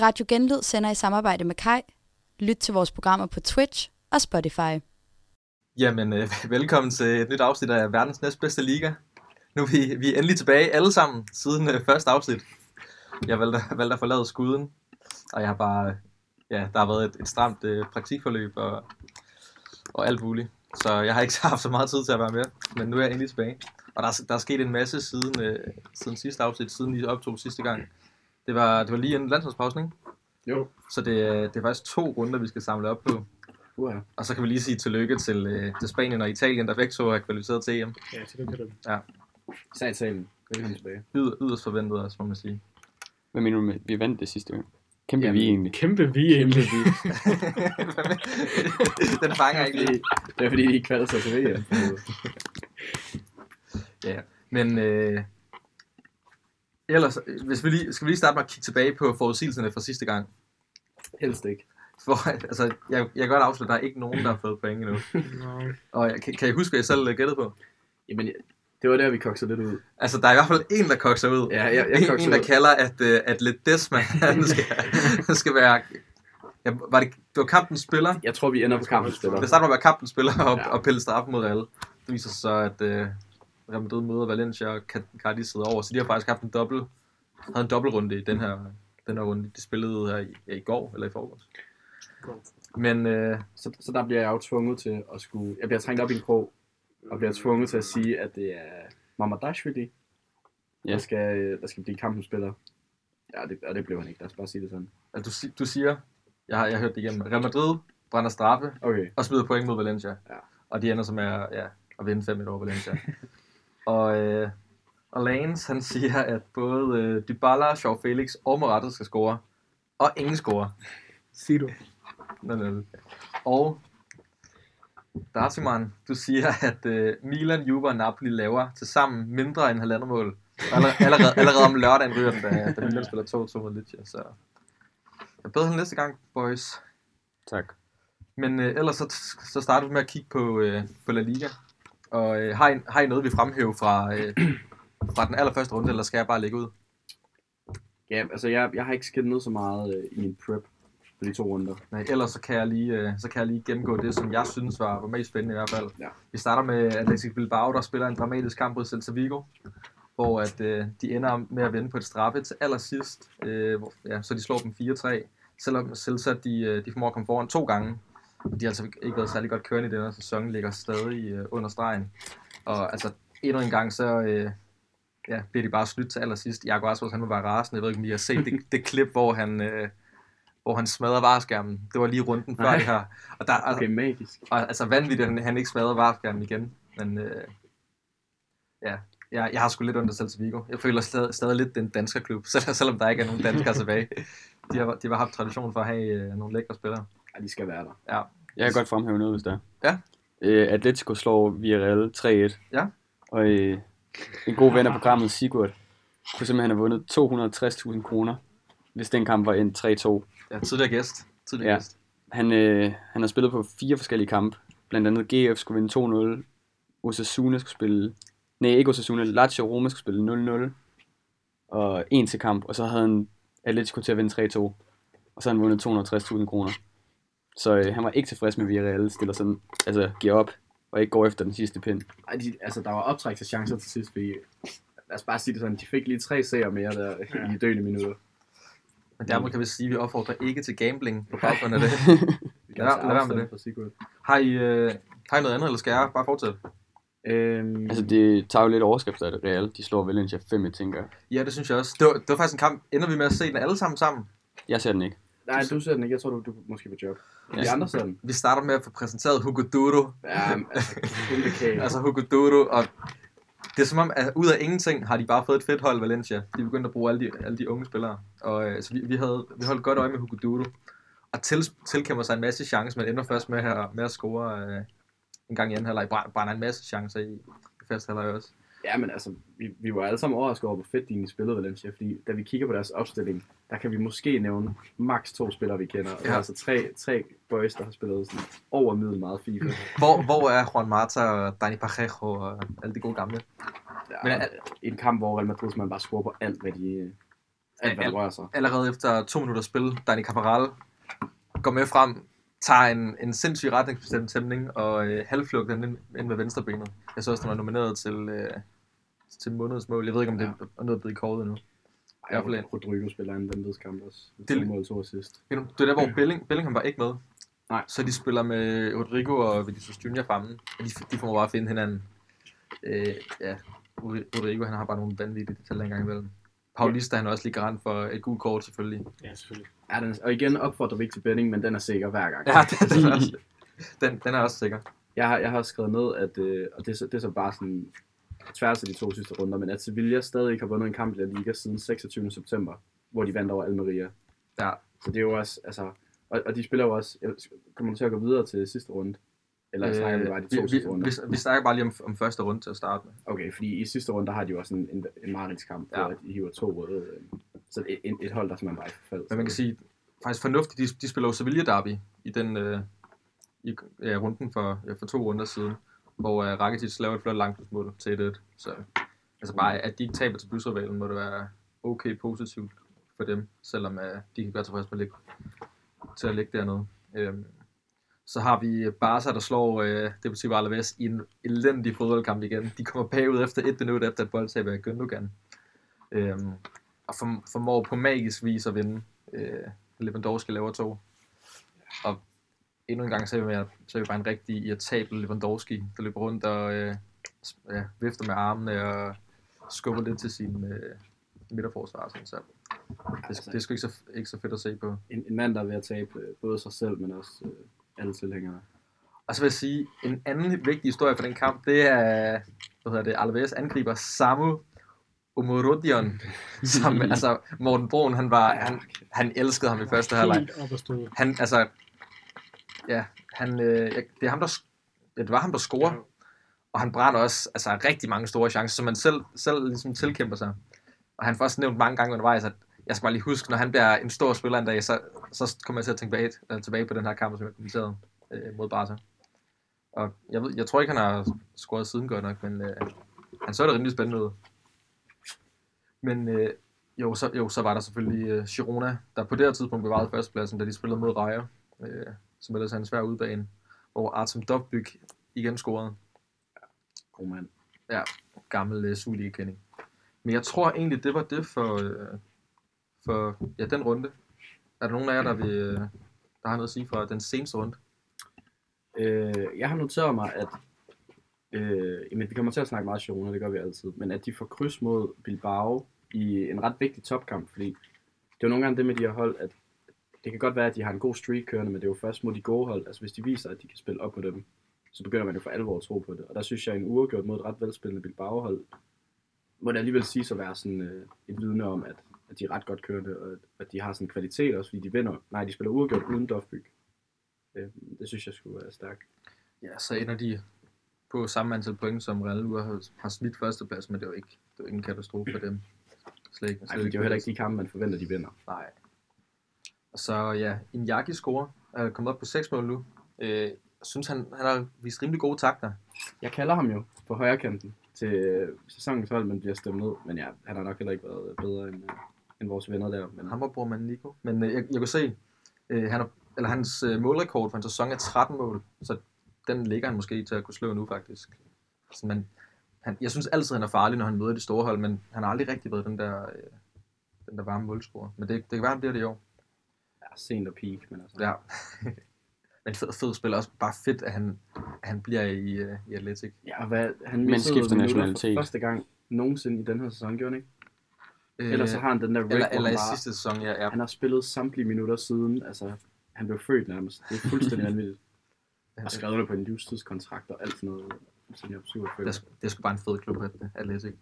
Radio Genlyd sender i samarbejde med Kai. Lyt til vores programmer på Twitch og Spotify. Jamen, øh, velkommen til et nyt afsnit af verdens næstbedste liga. Nu er vi, vi er endelig tilbage alle sammen siden øh, første afsnit. Jeg valgte, valgte at forlade skuden, og jeg har bare... Ja, der har været et, et stramt øh, praktikforløb og, og alt muligt. Så jeg har ikke haft så meget tid til at være med, men nu er jeg endelig tilbage. Og der, er- der er sket en masse siden, øh, siden sidste afsnit, siden I optog sidste gang. Det var, det var lige en landsholdspausen, ikke? Jo, Så det, er- det er faktisk to runder, vi skal samle op på. uha. Og så kan vi lige sige tillykke til, øh, til Spanien og Italien, der begge to er kvalificeret til EM. Ja, tillykke til dem. Især i Italien. Velkommen tilbage. Yder, yderst forventet også, må man sige. Hvad mener du med, vi vandt det sidste gang? Kæmpe Jamen, vi egentlig. Kæmpe vi Kæmpe egentlig. vi. Den fanger ikke lige. Det er fordi, de ikke kvalder sig til VM. Men øh, ellers, øh, hvis vi lige, skal vi lige starte med at kigge tilbage på forudsigelserne fra sidste gang. Helst ikke. For, altså, jeg, jeg kan godt afsløre, at der er ikke nogen, der har fået point endnu. Nå. Og jeg, kan, kan I huske, hvad jeg selv øh, gættede på? Jamen, jeg- det var der, vi kokser lidt ud. Altså, der er i hvert fald en, der kokser ud. Ja, jeg- jeg en, kokser en, der ud. kalder, at, øh, at Ledesma, han skal, han skal være... Ja, var det, det var kampens spiller, Jeg tror, vi ender på kampspiller. Det starter med at være kampens spiller og, ja. Ja. og pille straf mod Real. Det viser sig så, at øh, Real Madrid møder Valencia og Car- Cardiff sidder over. Så de har faktisk haft en dobbelt, havde en dobbeltrunde i den her, den her runde. De spillede her i, ja, i går, eller i forgårs. Går. Men øh, Så, så der bliver jeg jo tvunget til at skulle... Jeg bliver trængt op i en krog, og bliver tvunget til at sige, at det er Mamadashvili, Ja. der, skal, øh, der skal blive kampens spiller. Ja, det, og det blev han ikke. Lad os bare sige det sådan. at altså, du, si- du siger, jeg har, jeg har hørt det igennem, Real Madrid brænder straffe Okay. og smider point mod Valencia. Ja. Og de ender så med at, ja, at vinde 5-1 over Valencia. og, øh, og Lance, han siger, at både øh, Dybala, Shaw Felix og Morata skal score. Og ingen scorer. Sig du. 0-0. Og Dartiman, du siger, at øh, Milan, Juve og Napoli laver til sammen mindre end halvandet mål. Aller, allerede, allerede om lørdagen ryger den, da, da Milan spiller 2-2 mod Lecce. Så jeg beder hende næste gang, boys. Tak. Men øh, ellers så, så starter vi med at kigge på, øh, på La Liga. Og øh, har, I, har I noget, vi fremhæver fra, øh, fra den allerførste runde, eller skal jeg bare lægge ud? Ja, altså jeg, jeg har ikke skidt ned så meget øh, i min prep for de to runder. Nej, ellers så kan, jeg lige, øh, så kan jeg lige gennemgå det, som jeg synes var, var mest spændende i hvert fald. Ja. Vi starter med Atletic Bilbao, der spiller en dramatisk kamp mod Celta Vigo, hvor at, øh, de ender med at vende på et straffe til allersidst, øh, hvor, ja, så de slår dem 4-3, selvom Celta de, øh, de formår at komme foran to gange. De har altså ikke været særlig godt kørende i den her sæson, ligger stadig øh, under stregen. Og altså endnu en gang, så øh, ja, bliver de bare snydt til allersidst. Jago Aspas, han var bare rasende. Jeg ved ikke, om I har set det, det klip, hvor han... Øh, hvor han smadrer vareskærmen. Det var lige runden før Nej. det her. Og der, Okay, magisk. og, altså vanvittigt, at han, han ikke smadrede vareskærmen igen. Men øh, ja, jeg, jeg har sgu lidt under Celta Vigo. Jeg føler stadig, stadig lidt, den danske klub, selv, selvom der ikke er nogen danskere tilbage. De har, de har haft tradition for at have øh, nogle lækre spillere. Ja, de skal være der. Jeg kan godt fremhæve noget, hvis der er. Ja. Øh, Atletico slår Villarreal 3-1. Ja. Og øh, en god ven af programmet, Sigurd, kunne simpelthen have vundet 260.000 kroner, hvis den kamp var endt 3-2. Ja, tidligere gæst. Tidligere ja. Ja. gæst. Han, øh, han har spillet på fire forskellige kampe. Blandt andet GF skulle vinde 2-0. Osasuna skulle spille... Nej, ikke Osasuna. Lazio Roma skulle spille 0-0. Og en til kamp. Og så havde han Atletico til at vinde 3-2. Og så har han vundet 260.000 kroner. Så øh, han var ikke tilfreds med, at Villarreal stiller sådan... Altså, giver op og ikke går efter den sidste pind. Ej, de, altså, der var optræk til chancer til sidst, fordi lad os bare sige det sådan, de fik lige tre seere mere der i de døende minutter. Men dermed kan vi sige, at vi opfordrer ikke til gambling på baggrund af det. Vi Lad være- lad være med det. For Sigurd. Har I, øh, har I noget andet, eller skal jeg bare fortsætte? Øhm, Altså, det tager jo lidt overskrift af det Real. De slår Valencia 5, jeg tænker. jeg. Ja, det synes jeg også. Det var, det var faktisk en kamp. Ender vi med at se den alle sammen sammen? Jeg ser den ikke. nej, du ser den ikke. Jeg tror, du, du måske på job. Ja. De andre ser den. Vi starter med at få præsenteret Hugo Duro. Ja, men altså, kæmpe kage. Altså Hugo Duro og... Det er som om, at ud af ingenting har de bare fået et fedt hold, Valencia. De er begyndt at bruge alle de, alle de unge spillere. Og øh, så vi, vi, havde, vi holdt godt øje med Hugo Duro. Og til, tilkæmper sig en masse chancer, men ender først med at, med at score øh, en gang i anden halvleg. Bræ- Brænder en masse chancer i, i første halvleg også. Ja, men altså, vi, vi var alle sammen overrasket over, hvor fedt de egentlig spillede Valencia, fordi da vi kigger på deres opstilling, der kan vi måske nævne maks to spillere, vi kender. Og Ja. ja. altså tre, tre boys, der har spillet sådan over middel meget FIFA. Hvor, hvor er Juan Mata og Dani Parejo og alle de gode gamle? Ja, Men men, er- en kamp, hvor Real Madrid man bare scorer på alt, hvad de... øh, alt hvad der rører sig. allerede efter to minutter spil, Dani Cabral går med frem, tager en, en sindssyg retningsbestemt tæmning og øh, halvflugter den ind, ind med venstrebenet. Jeg så også, den var nomineret til, øh, til månedens mål. Jeg ved ikke, om det er noget blevet kåret endnu. Ej, og Rodrigo spiller en vanvidskamp også. Det Det- er mål to assist. Det er der, hvor Belling, Bellingham var ikke med. Nej. Så de spiller med Rodrigo og Vinicius Junior fremme. Og de, de får bare at finde hinanden. Øh, ja, Rodrigo han har bare nogle vanvittige detaljer engang imellem. Paulista han er også lige garant for et gult kort selvfølgelig. Ja, selvfølgelig. Ja, den, og igen opfordrer vi ikke til betting, men den er sikker hver gang. Ja, den er også, den, den er også sikker. Jeg har, jeg har skrevet ned, at, øh, og det er, så, det er så bare sådan tværs af de to sidste runder, men at Sevilla stadig ikke har vundet en kamp i La Liga siden 26. september, hvor de vandt over Almeria. Ja. Så det er jo også, altså, og, og de spiller jo også, jeg- kommer du til at gå videre til sidste runde? Eller øh, snakker vi bare de to vi, sidste runder? vi, vi snakker bare lige om, om første runde til at starte med. Okay, fordi i sidste runde, der har de jo også en, en, en marindskamp, Ja. ja. hvor de hiver to røde. øh, Så et, et- et hold, der simpelthen bare ikke faldt. Men man kan sige, faktisk fornuftigt, de, de spiller jo Sevilla Derby i den øh, i, ja, runden for, ja, for to runder siden, hvor øh, Rakitic laver et flot langtidsmål til 1-1. Så altså bare, at de ikke taber til bysrivalen, må det være okay positivt for dem, selvom øh, de kan være tilfredse med at ligge, til at ligge dernede. Øhm, så har vi Barca, der slår øh, Deportivo Alaves i en elendig fodboldkamp igen. De kommer bagud efter et minut efter et boldtab af Gündogan. Øhm, og form- formår på magisk vis at vinde. Øh, Lewandowski laver to. Og endnu en gang ser vi, mere, ser vi bare en rigtig irritabel Lewandowski, der løber rundt og øh, s- ja, vifter med armene og skubber lidt til sin øh, midterforsvar. Sådan, så det, altså, det er sgu ikke så, ikke så fedt at se på. en, en mand, der er ved at tabe øh, både sig selv, men også øh, alle tilhængere. Og så vil jeg sige, en anden vigtig historie fra den kamp, det er, hvad hedder det, Alves angriber Samu Omorodion, som, altså, Morten Broen, han var, han, han elskede ham i første halvleg. Helt op at stå. Han, altså, ja, han, øh, jeg- det er ham, der, sk- ja, det var ham, der scorer, og han brænder også altså, rigtig mange store chancer, som han selv, selv ligesom tilkæmper sig. Og han får også nævnt mange gange undervejs, at jeg skal bare lige huske, når han bliver en stor spiller en dag, så, så kommer jeg til at tænke bag, øh, tilbage på den her kamp, som jeg kommenterede øh, mod Barca. Og jeg, ved, jeg tror ikke, han har scoret siden godt nok, men øh, han så det rimelig spændende ud. Men øh, jo, så, jo, så var der selvfølgelig øh, Girona, der på det her tidspunkt bevarede førstepladsen, da de spillede mod Raja, øh, som ellers er en svær udbane, hvor Artem Dovbyk igen scorede God mand. gammel øh, Sulige-kending. Men jeg tror egentlig, det var det for, øh, for ja, den runde. Er der nogen af jer, der, vil, øh, der har noget at sige fra den seneste runde? Øh, jeg har noteret mig, at øh, jamen, vi kommer til at snakke meget Girona, det gør vi altid, men at de får kryds mod Bilbao i en ret vigtig topkamp, fordi det er jo nogle gange det med de her hold, at det kan godt være, at de har en god streak kørende, men det er jo først mod de gode hold, altså hvis de viser, at de kan spille op på dem, så begynder man jo for alvor at tro på det. Og der synes jeg, at en uafgjort mod et ret velspillende Bilbao-hold, må det alligevel sige at være sådan øh, et vidne om, at, at de er ret godt kørende, og at- at de har sådan kvalitet også, fordi de vinder. Nej, de spiller uafgjort uden Dofbyg. Øh, det synes jeg skulle være stærkt. Ja, så ender de på samme antal point, som Real nu har, har smidt førstepladsen, men det var ikke, det var ikke en katastrofe for dem. Slet ikke. Nej, det er jo heller ikke de kampe, man forventer, de vinder. Nej. Og så ja, Injaki scorer. Er kommet op på 6 mål nu. Øh, jeg synes, han, han har vist rimelig gode takter. Jeg kalder ham jo på højre kanten til øh, sæsonens hold, men bliver stemt ned. Men ja, han har nok heller ikke været bedre end, øh, end vores venner der. Men Ham og bror man Nico. Men øh, jeg, jeg kunne se, øh, han har, eller hans øh, målrekord for en sæson er 13 mål. Så den ligger han måske til at kunne slå nu, faktisk. Så man, han, jeg synes altid, han er farlig, når han møder de store hold, men han har aldrig rigtig været den der, øh, den der varme målscorer. Men det, det kan være, han bliver det i år. ja, sent og peak, men altså. Ja. men fed, fed spiller også bare fedt, at han, at han bliver i, øh, i Atletic. ja og hvad, han Men missede skifter minutter nationalitet. For første gang nogensinde i den her sæson, gjorde han ikke? Øh, Ellers så har han den der reg, eller, hvor eller han, i bare, sidste sæson, ja. ja. han har spillet samtlige minutter siden. Altså, han blev født nærmest. Det er fuldstændig vanvittigt. Og skrevet det på en livstidskontrakt og alt sådan noget. Sådan, jeg er super Det er, fedt. sgu- det er sgu bare en fed klub, at- Atletic.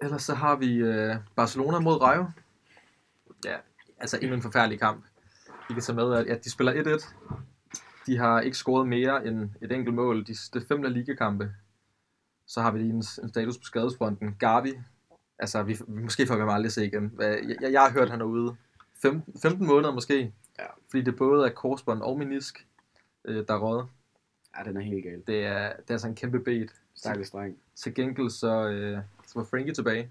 Ellers så har vi øh, Barcelona mod Rayo. Ja, altså endnu en forfærdelig kamp. Vi kan tage med, at ja, de spiller 1-1. De har ikke scoret mere end et enkelt mål. De, det er fem La Liga-kampe. Så har vi lige en, en status på skadesfronten. Gavi, altså vi, vi måske får vi ham aldrig at se igen. Hvad- Jeg, jeg, jeg har hørt, han er ude 15, 15 måneder måske. Ja. Fordi det både er korsbånd og menisk, øh, der er røget. Ja, den er helt gal. Det er, det er altså en kæmpe bed. Stakkels dreng. Til gengæld så, øh, så var Frankie tilbage.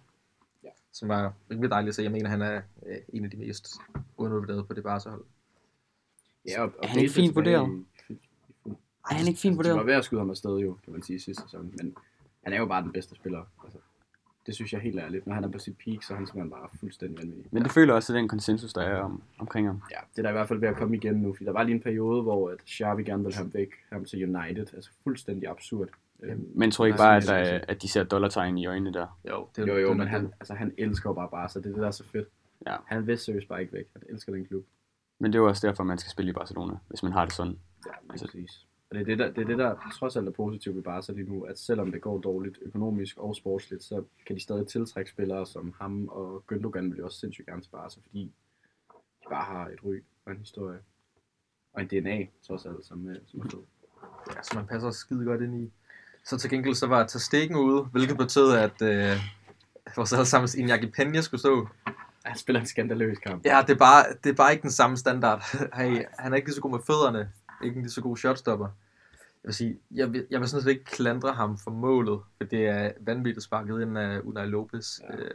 Ja. som var rimelig dejligt at se. Jeg mener, han er øh, en af de mest undervurderede på det Barca-hold. Ja, og, og Er han ikke Pedri fint tilbage vurderet? i- Er han ikke fint Altså, De var vurderet? ved at skyde ham afsted jo, kan man sige, sidste sæson. Men han er jo bare den bedste spiller. Altså, det synes jeg helt ærligt. Når han er på sit peak, så er han simpelthen bare fuldstændig vanvittig. Men det føler også, at den konsensus, der er om, omkring ham. Ja, det er der i hvert fald ved at komme igen nu, fordi der var lige en periode, hvor at Xavi gerne ville ham væk, ham til United. Altså fuldstændig absurd. Øhm, Men tror I ikke Nej, bare, at, sådan der, er det er- at de ser dollartegn i øjnene der? Jo, jo, jo, men han, han... altså, han elsker jo bare bare, så det er det, der er så fedt. Ja. Han vil seriøst bare ikke væk. Han elsker den klub. Men det er jo også derfor, man skal spille i Barcelona, hvis man har det sådan. Ja, lige præcis. Altså, Og det er det, der, det er det, der trods alt er positivt ved Barca lige nu, at selvom det går dårligt økonomisk og sportsligt, så kan de stadig tiltrække spillere som ham, og Gündogan vil jo også sindssygt gerne til Barca, fordi de bare har et ry og en historie. Og en DNA, trods alt, som, øh, som er fed. Ja, så man passer skide godt ind i. Så til gengæld så var Tastikken ude, hvilket betød, at øh, vores allesammens Iñaki Peña skulle stå. Han spiller en skandaløs kamp. Ja, det er bare, det er bare ikke den samme standard. Hey, han er ikke lige så god med fødderne. Ikke lige så god shotstopper. Jeg vil sige, jeg vil, jeg vil sådan set ikke klandre ham for målet, for det er vanvittigt sparket ind af Unai Lopez. Ja. Ja. Øh,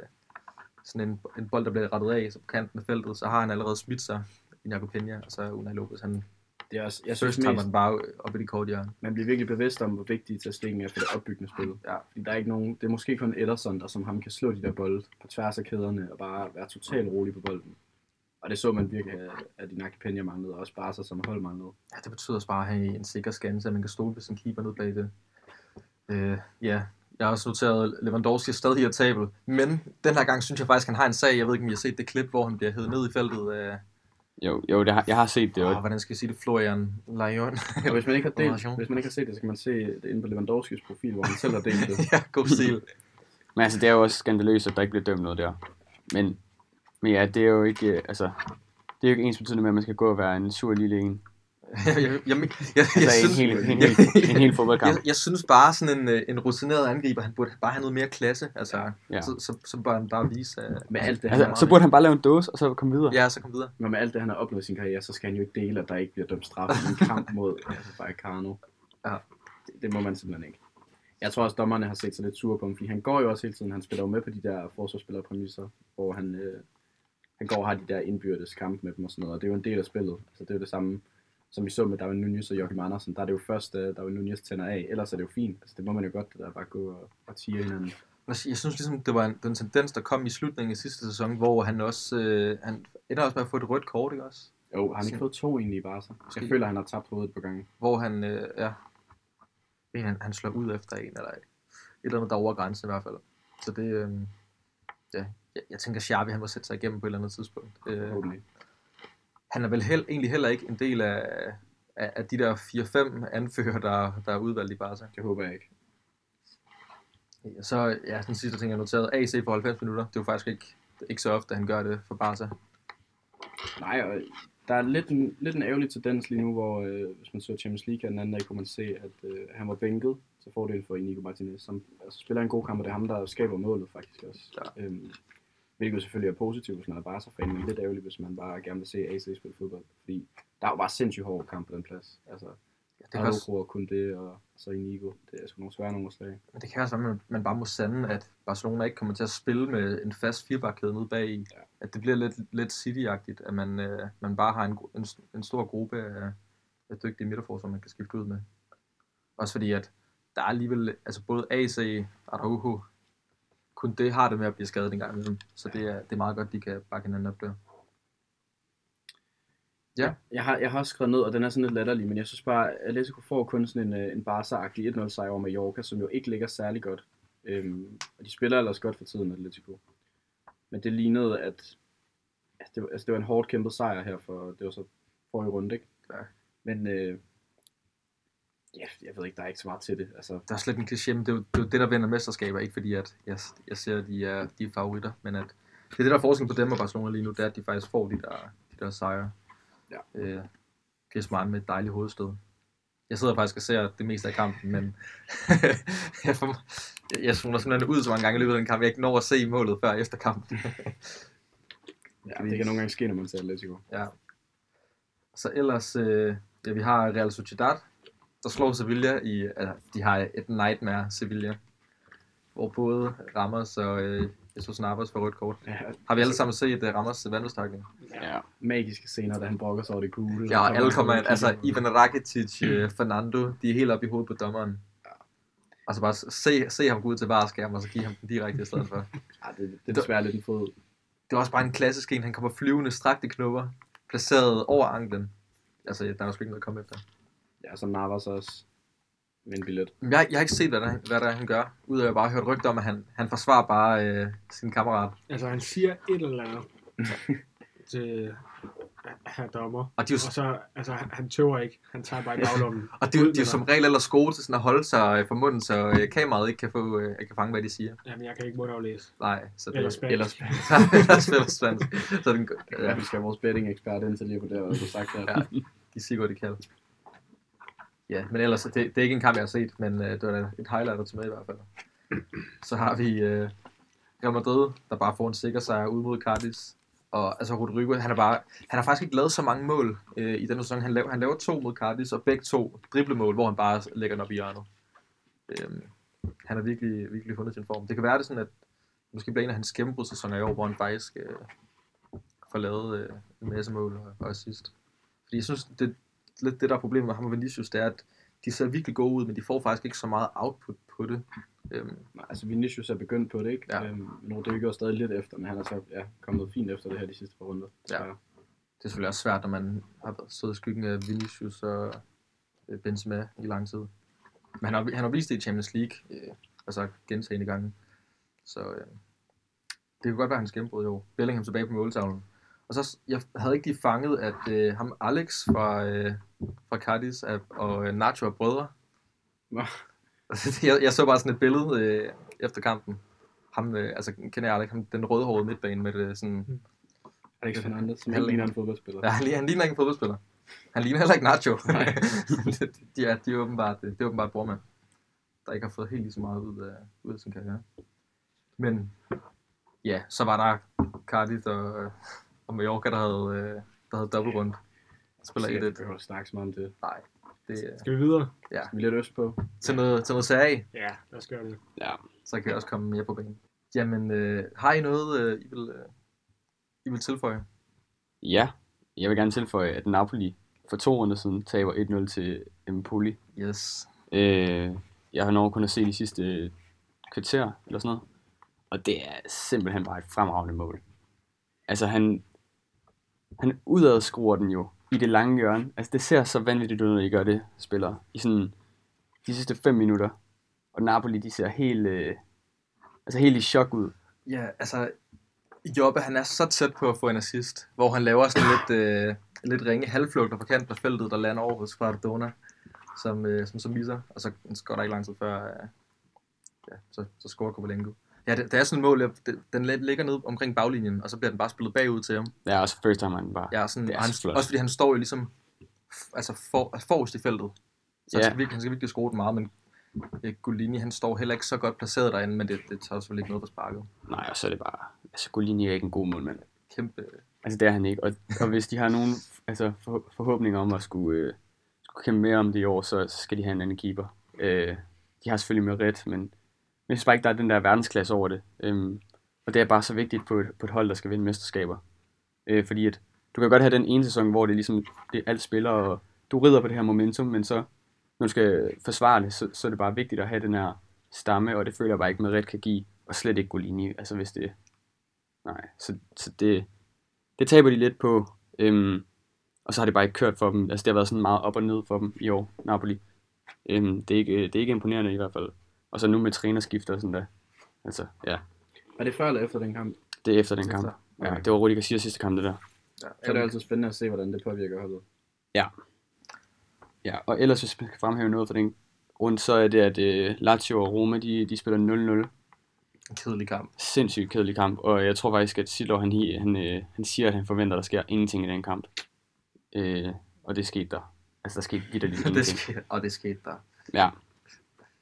sådan en, en bold, der bliver rettet af så på kanten af feltet, så har han allerede smidt sig i Peña, og så er Unai Lopez, han Det er også, jeg synes først tager mest, man bare op i de korte hjørne. man bliver virkelig bevidst om, hvor vigtige Tastegen er for det opbyggende spil. Ja. Fordi der er ikke nogen, det er måske kun Ederson, der som ham kan slå de der bolde på tværs af kæderne og bare være totalt rolig på bolden. Og det så man virkelig, at- at Inaki Peña manglede, og også Barca som hold manglede. Ja, det betyder også bare at have en sikker skanse, at man kan stole på sin keeper ned bag det. Øh, ja, jeg har også noteret, at Lewandowski er stadig irritabel, men den her gang synes jeg faktisk, han har en sag. Jeg ved ikke, om I har set det klip, hvor han bliver hævet ned i feltet af, Jo, jo det har, jeg har set det Ah. det var... oh, også. hvordan skal jeg sige det, Florian Lejon. Og hvis man ikke har Information. delt, hvis man ikke har set det, så kan man se det inde på Lewandowskis profil, hvor han selv har delt det. ja, god stil. Men altså, det er jo også skandaløst, at der ikke bliver dømt noget der. Men, men ja, det er jo ikke, øh, altså, det er jo ikke ens betydende med, at man skal gå og være en sur lille en. jeg, jeg, jeg, jeg, jeg, Altså, en, synes, hel, en, hel, en hel fodboldkamp. jeg, jeg synes bare, sådan en, øh, en rutineret angriber, han burde bare have noget mere klasse. Altså, Ja. ja. så, så, så bør han bare vise, at... Med alt det, han Altså, har, så burde han bare lave en dåse, og så komme videre. Ja, så kom videre. men med alt det, han har opnået i sin karriere, så skal han jo ikke dele, at der ikke bliver dømt straf i en kamp mod altså, Vallecano. Ja. Det, det, må man simpelthen ikke. Jeg tror også, dommerne har set sig lidt sure på ham, fordi han går jo også hele tiden, han spiller jo med på de der forsvarsspillerpræmisser, hvor han, øh, han går og har de der indbyrdes kamp med dem og sådan noget, og det er jo en del af spillet. Altså, det er jo det samme, som vi så med Darwin Nunez og Joachim Andersen, der er det jo først, øh, Darwin Nunez tænder af, ellers er det jo fint. Altså, det må man jo godt, det der bare gå og, og tire hinanden. Jeg sy- jeg synes ligesom, det var en, den tendens, der kom i slutningen af sidste sæson, hvor han også øh, han ender også med at få et rødt kort, ikke også? Jo, har han ikke fået to egentlig bare så? Jeg føler, han har tabt hovedet på gangen. Hvor han, øh, ja, en, han, han slår ud efter en, eller et eller andet, der er over grænsen i hvert fald. Så det, øh, ja, jeg, jeg tænker, Xavi, han må sætte sig igennem på et eller andet tidspunkt. Øh, Forhåbentlig. han er vel held, egentlig heller ikke en del af, af, af de der 4-5 anfører, der, der er udvalgt i Barca. Det håber jeg ikke. Ja, Så ja, den sidste ting, jeg noterede, AC for 90 minutter, det er jo faktisk ikke, ikke så ofte, han gør det for Barca. Nej, og der er lidt en, lidt en ærgerlig tendens lige nu, hvor øh, hvis man så Champions League her den anden dag, kunne man se, at øh, han var bænket til fordel for Inigo Martinez, som altså, spiller en god kamp, og det er ham, der skaber målet faktisk også. Ja. Øhm, hvilket selvfølgelig er positivt, hvis man er Barca-fan, men lidt ærgerligt, hvis man bare gerne vil se AC spille fodbold, fordi der er jo bare sindssygt hård kamp på den plads. Altså, Ja, det det kan også, er kun det, og så Inigo. Det er sgu nogle svære nogle at slage. Men det kan også være, at man- man bare må sande, at Barcelona ikke kommer til at spille med en fast firebarkæde nede bag i. Ja. At det bliver lidt, lidt City-agtigt, at man, øh, man bare har en, gru- en, s- en stor gruppe af, af dygtige midterforsvar, man kan skifte ud med. Også fordi, at der er alligevel, altså både AC og Araujo, kun det har det med at blive skadet en gang imellem. Så det er, det er meget godt, de kan bakke hinanden op der. Jeg har, jeg har også skrevet ned, og den er sådan lidt latterlig, men jeg synes bare, at Atletico får kun sådan en, øh, en Barca-agtig 1-0 sejr over Mallorca, som jo ikke ligger særlig godt. Øhm, og de spiller ellers godt for tiden, Atletico. Men det lignede, at altså det, var- altså det var en hårdt kæmpet sejr her, for det var så forrige runde, ikke? Ja. Men øh, ja, jeg ved ikke, der er ikke så meget til det. Altså, Der er slet en kliché, men det er, jo, det er jo det, der vinder mesterskaber. Ikke fordi, at jeg, jeg ser, at de er, de er favoritter, men at det er det, der er forskellen på dem og Barcelona lige nu, det er, at de faktisk får de der, de der sejre. Ja. Øh, det er smart med et dejligt hovedstød. Jeg sidder faktisk og ser det meste af kampen, men jeg, får, jeg, jeg zoner simpelthen ud så mange gange i løbet af den kamp, jeg ikke når at se målet før efter kampen. ja, det kan nogle gange ske, når man ser Atletico. Ja. Så ellers, øh, ja, vi har Real Sociedad, der slår Sevilla i, øh, de har et nightmare Sevilla, hvor både Ramos og øh, Jesus Navas for rødt kort. Ja, Har vi alle sammen set uh, Ramos vandvedstakning? Ja. magiske scener, da han brokker sig over det gule. Ja, og alle kommer ind. ind. Altså, Ivan Rakitic, uh, Fernando, de er helt oppe i hovedet på dommeren. Altså bare se, se ham gå ud til vareskærmen, og så give ham den direkte i stedet for. Ja, det, det er desværre lidt en fod. Det er også bare en klassisk en. Han kommer flyvende strakte knopper, placeret over anklen. Altså, der er jo sgu ikke noget at komme efter. Ja, som Navas også vinde billet. Men Jeg, jeg har ikke set, hvad der, hvad der er, han gør, udover at jeg bare har hørt rygter om, at han, han forsvarer bare øh, sin kammerat. Altså, han siger et eller andet til her dommer. Og det er jo, Og så, altså, han, han tøver ikke. Han tager bare i baglommen. og det er, jo- det er jo som regel ellers gode til sådan at holde sig øh, for munden, så øh, kameraet ikke kan, få, øh, ikke kan fange, hvad de siger. Jamen, jeg kan ikke mundaflæse. Nej, så det, Eller spansk. Ellers Eller spiller spansk. Så den, i ja, hvert fald skal vores betting ekspert ind til lige på det, og så sagt der. Øh. Ja. de siger godt, de kan. Ja, men ellers, det, det er ikke en kamp, jeg har set, men øh, det var da et highlight at tage med i hvert fald. Så har vi øh, Real Madrid, der bare får en sikker sejr ud mod Cardis. Og altså Rodrigo, han er bare, han har faktisk ikke lavet så mange mål øh, i den her sæson. Han laver, han laver to mod Cardis, og begge to driblemål, hvor han bare lægger den op i hjørnet. Øhm, han har virkelig, virkelig fundet sin form. Det kan være, det er sådan, at måske bliver en af hans gennembrudssæsoner i år, hvor han faktisk øh, får lavet øh, en masse mål og- og assist. Fordi jeg synes, det, lidt det, der er problemet med ham og Vinicius, det er, at de ser virkelig gode ud, men de får faktisk ikke så meget output på det. Øhm, Nej, altså Vinicius er begyndt på det, ikke? Ja. Ja. Øhm, men Rodrigo er stadig lidt efter, men han er så ja, kommet fint efter det her de sidste par runder. desværre. det er selvfølgelig også svært, når man har været- stået i skyggen af Vinicius og øh, Benzema i lang tid. Men han har, han har vist det i Champions League, øh, altså gentagende gange. Så øh, det kan godt være hans gennembrud i år. Bellingham tilbage på måltavlen. Og så, s- jeg havde ikke lige fanget, at øh, ham Alex fra, øh, fra Cardis er- og øh, Nacho er brødre. Nå. jeg, jeg så bare sådan et billede øh, efter kampen. Ham, øh, altså kender jeg Alex, ham, den rødhårede midtbane med det sådan... Alex Fernandes, som Han- ikke ligner en fodboldspiller. Ja, han, ligner, han ligner ikke en fodboldspiller. Han ligner heller ikke Nacho. de, er, de er åbenbart, det er åbenbart brormand, der ikke har fået helt lige så meget ud af, ud af sin karriere. Men ja, så var der Cardiff og, øh, og Mallorca, der havde, øh, der havde dobbeltrunde. Spiller ikke 1 det. Jeg snakke så meget om det. det er Skal vi videre? Vi er lidt øst på. til noget, til noget sag, Ja, lad os gøre det. ja. så kan jeg også komme mere på banen. Jamen, øh, har I noget, øh, I, vil, øh, I vil tilføje? Ja, jeg vil gerne tilføje, at Napoli for to runder siden taber 1-0 til Empoli. Yes. Øh, jeg har nok kun at se de sidste øh, kvarter eller sådan noget. Og det er simpelthen bare et fremragende mål. Altså han, han udad skruer den jo i det lange hjørne. Altså det ser så vanvittigt ud, når de gør det, spillere. I sådan de sidste 5 minutter. Og Napoli, de ser helt, øh, altså helt i chok ud. Ja, altså, Jobbe, han er så tæt på at få en assist, hvor han laver sådan lidt, øh, lidt ringe halvflugter fra kanten af feltet, der lander over hos Cardona, som, øh, som, som misser, og så går der ikke lang tid før, øh, ja, så, så scorer Kovalenko. Ja, det, det, er sådan et mål, jeg, det, den let- ligger ned omkring baglinjen, og så bliver den bare spillet bagud til ham. Ja, også first time, han bare. Ja, sådan, Det er og han, så flot. også fordi han står jo ligesom f- altså for, forrest i feltet. Så Ja. han, skal virkelig, han skal virkelig skrue den meget, men øh, Golini, han står heller ikke så godt placeret derinde, men det, det tager selvfølgelig ikke noget på sparket. Nej, og så er det bare, altså Golini er ikke en god målmand. Kæmpe, Altså det er han ikke, og, og hvis de har nogen altså, for, forhåbninger om at skulle, øh, skulle kæmpe mere om det i år, så, så skal de have en anden keeper. Øh, de har selvfølgelig merit, men men jeg synes bare ikke, der er den der verdensklasse over det. Øhm, og det er bare så vigtigt på et, på et hold, der skal vinde mesterskaber. Øh, fordi at du kan godt have den ene sæson, hvor det er ligesom det er alt spiller, og du rider på det her momentum, men så når du skal forsvare det, så, så er det bare vigtigt at have den her stamme, og det føler jeg bare ikke, Merit kan give, og slet ikke Golini, altså hvis det... Nej, så, så det, det taber de lidt på, øhm, og så har det bare ikke kørt for dem. Altså det har været sådan meget op og ned for dem i år, Napoli. Øhm, det, er ikke, øh, det er ikke imponerende i hvert fald. Og så nu med trænerskifter og sådan der. Altså, ja, Er det før eller efter den kamp? det er efter den kamp. Efter. Ja, det var Rudi Garcias sidste kamp, det der. ja, Så er det altid spændende at se, hvordan det påvirker holdet. Ja, og ellers hvis man skal fremhæve noget fra den rundt, så er det, at øh, Lazio og Roma, de, de spiller 0-0. en kedelig kamp. Sindssygt kedelig kamp, og jeg tror faktisk, at Sidor, han, hi- han, øh, han siger, at han forventer, at der sker ingenting i den kamp. Øh, og det skete der. Altså, der skete vitterligt det ingenting. skete, og det skete der. Ja,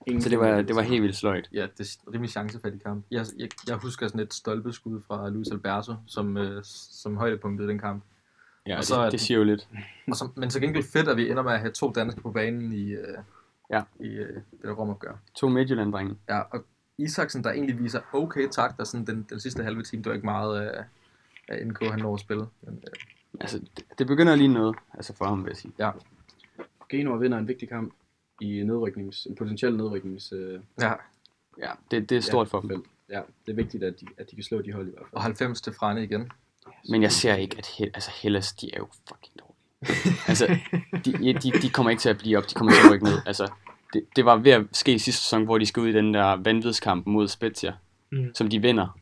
Ingen så det var, det var helt vildt sløjt. Ja, det er rimelig chancefattig kamp. Jeg, jeg, jeg husker sådan et stolpeskud fra Luis Alberto, som, øh, som højdepunktet i den kamp. Ja, Og og så så er den- det, det siger jo lidt. Og som, men til gengæld fedt, at vi ender med at have to danskere på banen i, øh, Ja. i øh, det der rumopgør. To Midtjylland-drenge. Ja, og Isaksen, der egentlig viser okay takter sådan den, den sidste halve time. Det var ikke meget øh, af NK, han når at spille. Men, øh, Altså, det, det begynder lige noget, altså for ham, vil jeg sige. Genua vinder en vigtig kamp i nedryknings, en potentiel nedryknings... Øh, ja, Ja, det, det er stort ja, for dem. felt. Ja, det er vigtigt, at de, at de kan slå de hold i hvert fald. og 90 til Frane igen. Men jeg ser ikke, at Hel- altså, Hellas, de er jo fucking dårlige. altså, de, de, de kommer ikke til at blive op, de kommer til at rykke ned. Altså, det, det var ved at ske i sidste sæson, hvor de skal ud i den der vanvidskamp mod Spezia, Mm. som de vinder.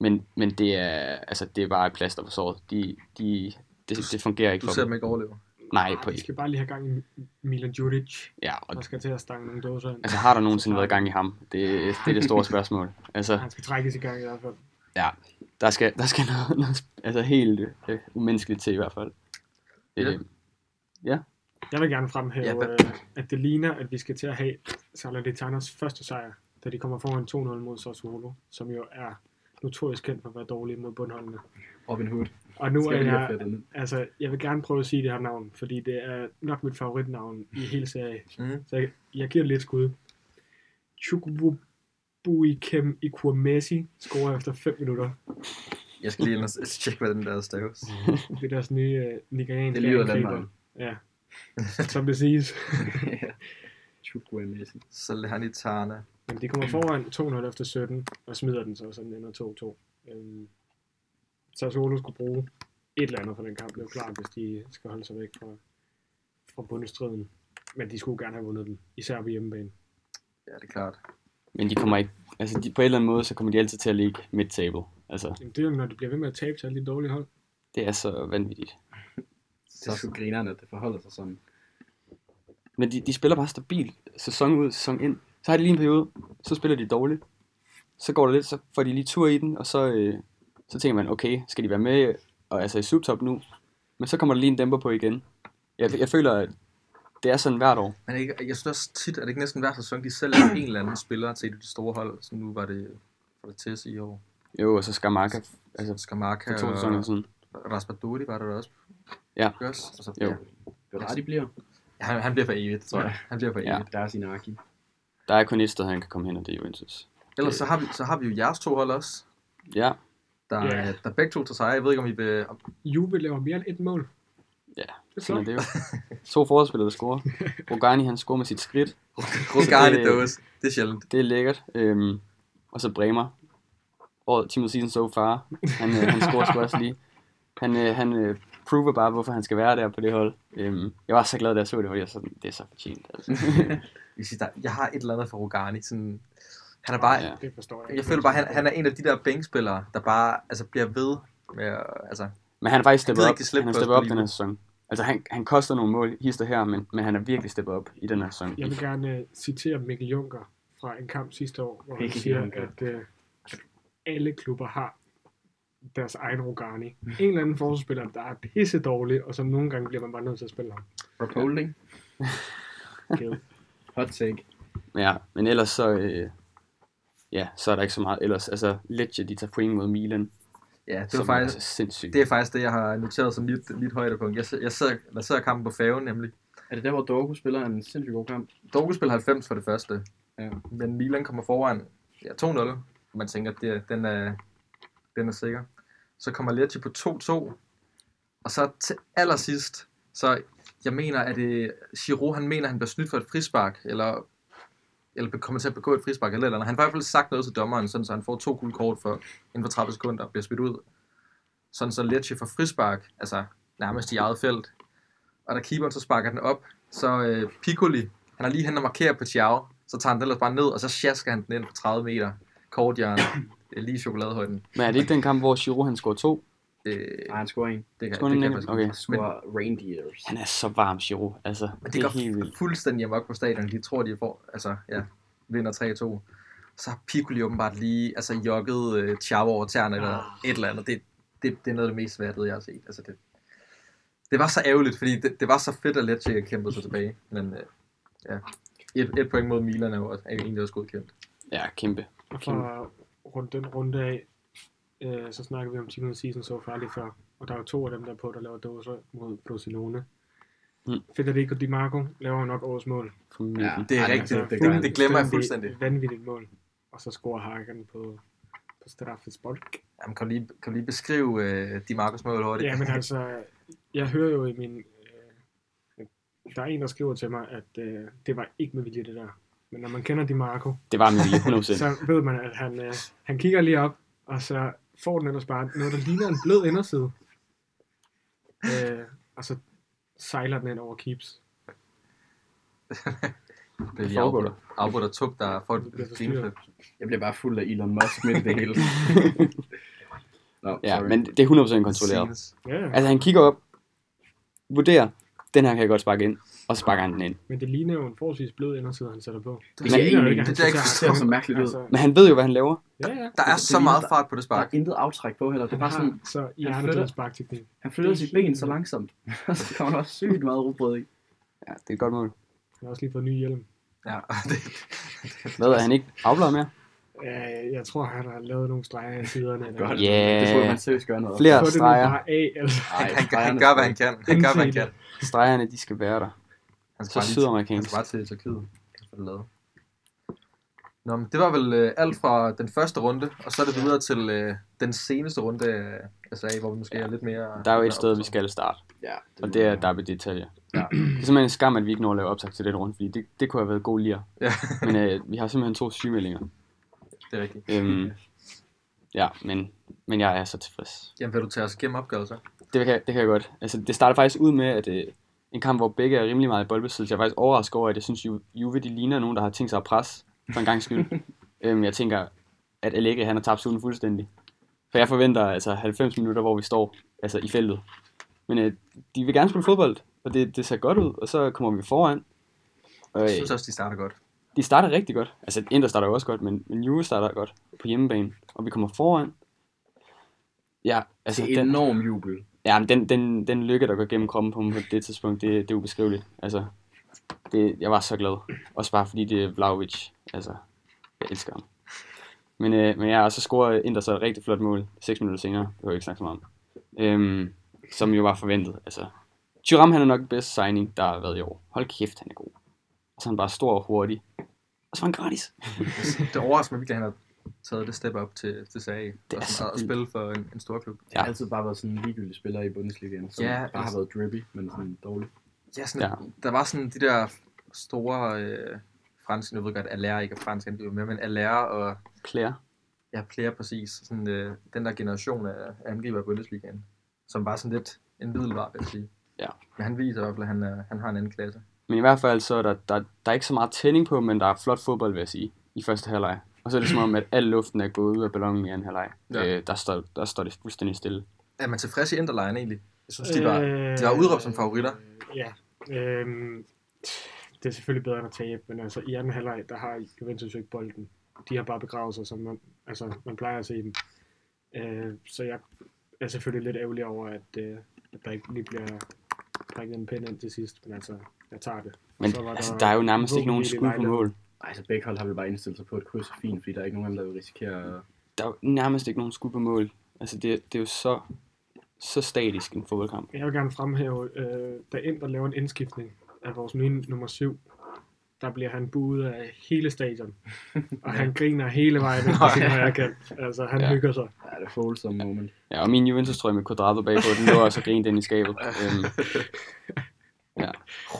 Men, men det er, altså, det er bare et plaster på såret. De, de, det, det fungerer ikke Du for ser dem. dem ikke overleve. Nej, på Ah, Vi skal bare lige have gang i Milan Juric, Ja, og der skal til at stange nogle dåser ind. altså, har der nogensinde været gang i ham? Det, det er det store spørgsmål. Altså, Han skal trækkes i gang i hvert fald. ja, der skal, der skal noget, noget altså, helt øh, umenneskeligt til i hvert fald. Ja. Øh, Jeg vil gerne fremhæve, Ja, ja, hvad- øh, at det ligner, at vi skal til at have Salernitanas første sejr, da de kommer foran 2-0 mod Sassuolo, som jo er notorisk kendt for at være dårlige mod bundholdene. Robin Hood. Og nu Skal er vi lige have jeg, fat i den? altså, jeg vil gerne prøve at sige det her navn, fordi det er nok mit favoritnavn i hele serien. Mm. Så jeg, jeg giver det lidt skud. Chukwubuikem Ikwamesi scorer efter 5 minutter. Jeg skal lige ind og s- tjekke, hvad den der staves. Det er deres nye øh, nigerianske Det lyder angriber. Danmark. Ja, som det siges. Chukwu er Messi. Salernitana. Men de kommer foran 2-0 efter 17, og smider den så, så den ender 2-2. Øhm, Sassuolo skulle bruge et eller andet for den kamp, det er jo klart, hvis de skal holde sig væk fra, fra bundestriden. Men de skulle gerne have vundet den, især på hjemmebane. Ja, det er klart. Men de kommer ikke, altså de, på en eller anden måde, så kommer de altid til at ligge midt-table. Altså, Jamen, det er jo, når de bliver ved med at tabe til alle de dårlige hold. det er så vanvittigt. Det er sgu grineren, at det forholder sig sådan. Men de, de spiller bare stabilt, sæson ud, sæson ind. Så har de lige en periode, så spiller de dårligt. Så går det lidt, så får de lige tur i den, og så, øh, så tænker man, okay, skal de være med øh, og altså i subtop nu? Men så kommer der lige en dæmper på igen. Jeg, jeg føler, at det er sådan hvert år. Men jeg, jeg synes også tit, at det ikke næsten hver sæson, de sælger en eller anden spiller til et af de store hold. Så nu var det, var det Tess i år. Jo, og så skal Marka, altså Skamaka for to sæsoner siden. Raspadori var der da også. Ja. Ikke også? Altså, Jo. ja. Hvad de bliver? Han, han bliver for evigt, tror jeg. Han bliver for evigt. Ja. Ja. Der er sin arki. Der er kun et sted, han kan komme hen, og det er Juventus. Ellers så har, vi, så har vi jo jeres to hold også. Ja, Der, Ja. yeah. der begge to til sejre. Jeg ved ikke, om I vil... Om, Juve laver mere end et mål. Ja, det er sådan er flot. det jo. To forsvarsspillere, der scorer. Rogani, han scorer med sit skridt. Rogani det- Dose. Det er sjældent. Det er lækkert. Øhm, og så Bremer. Og Team of the Season so far. Han, øh, han scorer sgu også lige. Han, øh, han øh, prover bare, hvorfor han skal være der på det hold. Øhm, jeg var så glad, da jeg så det, fordi jeg sådan, det er så fortjent. Altså. Jeg, siger, der, jeg har et eller andet for Rogani. Sådan, han er bare... Ja. Det forstår jeg. Jeg føler bare, han, han er en af de der bænkspillere, der bare altså, bliver ved med... at- Altså, Men han har faktisk Han steppet gider op, ikke slippe han har på os steppet op på den her livet. sæson. Altså han, han koster nogle mål, hister her, men, men han er virkelig steppet op i den her sæson. Jeg vil gerne uh, citere Mikkel Junker fra en kamp sidste år, hvor han Mikkel siger, Juncker. at uh, alle klubber har deres egen Rogani. En eller anden forsvarsspiller, der er pisse dårlig, og som nogle gange bliver man bare nødt til at spille ham. Rob Holding. Kæde. Hot take. Ja, men ellers så, øh, ja, så er der ikke så meget ellers. Altså Lecce, de tager point mod Milan, ja, det var som faktisk... er altså sindssygt. Det er faktisk det, jeg har noteret som mit, mit højdepunkt. Jeg, jeg, sidder, jeg sidder kampen på færgen nemlig. Er det der, hvor Dorgu spiller en sindssygt god kamp? Dortmund spiller 90 for det første. Ja. Men Milan kommer foran ja, 2-0. Man tænker, at det, den, er, den er sikker. Så kommer Lecce på 2-2. Og så til allersidst, så jeg mener, at det Giroud, han mener, at han bliver snydt for et frispark, eller, eller kommer til at begå et frispark, eller, et eller andet. Han har i hvert fald sagt noget til dommeren, sådan, så han får to gule kort for, inden for 30 sekunder og bliver smidt ud. Sådan så Lecce får frispark, altså nærmest i eget felt. Og da keeperen så sparker den op, så øh, Piccoli, han er lige hen og markerer på Thiago, så tager han den ellers bare ned, og så sjasker han den ind på 30 meter. Kort hjørne. Det er lige i chokoladehøjden. Men er det ikke den kamp, hvor Giroud han scorer to? Øh, Nej, han scorer en. det kan, det Skulle kan han jeg ikke? faktisk Okay. ikke. Han scorer Reindeers. Han er så varm, Giroud. Altså, Men det, det er helt vildt. går fuldstændig amok på stadion. De tror, de får, altså, ja, vinder 3-2. Så har Piccoli åbenbart lige altså, jogget øh, Thiago over tæerne eller et eller andet. Det, det, det er noget af det mest værdige, jeg har set. Altså, det, det var så ærgerligt, fordi det, det var så fedt at Lecce kæmpede sig tilbage. Men øh, ja, et, et point mod Milan er jo også- er jo egentlig også godkendt. Ja, kæmpe. Og for at runde den runde af, øh, så snakker vi om Team of the Season så far lige før. Og der er jo to af dem, der er på, der laver dåser mod Barcelona. Mm. Federico Di Marco laver nok årets mål. Altså, Formentlig. Ja. Ja. Det er Ej, rigtigt. det Det, gør han. det glemmer jeg fuldstændig. Vanvittigt mål. og så scorer Hagen på, på straffespark. Jamen, kan, du lige, kan du lige beskrive øh, de Marcus mål hurtigt? Ja, men altså, jeg hører jo i min... Øh, der er en, der skriver til mig, at øh, det var ikke med vilje, det der. Men når man kender Di Marco, Det var min vilje, 100%. så ved man, at han, øh, han kigger lige op, og så får den ellers bare noget, der ligner en blød inderside. Øh, og så sejler den ind over keeps. det er lige foregår afbryder, afbryder Tup, der får Det bliver et forstyrret. grinklip. Jeg bliver bare fuld af Elon Musk med det hele. Nå, Ja, sorry. men det er 100% kontrolleret. Scenes. Ja, ja. Altså han kigger op, vurderer, den her kan jeg godt sparke ind, og så sparker han den ind. Men det ligner jo en forholdsvis blød inderside, han sætter på. Det kan jeg ligner jo egentlig ikke. ikke, at han Det er ikke sætter- Det ser så mærkeligt ud. Altså, Men han ved jo, hvad han laver. ja, ja. Der er Det så ligner- meget fart på det Der er spark. intet aftræk på heller. Det Han er bare sådan, har så han hjernedød flytter- sparkteknik. han flytter det er sit ben helt så vildt. langsomt. Og så kommer der også sygt meget rugbrød i. Ja, det er et godt mål. Han har også lige fået ny hjelm. Ja, det, Hvad, er han ikke afbladet mere? Øh, jeg tror, han har lavet nogle streger i siderne. eller- Godt. Ja. Det tror jeg, man seriøst gør noget. Flere Få det nu streger. bare af, altså. han, Ej, han, gør- han fejrende gør, hvad han spark. kan. Han gør, hvad han Indse kan. Stregerne, de skal være der. Han bare Så lige- Han sydamerikansk. skal bare til Tyrkiet. Han får det lavet. Nå, men det var vel øh, alt fra den første runde, og så er det videre til øh, den seneste runde af af SA, hvor vi måske er lidt mere... Der er jo et sted, vi skal starte, Ja, og må det er man- Derby Detalje. Ja. Det er simpelthen en skam, at vi ikke når at lave optag til den runde, fordi det, det kunne have været god lir. Ja. Men øh, vi har simpelthen to sygemeldinger. Det er rigtigt. Øhm, ja, men, men jeg er så tilfreds. Jamen, vil du tage os igennem opgørelser? Det kan, det kan jeg godt. Altså, det starter faktisk ud med, at øh, en kamp, hvor begge er rimelig meget i boldbesiddelse. Jeg er faktisk overrasket over, at jeg synes, Ju- Juve de ligner nogen, der har tænkt sig at presse for en gang skyld. øhm, jeg tænker, at Allegri han har tabt suden fuldstændig. For jeg forventer altså 90 minutter, hvor vi står altså, i feltet. Men øh, de vil gerne spille fodbold, og det, det ser godt ud, og så kommer vi foran. Og, Jeg øh, synes også, de starter godt. de starter rigtig godt. Altså, Inter starter jo også godt, men, men Juve starter godt på hjemmebane. Og vi kommer foran. Ja, altså, Det er den, enorm jubel. Ja, men den, den, den lykke, der går gennem kroppen på mig på det tidspunkt, det, det er ubeskriveligt. Altså, det, jeg var så glad. Også bare fordi det er Vlaovic. Altså, jeg elsker ham. Men, øh, men ja, og så scorer Inter så et rigtig flot mål 6 minutter senere. Det var jeg ikke snakke så meget om. Øhm, som jo var forventet. Altså, Thuram, han er nok den bedste signing, der har været i år. Hold kæft, han er god. Og så er han bare stor og hurtig. Og så var han gratis. Det overrasker mig virkelig, at han har taget det step op til, til SAA. Det er er så sådan, at vildt. spille for en, en stor klub. Det har Ja. altid bare været sådan en ligegyldig spiller i Bundesligaen, som Ja, ja, bare har altså- været drippy, men sådan dårlig. Ja, sådan, ja. Der var sådan de der store øh, franske, jeg ved godt, Allaire ikke er fransk, han blev med, men Allaire og Claire. ja, Player præcis, sådan, øh, den der generation af angriber i Bundesligaen, som var sådan lidt en middelvar, vil jeg sige. Ja. Men han viser i hvert fald, at han, er, han har en anden klasse. Men i hvert fald så er der, der, der er ikke så meget tænding på, men der er flot fodbold, vil jeg sige, i første halvleg. Og så er det som om, at al luften er gået ud af ballonen i anden halvleg. Ja. Ja. Øh, der, står, der står det fuldstændig stille. Er man tilfreds i Interline egentlig? Jeg synes, de var... Øh... de var udråbt som favoritter. Øh, ja. Øhm, det er selvfølgelig bedre end at tabe, men altså i anden halvleg, der har Juventus jo ikke bolden. De har bare begravet sig, som man, altså, man plejer at se dem. Øh, så jeg er selvfølgelig lidt ærgerlig over, at, øh, at der ikke lige bliver prikket en pind ind til sidst, men altså, jeg tager det. Men Så var der altså, der er jo nærmest ikke nogen våbenhvile i skud på vejlaget. mål. Ej, så begge hold har vi bare indstillet sig på et kryds er fint, fordi der er ikke nogen af dem, der vil risikere... at- Der er jo nærmest ikke nogen skud på mål. Altså, det, det er jo så, så statisk en fodboldkamp. Jeg vil gerne fremhæve, øh, da Inter laver en indskiftning af vores nye nummer 7, der bliver han buet af hele stadion. Og han griner hele vejen ind på sin højre kant. Altså, han Ja. ja. hygger sig. Ja, det er wholesome moment. Ja, og min Juventus-trøje med Quadrado bagpå, den lå også og grinte ind i skabet. Øhm,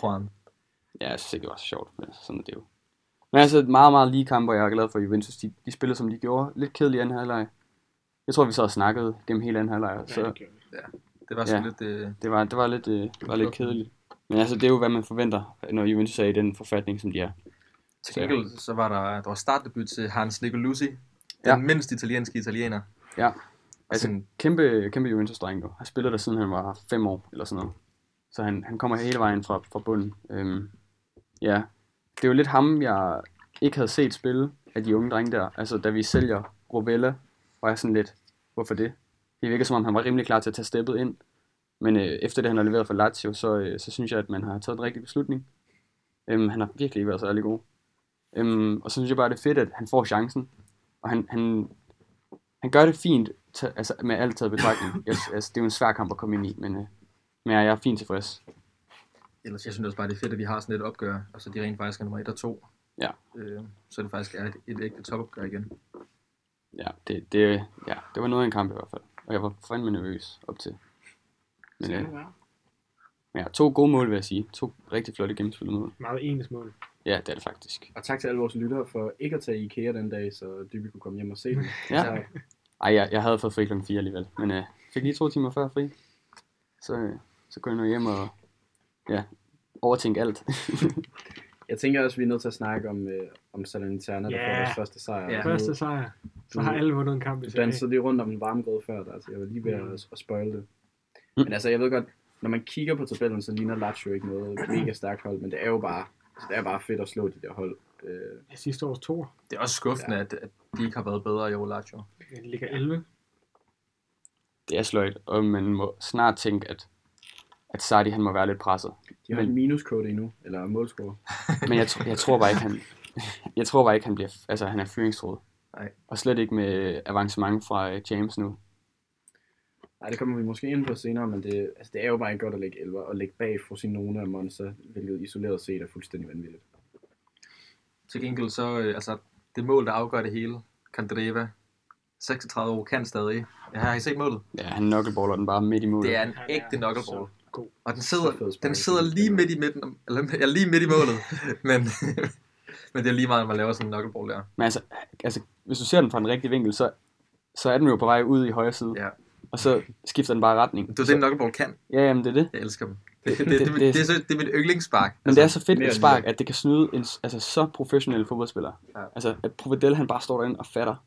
Juan. ja, jeg synes ikke, det var så sjovt, men altså, sådan er det jo. Men altså, et meget, meget lige kamp, og jeg er glad for, at Juventus, de, de spillede, som de gjorde. Lidt kedelig anden halvleg. Jeg tror, vi så og snakkede gennem hele anden halvleg, og så, Ja, det gør vi. Det var sådan Ja. ja. lidt... Øh, Det var, det var lidt, øh, det var lidt flot. kedeligt. Men altså, det er jo, hvad man forventer, når Juventus er i den forfatning, som de er. til gengæld, så var der, der var startdebut til Hans Nicolussi, den Ja. ja. mindst italienske italiener. Ja. Altså, Altså, kæmpe, kæmpe Juventus-dreng nu. Han spiller der, siden han var fem år, eller sådan noget. Så han, han kommer hele vejen fra, fra bunden. Øhm, ja, det er jo lidt ham, jeg ikke havde set spille af de unge drenge der. Altså, da vi sælger Rovella, var jeg sådan lidt, hvorfor det? Det virker som om, han var rimelig klar til at tage steppet ind. Men øh, efter det, han har leveret for Lazio, så, øh, så synes jeg, at man har taget den rigtige beslutning. Øhm, han har virkelig været særlig god. Øhm, og så synes jeg bare, det er fedt, at han får chancen. Og han, han, han gør det fint, ta- altså med alt taget i betragtning. Jeg, altså, det er jo en svær kamp at komme ind i, men, øh, men jeg er fint tilfreds. Ellers, jeg synes også bare, det er fedt, at vi har sådan et opgør, og så de rent Altså, faktisk er nummer 1 og 2. Ja. Øh, så det faktisk er et, et ægte topopgør igen. Ja, det, det, ja, det var noget af en kamp i hvert fald. Og jeg var fandme nervøs op til. Men, Skal øh, det være? men ja, to gode mål, vil jeg sige. To rigtig flotte gennemspillede mål. Meget ens mål. Ja, det er det faktisk. Og tak til alle vores lyttere for ikke at tage i IKEA den dag, så Dyby kunne komme hjem og se den. Ja. Tak. Ej, jeg, jeg havde fået fri klokken 4 alligevel. Men øh, fik lige to timer før fri. Så, øh, så går jeg nu hjem og ja, overtænke alt. Jeg tænker også, at vi er nødt til at snakke om, øh, om Salernitana, der Ja. får deres første sejr. Ja. Ja. Første sejr. Så Du- har alle vundet en kamp i Du serien. dansede lige rundt om den varme grød før, der, altså jeg var lige ved at, at spoil det. Mm. Men altså, jeg ved godt, når man kigger på tabellen, så ligner Lazio ikke noget mega stærkt hold, men det er jo bare, altså, det er bare fedt at slå de der hold. Øh, Ja, Sidste års to. Det er også skuffende, ja. at, at de ikke har været bedre i år, Lazio. Den ligger 11. det er sløjt, og man må snart tænke, at, at Sardi han må være lidt presset. de har Men- en minuskode endnu, eller målscore. Men jeg, tr- jeg tror bare ikke, han, jeg tror bare ikke, han bliver, altså han er fyringstroet. Nej. Og slet ikke med avancement fra øh, James nu. Nej, det kommer vi måske ind på senere, men det, altså, det er jo bare ikke godt at lægge elver og lægge bag Frosinone og Monza, hvilket isoleret set er fuldstændig vanvittigt. Til gengæld så, øh, altså, det mål, der afgør det hele, Candreva, 36 år, kan stadig. Ja, har I set målet? Ja, han knuckleballer den bare midt i målet. Det er en Han er ægte knuckleball. så God. Og den Så sidder, fed spark. den sidder lige midt i midten, om- eller ja, lige midt i målet. men, men det er lige meget, når man laver sådan en knuckleball der. Men altså, altså, hvis du ser den fra den rigtige vinkel, så, så er den jo på vej ud i højre side. Ja. Og så skifter den bare retning. Det er det, en knuckleball kan. Ja, jamen det er det. Jeg elsker dem. Det, det, det, det, det, er, så- det er mit yndlingsspark. Men det er så fedt mere et end spark, lige. at det kan snyde en s- altså, så professionel fodboldspiller. Ja. Altså, at Provedel, han bare står derinde og fatter.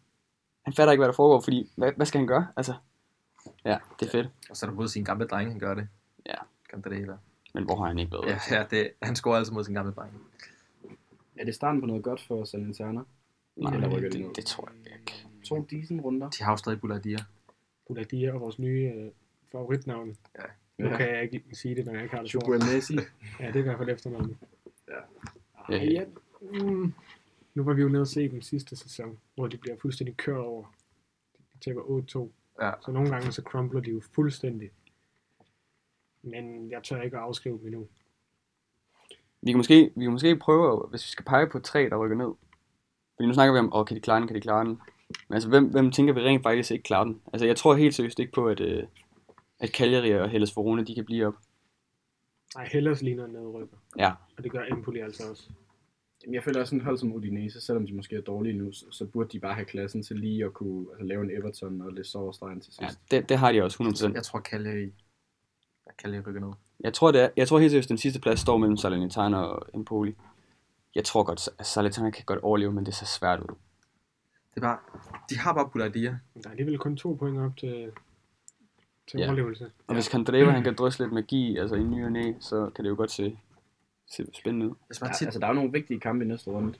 Han fatter ikke, hvad der foregår, fordi hvad, hvad skal han gøre? Altså, ja, det er fedt. Og så er der mod sine gamle drenge, han gør det. Ja. Candreva. Men hvor har han ikke været? Ja, ja det, han scorer altså mod sine gamle drenge. Er det starten på noget godt for Salernitana? Nej, Eller rykker de ned? det, det, tror jeg ikke. To decent runder. De har jo stadig Buladia. Buladia og vores nye øh, favoritnavn. Ja. Nu Ja. kan jeg ikke sige det, når jeg ikke har det sjovt. Chukwuel Messi. Ja, det er i hvert fald efternavnet. Ja. Ej, ja. Mm. Nu var vi jo nede og se dem sidste sæson, hvor de bliver fuldstændig kørt over. De taber 8-2. Ja. Så nogle gange så crumbler de jo fuldstændig. Men jeg tør ikke at afskrive dem endnu. Vi kan, måske, vi kan måske prøve, at- hvis vi skal pege på tre, der rykker ned. Fordi nu snakker vi om, åh, kan de klare den, kan de klare den? Men altså, hvem, hvem tænker vi rent faktisk ikke klarer den? Altså, jeg tror helt seriøst ikke på, at, øh, at Cagliari og Hellas Verona, de kan blive op. Nej, Hellas ligner en nedrykker. Ja. Og det gør Empoli altså også. Jamen, jeg føler også sådan et hold som Udinese, selvom de måske er dårlige nu, så, så burde de bare have klassen til lige at kunne altså, lave en Everton og lidt soverstregen til ja sidst. Altså, det, det, har de også 100%. Jeg tror, Kalle, Kalle rykker ned. Jeg tror, det er, jeg tror helt seriøst, den sidste plads står mellem Salernitana og Empoli. Jeg tror godt, at Salernitana kan godt overleve, men det ser svært ud. Det er bare, de har bare Buladia. Men der er alligevel kun to point op til, til Ja. ja. overlevelse. Og hvis Kandreva, han kan drysse lidt magi, altså i ny og næ, så kan det jo godt se, se spændende ud. Hvis Ja, man tit, altså, der er jo nogle vigtige kampe i næste runde.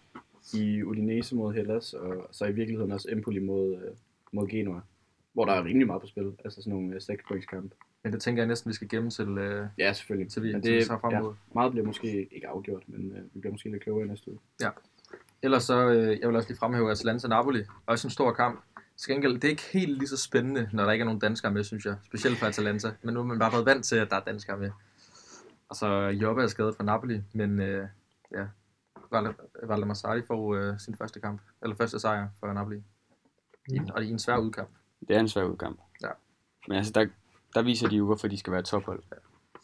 I Udinese mod Hellas, og så i virkeligheden også Empoli mod, øh, mod Genoa, hvor der er rimelig meget på spil. Altså sådan nogle øh, 6 points kampe. men det tænker jeg næsten, vi skal gemme til, øh, Ja, selvfølgelig. til vi, Men til vi så frem ja, mod. meget bliver måske ikke afgjort, men øh, vi bliver måske lidt klogere i næste uge. Ellers så, øh, jeg vil også lige fremhæve Atalanta Napoli. Også en stor kamp. Til gengæld, det er ikke helt lige så spændende, når der ikke er nogen danskere med, synes jeg. Specielt for Atalanta. Men nu har man bare været vant til, at der er danskere med. Og så Jobbe er skadet for Napoli, men øh, ja. Valde- Valdemar Sarri får øh, sin første kamp, eller første sejr for Napoli. I, en- og i en svær udkamp. Det er en svær udkamp. Ja. Men altså, der, der viser de jo, hvorfor de skal være et tophold.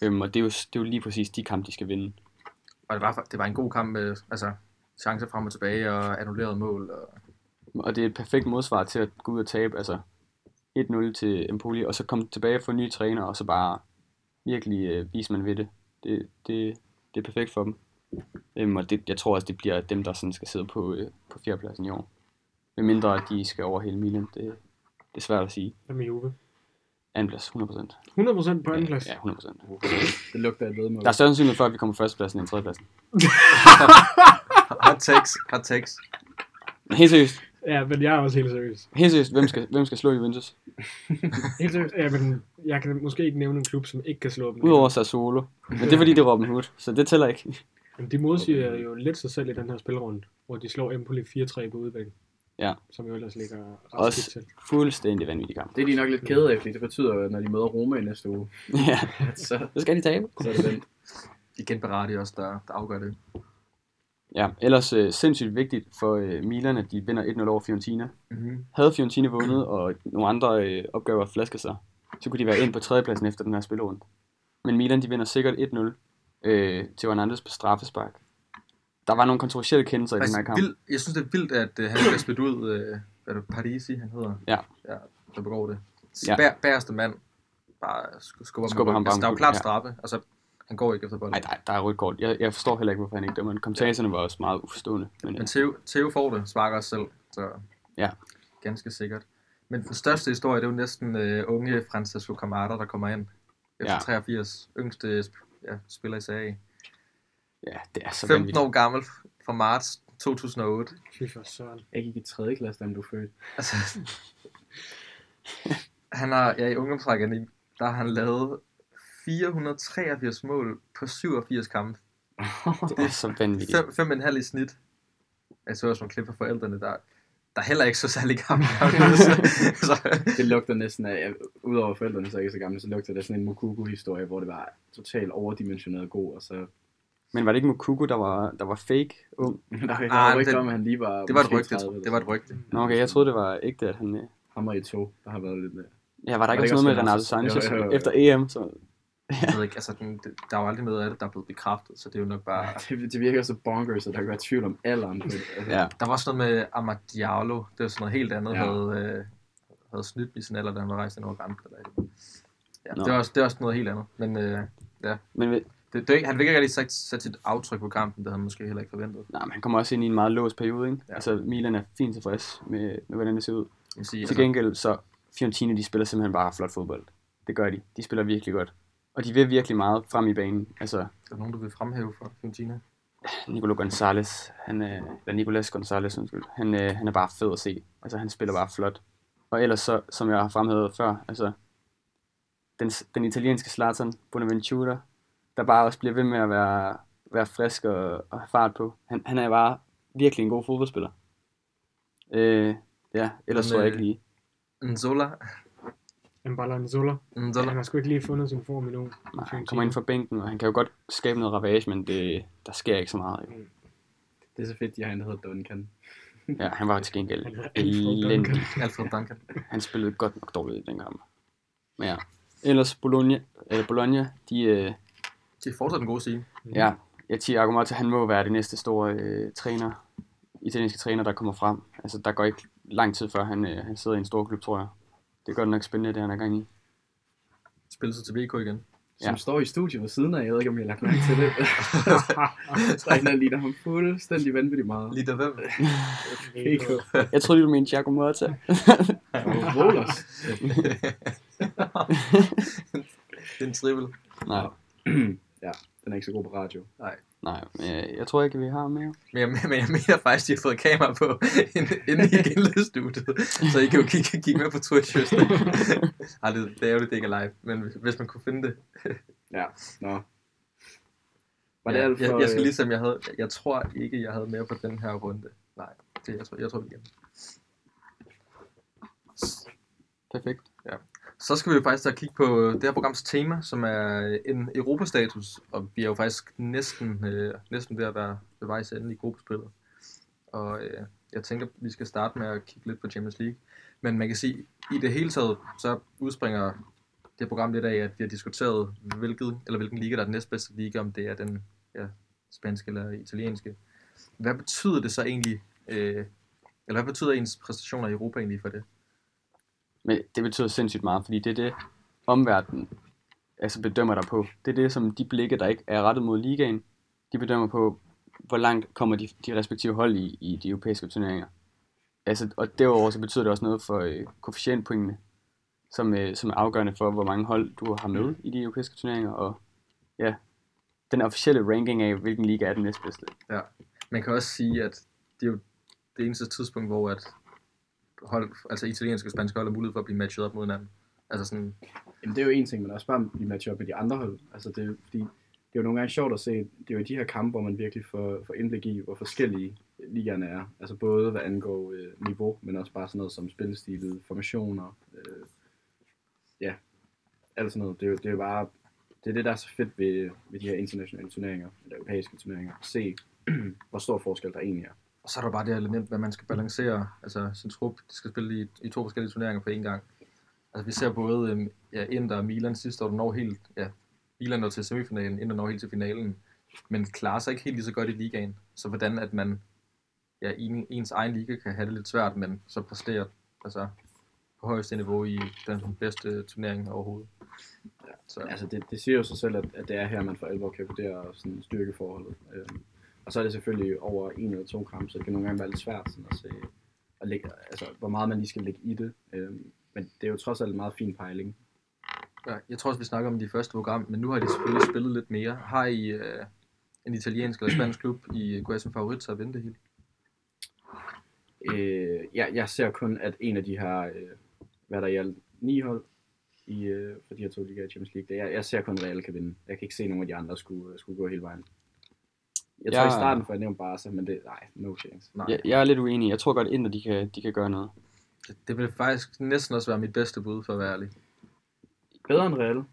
Øhm, og det er, jo, det er jo lige præcis de kampe, de skal vinde. Og det var, det var en god kamp med altså, chancer frem og tilbage og annulleret mål. Og, Og det er et perfekt modsvar til at gå ud og tabe, altså 1-0 til Empoli, og så komme tilbage og få nye træner, og så bare virkelig øh, vise man ved det. Det, det. det er perfekt for dem. Øhm, og det, jeg tror også, det bliver dem, der sådan skal sidde på, øh, på fjerdepladsen i år. Med mindre at de skal over hele Milan, det, det er svært at sige. Hvad med Juve? Andenplads, 100%. 100% på anden Ja, plads. ja, 100%. Det lugter et vedmål. Der er større sandsynlighed for, at vi kommer førstepladsen end tredjepladsen. hot takes, hot takes. Men helt seriøst, ja, men jeg er også helt seriøs. helt seriøst hvem, skal, hvem skal slå Juventus? Helt seriøst. Ja, men jeg kan måske ikke nævne en klub, som ikke kan slå dem. Udover Sassuolo. Men det er fordi, det er Robin Hood, så det tæller ikke. Jamen, de modsiger jo lidt sig selv i den her spilrunde, hvor de slår Empoli 4-3 på udebane. Ja. Som jo ellers ligger ret Også skidt til. fuldstændig vanvittig kamp. Det er de nok lidt kede af, fordi det betyder, at når de møder Roma i næste uge, Ja, så, så skal de tabe. så er det vendt. Igen Berardi også, der, der afgør det. Ja, ellers øh, sindssygt vigtigt for øh, Milan, at de vinder 1-0 over Fiorentina. Mm-hmm. Havde Fiorentina vundet, og nogle andre øh, opgaver flasker sig, så kunne de være ind på tredjepladsen efter den her spillerunde. Men Milan, de vinder sikkert 1-0 øh, til Hernandez på straffespark. Der var nogle kontroversielle kendelser i den her kamp. Vild, jeg synes, det er vildt, at øh, han bliver smidt ud. Øh, hvad er det, Parisi, han hedder? Ja. ja der begår det. Ja. Ja. Bær, bæreste mand bare sk- skubber, Skubber skubber ham ham. Altså, bare der er jo omkuld, klart ja. straffe. Altså, han går ikke efter bolden. Nej, der, der er rødt kort. Jeg, jeg forstår heller ikke, hvorfor han ikke dømmer. den. Kommentatorerne var også meget uforstående. Men, øh, Men Theo, Theo får det, sparker os selv, så Ja. ganske sikkert. Men den største historie, det er jo næsten øh, unge Francesco Camarda, der kommer ind efter Ja. ja. 83, yngste sp- ja, spiller i serie. ja, det er så 15 vanvittigt. år gammel fra marts 2008. Fy for søren. Jeg gik i 3. klasse, da han blev født. Altså, han har, ja, i ungdomsrækken, der har han lavet 483 mål på 87 kampe. Det er så vanvittigt. Fem, fem og en halv i snit. Jeg så også nogle klip fra forældrene, der, der heller ikke så særlig gamle ud. så, så, det lugter næsten af, jeg- udover forældrene, så er jeg ikke så gamle, så lugter det sådan en Mokugo-historie, hvor det var totalt overdimensioneret god, og så... Men var det ikke Mokuko, der var, der var fake ung? Der var Ah, ah, rygte det- om, at han lige var... Det var et måske rygte, 30 tror jeg. eller Det var et sådan rygte. Nå, okay, jeg troede, det var ægte, at han... øh, noget. Ham og i tog, der har været lidt... øh, Ja, var der ikke det også ikke noget med også Renato Renato Sanchez Jo, jo, jo, jo. efter EM? Så... Jeg ved ikke, altså, den, det- der er jo aldrig noget af det, der er blevet bekræftet, så det er jo nok bare... Det, det virker så bonkers, at der kan være tvivl om alderen. på det. Altså, Ja, Der var også noget med Amad Diallo. Det var sådan noget helt andet, Ja. ja. havde, øh, havde snydt i sin alder, da han var rejst ind over grænsen. Eller et eller andet. ja, Nå. det, var også, det var også noget helt andet. Men øh, men, ved- det, det, han fik ikke rigtig sat, sat sit aftryk på kampen, det havde han måske heller ikke forventet. nej, men han kommer også ind i en meget låst periode, ikke? Ja. Ja. Altså, Milan er fint tilfreds med, med hvordan det ser ud. Jeg vil sige, Til altså, gengæld, så Fiorentina, de spiller simpelthen bare flot fodbold. Det gør de. De spiller virkelig godt. Og de vil virkelig meget frem i banen. Altså, er der nogen, du vil fremhæve for Fiorentina? Nicolo Gonzalez, han er, eller Nicolas Gonzalez, undskyld, han, øh, han er bare fed at se. Altså, han spiller bare flot. Og ellers så, som jeg har fremhævet før, altså, den, den italienske Zlatan, Bonaventura, der bare også bliver ved med at være, være frisk og, og have fart på. Han, han er bare virkelig en god fodboldspiller. Øh, ja, ellers Men, tror jeg øh, ikke lige. Nzola? Mbalanzola. Ja, Nzola? han har sgu ikke lige fundet sin form endnu. Nej, han Fiorentina. kommer ind fra bænken, og han kan jo godt skabe noget ravage, men det, der sker ikke så meget. Jo. Det er så fedt, de har en, der hedder Duncan. Ja, han var til gengæld Han hedder Alfred Duncan. elendig. Alfred Duncan. Han spillede godt nok dårligt i den kamp. Men ja. Ellers Bologna, eller Bologna de, øh, Det er fortsat en god scene. ja, ja, Thiago Motta, han må være det næste store øh, træner, italienske træner, der kommer frem. Altså, der går ikke lang tid, før han, øh, han sidder i en stor klub, tror jeg. Det er godt nok spændende, det han er gang i. Spiller sig til VK igen. Som Ja. ja. står i studiet ved siden af, jeg ved ikke, om jeg har lagt mærke til det. Strejken ligner ham fuldstændig vanvittigt meget. Lige der hvem? PK. Jeg troede, lige, du mente Thiago Motta. Rollers. det er en trivel. Nej, ja, den er ikke så god på radio. nej, men øh, jeg, jeg tror ikke, vi har mere. Men jeg, men jeg mener faktisk, at de har fået kamera på, inden inden I gik ind i studiet. Så I kan jo kigge, kigge med på Twitch, hvis det. Ej, det, det er jo det, det ikke er live. Men hvis- hvis man kunne finde det. Ja, nå. Var det Ja, alt for... jeg, jeg skal øh, ligesom, jeg havde, jeg tror ikke, jeg havde mere på den her runde. Nej, det, jeg tror, jeg tror, vi er igennem. Perfekt. Så skal vi jo faktisk til at kigge på øh, det her programs tema, som er øh, en Europastatus, og vi er jo faktisk næsten, øh, næsten ved at være ved vejs ende i gruppespillet. Og øh, jeg tænker, vi skal starte med at kigge lidt på Champions League. Men man kan sige, i det hele taget, så udspringer det her program lidt af, at vi har diskuteret, hvilket, eller hvilken liga, der er den næstbedste liga, om det er den ja, spanske eller italienske. Hvad betyder det så egentlig, øh, eller hvad betyder ens præstationer i Europa egentlig for det? Men det betyder sindssygt meget, fordi det er det, omverdenen altså bedømmer dig på. Det er det, som de blikke, der ikke er rettet mod ligaen, de bedømmer på, hvor langt kommer de, de respektive hold i, i de europæiske turneringer. Altså, og derudover så betyder det også noget for øh, koefficientpoengene, som, øh, som er afgørende for, hvor mange hold du har med i de europæiske turneringer, og ja, den officielle ranking af, hvilken liga er den næstbedste. man kan også sige, at det er jo det eneste tidspunkt, hvor at hold, altså italienske og spanske hold har mulighed for at blive matchet op mod hinanden. Altså sådan, Jamen, det er jo en ting, men også bare at blive matchet op med de andre hold. Altså, det, er- fordi det er jo nogle gange sjovt at se, det er jo i de her kampe, hvor man virkelig får, får indblik i, hvor forskellige ligerne er. Altså både hvad angår øh, niveau, men også bare sådan noget som spillestil, formationer, øh, ja, alt sådan noget. Det er jo det er jo bare, det er det, der er så fedt ved, ved de her internationale turneringer, eller europæiske turneringer, at se hvor stor forskel der egentlig er. Og så er der bare det element, at man skal balancere altså, sin trup. De skal spille i, i to forskellige turneringer på én gang. Altså, vi ser både øhm, ja, Inter og Milan sidste år, der når helt... Ja, Milan når til semifinalen, Inter når helt til finalen. Men klarer sig ikke helt lige så godt i ligaen. Så hvordan at man ja, i en, ens egen liga kan have det lidt svært, men så præsterer altså, på højeste niveau i den bedste turnering overhovedet. Ja, så, Altså det, det siger jo sig selv, at, at det er her, man for alvor kan vurdere sådan styrkeforholdet. Øhm, og så er det selvfølgelig over en eller to gram, så det kan nogle gange være lidt svært sådan at se, at lægge, altså, hvor meget man lige skal lægge i det. Øhm, men det er jo trods alt en meget fin pejling. Ja, jeg tror også, vi snakker om de første program, men nu har de selvfølgelig spillet lidt mere. Har I øh, en italiensk eller spansk klub i går som favorit til at vinde det hele? Øh, jeg, jeg ser kun, at en af de her, øh, hvad der er i alt, ni hold i, øh, for de her to ligaer i Champions League, det er- jeg, jeg ser kun, at Real kan vinde. Jeg kan ikke se, at nogen af de andre skulle, øh, skulle gå hele vejen. Jeg tror Jeg- i starten, for jeg nævnte Barca, men det, nej, no chance. Nej, Jeg, jeg er lidt uenig. Jeg tror godt, Inter de kan, de kan gøre noget. det, det vil faktisk næsten også være mit bedste bud for at være ærlig. Bedre end Real?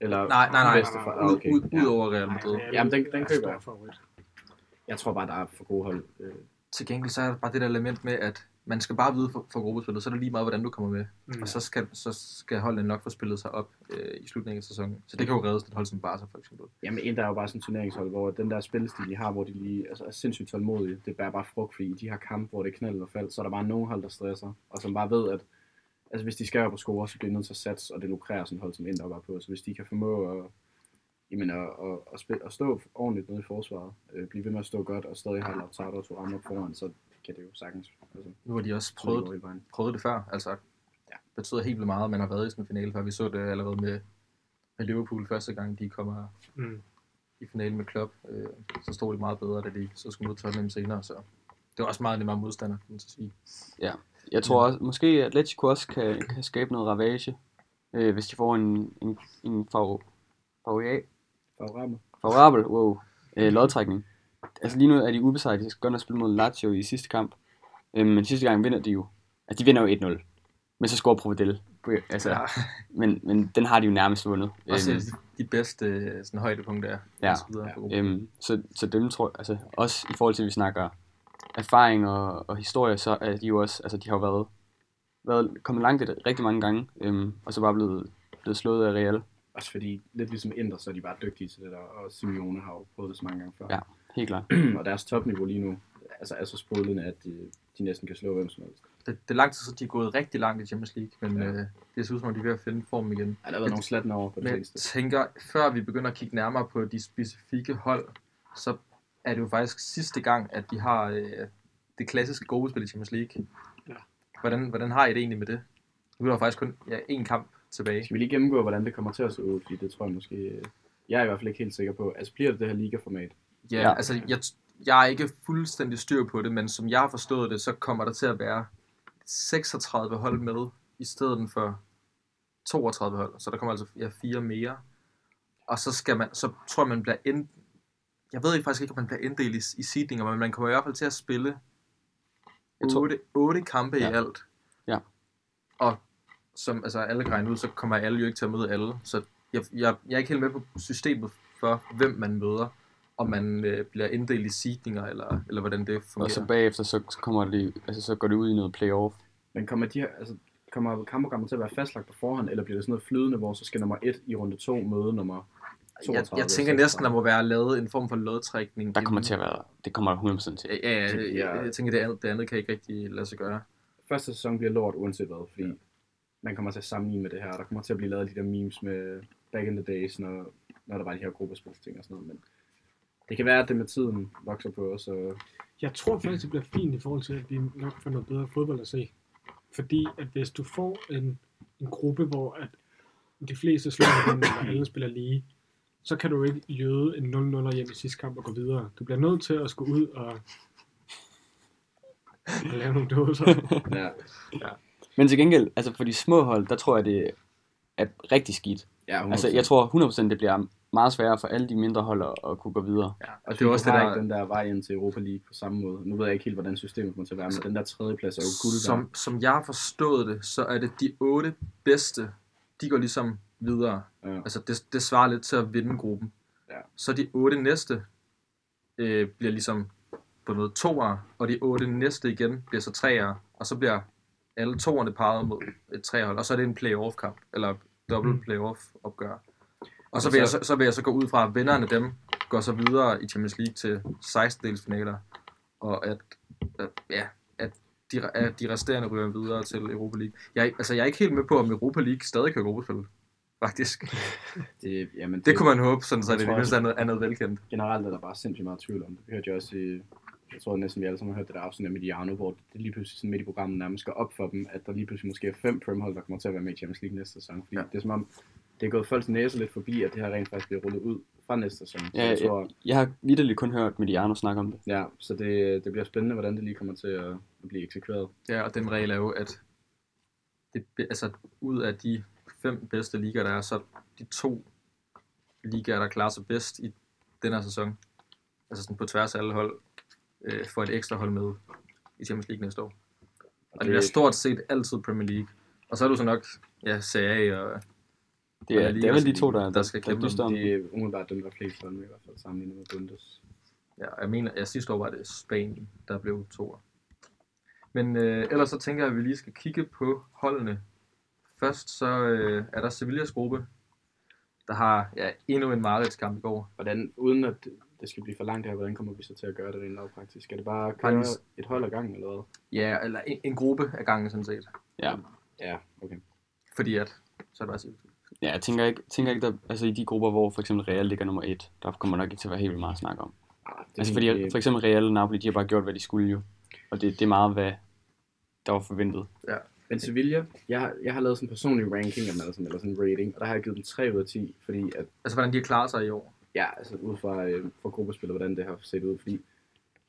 Eller Nej, nej, nej. bedste for, nej, Ah, okay. Ud, ud, ja. ud over Real Madrid. Jamen, den- den køber jeg. jeg. Favorit. Jeg tror bare, der er for gode hold. Øh, Til gengæld så er der bare det der element med, at man skal bare vide for, for gruppespillet, så er det lige meget, hvordan du kommer med. Mm. Og så skal, så skal holdene nok få spillet sig op øh, i slutningen af sæsonen. Så det kan jo reddes et hold som Barca for eksempel. Jamen, en, der er jo bare sådan en turneringshold, hvor den der spillestil, de har, hvor de lige altså, er sindssygt tålmodige, det bærer bare frugt, fordi i de her kampe, hvor det er knald og fald, så er der bare nogle hold, der stresser, og som bare ved, at altså, hvis de skal op og score, så bliver de nødt til at satse, og det lukrerer sådan et hold, som Inter var på. Så hvis de kan formå at, jamen, at, at, at, spille, at stå ordentligt nede i forsvaret, øh, blive ved med at stå godt, og stadig have Lautaro og Thuram op foran, så kan det jo sagtens altså, Nu har de også så det prøvet går hele vejen. prøvet det før. Altså, ja. betyder helt vildt meget, at man har været i sådan en finale før. Vi så det allerede med, med Liverpool første gang, de kommer Mm. i finalen med Klopp. Øh, så stod det meget bedre, da de så skulle møde Tottenham senere. Så det var også meget nemmere modstander, kan man så sige. Jeg tror også, måske Atletico også kan, kan skabe noget ravage, øh, hvis de får en, en, en favor, favor, Favorable. favorabel wow, øh, lodtrækning. Altså lige nu er de ubesejret, de skal godt nok spille mod Lazio i sidste kamp. Øh, men sidste gang vinder de jo. Altså de vinder jo 1-0. Men så scorer Provedel. Altså, ja. men, men den har de jo nærmest vundet. Også Øhm, de, de bedste øh, sådan, højdepunkter. Ja. og så videre for gruppen. Øhm, så, så dem tror jeg, altså også i forhold til, at vi snakker erfaring og, og historie, så er de jo også, altså de har jo været, været kommet langt et, rigtig mange gange, øhm, og så bare blevet, blevet slået af Real, Også fordi, lidt ligesom Inter, så er de bare dygtige til det der, og Simeone har jo prøvet det så mange gange før. Ja. helt klart. Mm. og deres topniveau lige nu altså er så sprudlende, at de, de næsten kan slå hvem som helst. Det, det, er lang tid, så de er gået rigtig langt i Champions League, men Ja. ja. øh, det ser ud som om, de er ved at finde formen igen. Ja, der har været nogle slatten over på det Men jeg seneste. tænker, før vi begynder at kigge nærmere på de specifikke hold, så er det jo faktisk sidste gang, at vi har øh, det klassiske gruppespil i Champions League. Ja. Hvordan, hvordan har I det egentlig med det? Nu er der faktisk kun ja, én kamp tilbage. Skal vi lige gennemgå, hvordan det kommer til at se ud? Fordi det tror jeg måske... øh, Jeg er i hvert fald ikke helt sikker på. Altså bliver det det her ligaformat? Ja, Ja. ja. altså jeg, jeg er ikke fuldstændig styr på det, men som jeg har forstået det, så kommer der til at være 36 hold med, i stedet for 32 hold. Så der kommer altså ja, fire mere. Og så skal man, så tror jeg, man bliver ind... Jeg ved ikke faktisk ikke, om man bliver inddelt i, i seedinger, men man kommer i hvert fald til at spille Jeg tror- 8, 8 kampe ja. Ja. i alt. Ja. Og som altså, alle kan regne ud, så kommer alle jo ikke til at møde alle. Så jeg, jeg, jeg er ikke helt med på systemet for, hvem man møder, om man øh, bliver inddelt i seedninger, eller, eller hvordan det fungerer. Og så bagefter, så, så kommer det, altså så går det ud i noget playoff. Men kommer, de her, altså, kommer kampprogrammet til at være fastlagt på forhånd, eller bliver det sådan noget flydende, hvor så skal nummer 1 i runde 2 møde nummer altså? 32? jeg, jeg tænker næsten, der må være lavet en form for lodtrækning. Der kommer inden- til at være, det kommer der 100% til. Ja, ja, ja, Det ja, bliver- jeg tænker, det andet, det andet kan ikke rigtig lade sig gøre. Første sæson bliver lort uanset hvad, fordi man kommer til at sammenligne med det her, og der kommer til at blive lavet de der memes med back in the days, når, når der var de her gruppespilsting og sådan noget, men det kan være, at det med tiden vokser på os, og Jeg tror faktisk, det bliver fint i forhold til, at vi nok får noget bedre fodbold at se. Fordi at hvis du får en, en gruppe, hvor at de fleste slår hinanden, og alle spiller lige, så kan du ikke jøde en 0-0 hjem i sidste kamp og gå videre. Du bliver nødt til at skulle ud og, og lave nogle dåser. ja, Men til gengæld, altså for de små hold, der tror jeg, det er rigtig skidt. ja Altså jeg tror 100% det bliver meget sværere for alle de mindre hold at, at kunne gå videre. Ja, og det er også det der... ikke den der vej ind til Europa League på samme måde. Nu ved jeg ikke helt, hvordan systemet kommer til at være, men den der tredje plads er jo guld værd. som, som jeg har forstået det, så er det de otte bedste, de går ligesom videre. Ja. Altså, det, det svarer lidt til at vinde gruppen. Ja. Så de otte næste øh, bliver ligesom på noget toer, og de otte næste igen bliver så treer, og så bliver alle toerne parret mod et trehold, og så er det en playoff-kamp, eller Mm. dobbelt playoff-opgør. Og Altså- så vil, jeg, så, så vil jeg så gå ud fra, at vinderne af dem går så videre i Champions League til 16-delsfinaler, og at, at, ja, at de, at de resterende ryger videre til Europa League. Jeg, er ikke- altså, jeg er ikke helt med på, om Europa League stadig kører gruppespil, faktisk. Det, jamen, Det kunne man håbe, sådan så Jeg det i tror det mindste er noget, er noget velkendt. generelt er der bare sindssygt meget tvivl om det. Vi hørte jo også i, jeg tror næsten vi alle sammen har hørt det der afsnit af Mediano, hvor det lige pludselig sådan midt i programmet nærmest går op for dem, at der lige pludselig måske er fem primhold, der kommer til at være med i Champions League næste sæson. Fordi ja. Ja. det er som om, det er gået folks næse lidt forbi, at det her rent faktisk bliver rullet ud fra næste sæson. Så Ja, jeg tror, Jeg har vidderligt kun hørt Mediano snakke om det. ja, så det, det bliver spændende, hvordan det lige kommer til at, at blive eksekveret. Ja, og den regel er jo, at det, altså, ud af de fem bedste ligaer, der er, så er de to ligaer, der klarer sig bedst i den her sæson, altså sådan på tværs af alle hold, øh, får et ekstra hold med i Champions League næste år. Og det bliver stort set altid Premier League. Og så er du så nok, ja, Serie A og Det er, Og lige det er vel de også- to, der, der skal kæmpe om dyster om det er umiddelbart dem, der er flest hold med, i hvert fald sammenlignet med Bundes. Ja, og jeg mener, ja, sidste år var det Spanien, der blev toer. Men øh, ellers så tænker jeg, at vi lige skal kigge på holdene. Først så øh, er der Sevillas gruppe, der har ja, endnu en mareridskamp i går. Hvordan, uden at det- det skal blive for langt her, hvordan kommer vi så til at gøre det rent lavpraktisk? Skal det bare køre lige s- et hold ad gangen, eller hvad? Ja, eller en, en gruppe af gangen sådan set. Ja, okay. Fordi at, så er det bare Sevilla. Ja, jeg tænker ikke, tænker ikke der, altså i de grupper, hvor for eksempel Real ligger nummer et, der kommer nok ikke til at være helt vildt meget at snakke om. Ah, det er Altså egentlig- fordi for eksempel Real og Napoli, de har bare gjort, hvad de skulle jo. Og det, det er meget, hvad der var forventet. Men Sevilla, jeg, har- jeg har lavet sådan en personlig ranking af dem, eller sådan, eller sådan en rating, og der har jeg givet dem 3 ud af 10, fordi at, Altså, hvordan de har klaret sig i år. ja, altså ud fra, øh, fra gruppespillet, hvordan det har set ud, fordi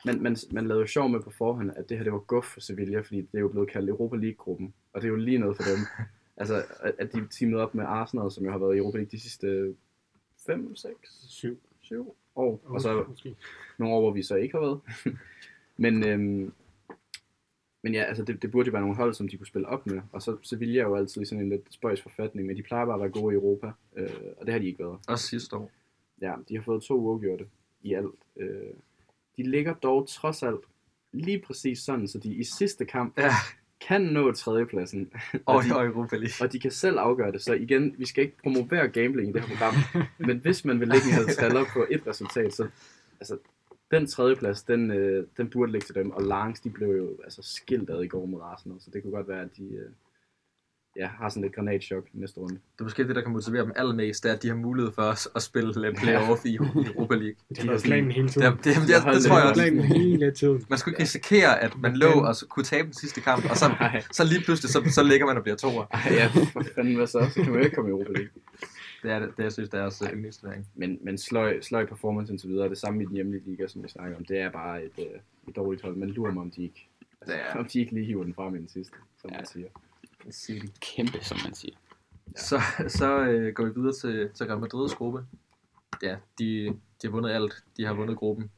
man, man, man lavede jo sjov med på forhånd, at det her det var guf for Sevilla, fordi det er jo blevet kaldt Europa League-gruppen, og det er jo lige noget for dem. altså, at- at de teamede op med Arsenal, som jo har været i Europa League de sidste 5, 6, Syv. 7 år, og så Måske. nogle år, hvor vi så ikke har været. men, øhm, men ja, altså det, det burde jo være nogle hold, som de kunne spille op med. Og så Sevilla er jo altid i sådan en lidt spøjs forfatning, men de plejer bare at være gode i Europa, øh, og det har de ikke været. Også sidste år. Ja, de har fået to uafgjorte i alt. Øh, de ligger dog trods alt lige præcis sådan, så de i sidste kamp Ja. kan nå tredjepladsen. Og de- i Europa League. Og de kan selv afgøre det, så igen, vi skal ikke promovere gambling i det her program, men hvis man vil lægge en halvtaller på et resultat, så altså, den tredjeplads, den, øh, den burde ligge til dem, og Langs, de blev jo altså, skilt ad i går mod Arsenal, så det kunne godt være, at de øh, ja, har sådan lidt granatschok i næste runde. Det er måske det, der kan motivere dem allermest, det er, at de har mulighed for os at spille øh, playoff i Europa League. Det de har har været sådan- planen hele Det, tiden. det, det, det, det altså, tror jeg Det også. har planen hele tiden. Man skulle ikke risikere, at man lå og så kunne tabe den sidste kamp, og så, Nej. så lige pludselig, så, så ligger man og bliver toer. Ej, ja, for fanden hvad så? Så kan man jo ikke komme i Europa League. Det er det, det jeg synes, der er også øh, yndlingsturnering. Men, men sløj, sløj performance indtil videre, det samme i den hjemlige liga, som vi snakker om, det er bare et, øh, et dårligt hold. Man lurer mig, om de ikke, altså, Ja. om de ikke lige hiver den frem i den sidste, som ja. Ja. man siger. Kæmpe, som man siger. Så, så øh, går vi videre til, til Real Madrids gruppe. Ja, de, de har vundet alt. De har vundet gruppen.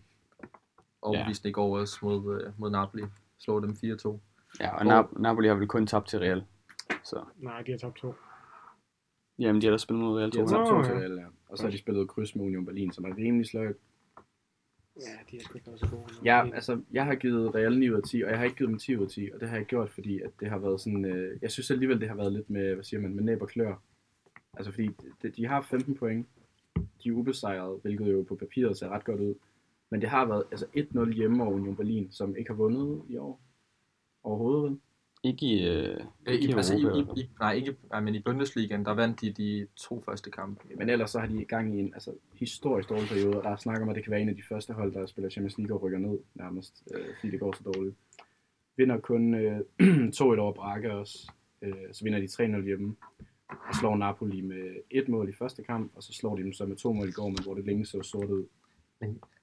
Og Ja. ja. i går også mod, øh, mod Napoli. Slår dem 4-2. Ja, og Nap- Napoli har vel kun tabt til Real. Så, Nej, de har tabt to. jamen de har da spillet mod Real De har 2. Ja. tabt to Nå, til Real, ja. Og så har de spillet kryds med Union Berlin, som er rimelig sløjt. Ja, de har sgu ikke været så gode. Ja, altså, jeg har givet Real 9 ud af 10, og jeg har ikke givet dem 10 ud af 10, og det har jeg gjort, fordi at det har været sådan, øh, jeg synes alligevel, det har været lidt med, hvad siger man, med næb og klør. Altså, fordi de, de har 15 point, de er ubesejrede, hvilket jo på papiret ser ret godt ud, men det har været altså 1-0 hjemme over Union Berlin, som ikke har vundet i år overhovedet. vel? Ikke i, øh, Øh, ikke i, i altså, i, Europa. i, i, nej, ikke, i- nej, men i Bundesligaen, der vandt de de to første kampe. Men ellers så har de i gang i en altså, historisk dårlig periode, og der er snak om, at det kan være en af de første hold, der spiller Champions League og rykker ned nærmest, øh, fordi det går så dårligt. Vinder kun øh, 2-1 over Braga også, øh, så vinder de 3-0 hjemme, og slår Napoli med et mål i første kamp, og så slår de dem så med to mål i går, men hvor det længe så sort ud.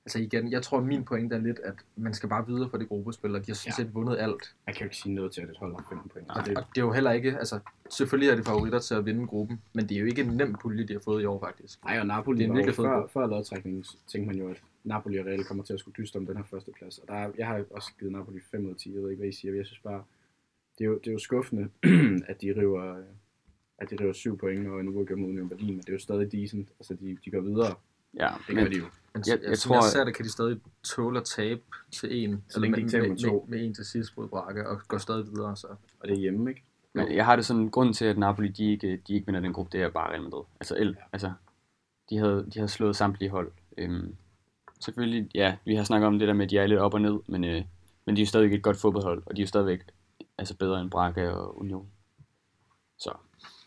Altså igen, jeg tror, min pointe er lidt, at man skal bare videre for det gruppespil, og de har sådan Ja. set vundet alt. Man kan jo ikke sige noget til, at et hold har 15 point. Og Så det, det, og det er jo heller ikke, altså selvfølgelig er det favoritter til at vinde gruppen, men det er jo ikke en nem pulje, de har fået i år faktisk. ej, og Napoli Det er en var jo virkelig fed før, gruppe. før lodtrækningen, så tænkte man jo, at Napoli og Real kommer til at skulle dyste om den her førsteplads. Og der er, jeg har også givet Napoli 5 ud af 10. Jeg ved ikke, hvad I siger, men jeg synes bare, det er jo, det er jo skuffende, at de river øh, at de river syv point og en uge gennem Union Berlin, men det er jo stadig decent. Altså, de, de går videre. Ja, Det gør men, de jo. Men Jeg- jeg, jeg jeg, jeg, tror, tror, jeg at- ser det, kan de stadig tåle at tabe til en. Så længe de ikke taber med, to. med, med en til sidst mod Braga, og går stadig videre. Så. Og det er hjemme, ikke? Men jeg har det sådan, grund til, at Napoli, de ikke, de ikke vinder den gruppe, det er bare Real Madrid. Altså, el, ja. altså de, havde, de havde slået samtlige hold. Øhm, selvfølgelig, ja, vi har snakket om det der med, at de er lidt op og ned, men, øh, men de er jo stadigvæk et godt fodboldhold, og de er jo stadigvæk altså bedre end Braga og Union. Så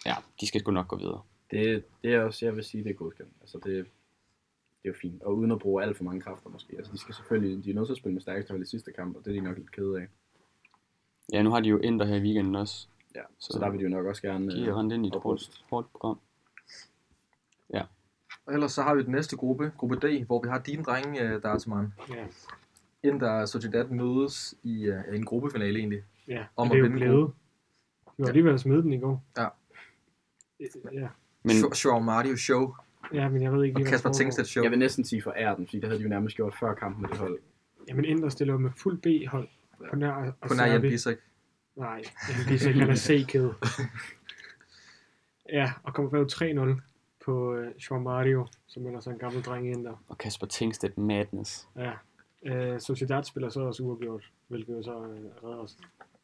ja, de skal sgu nok gå videre. Det, det er også, jeg vil sige, det er godkendt. Altså det, det er jo fint. Og uden at bruge alt for mange kræfter måske. Altså de skal selvfølgelig, de er nødt til at spille med stærkeste hold i sidste kamp, og det er de nok lidt kede af. Ja, nu har de jo Inter her i weekenden også. Ja, så, Så- så der vil de jo nok også gerne... De øh, er rendt ind i et og hårdt, hårdt program. Og ellers så har vi den næste gruppe, gruppe D, hvor vi har dine drenge, øh, Dartsman. Ja. Inden der Sociedad mødes i øh, en gruppefinale egentlig. Ja, Om og at det er jo vinde blevet. Vi var lige ved at smide den i går. Øh, Ja. Ja, Men, Men... Shaw Mario Show ja men jeg ved ikke og lige, hvad der Kasper foregår. Tengstedt Show. Jeg vil næsten sige for ærten, fordi det havde de jo nærmest gjort før kampen med det hold. Jamen, Indre stiller jo med fuld B-hold. På nær, og Kun er Serbi. Jan Bissek. Nej, jamen, det er sikkert, han er C-kæde. Ja, og kommer bag 3-0 på øh, Joao Mario, som ellers er en gammel dreng i Inter. og Kasper Tingstedt Madness. Ja. Øh, Sociedad spiller så også uafgjort, hvilket jo så øh, redder os.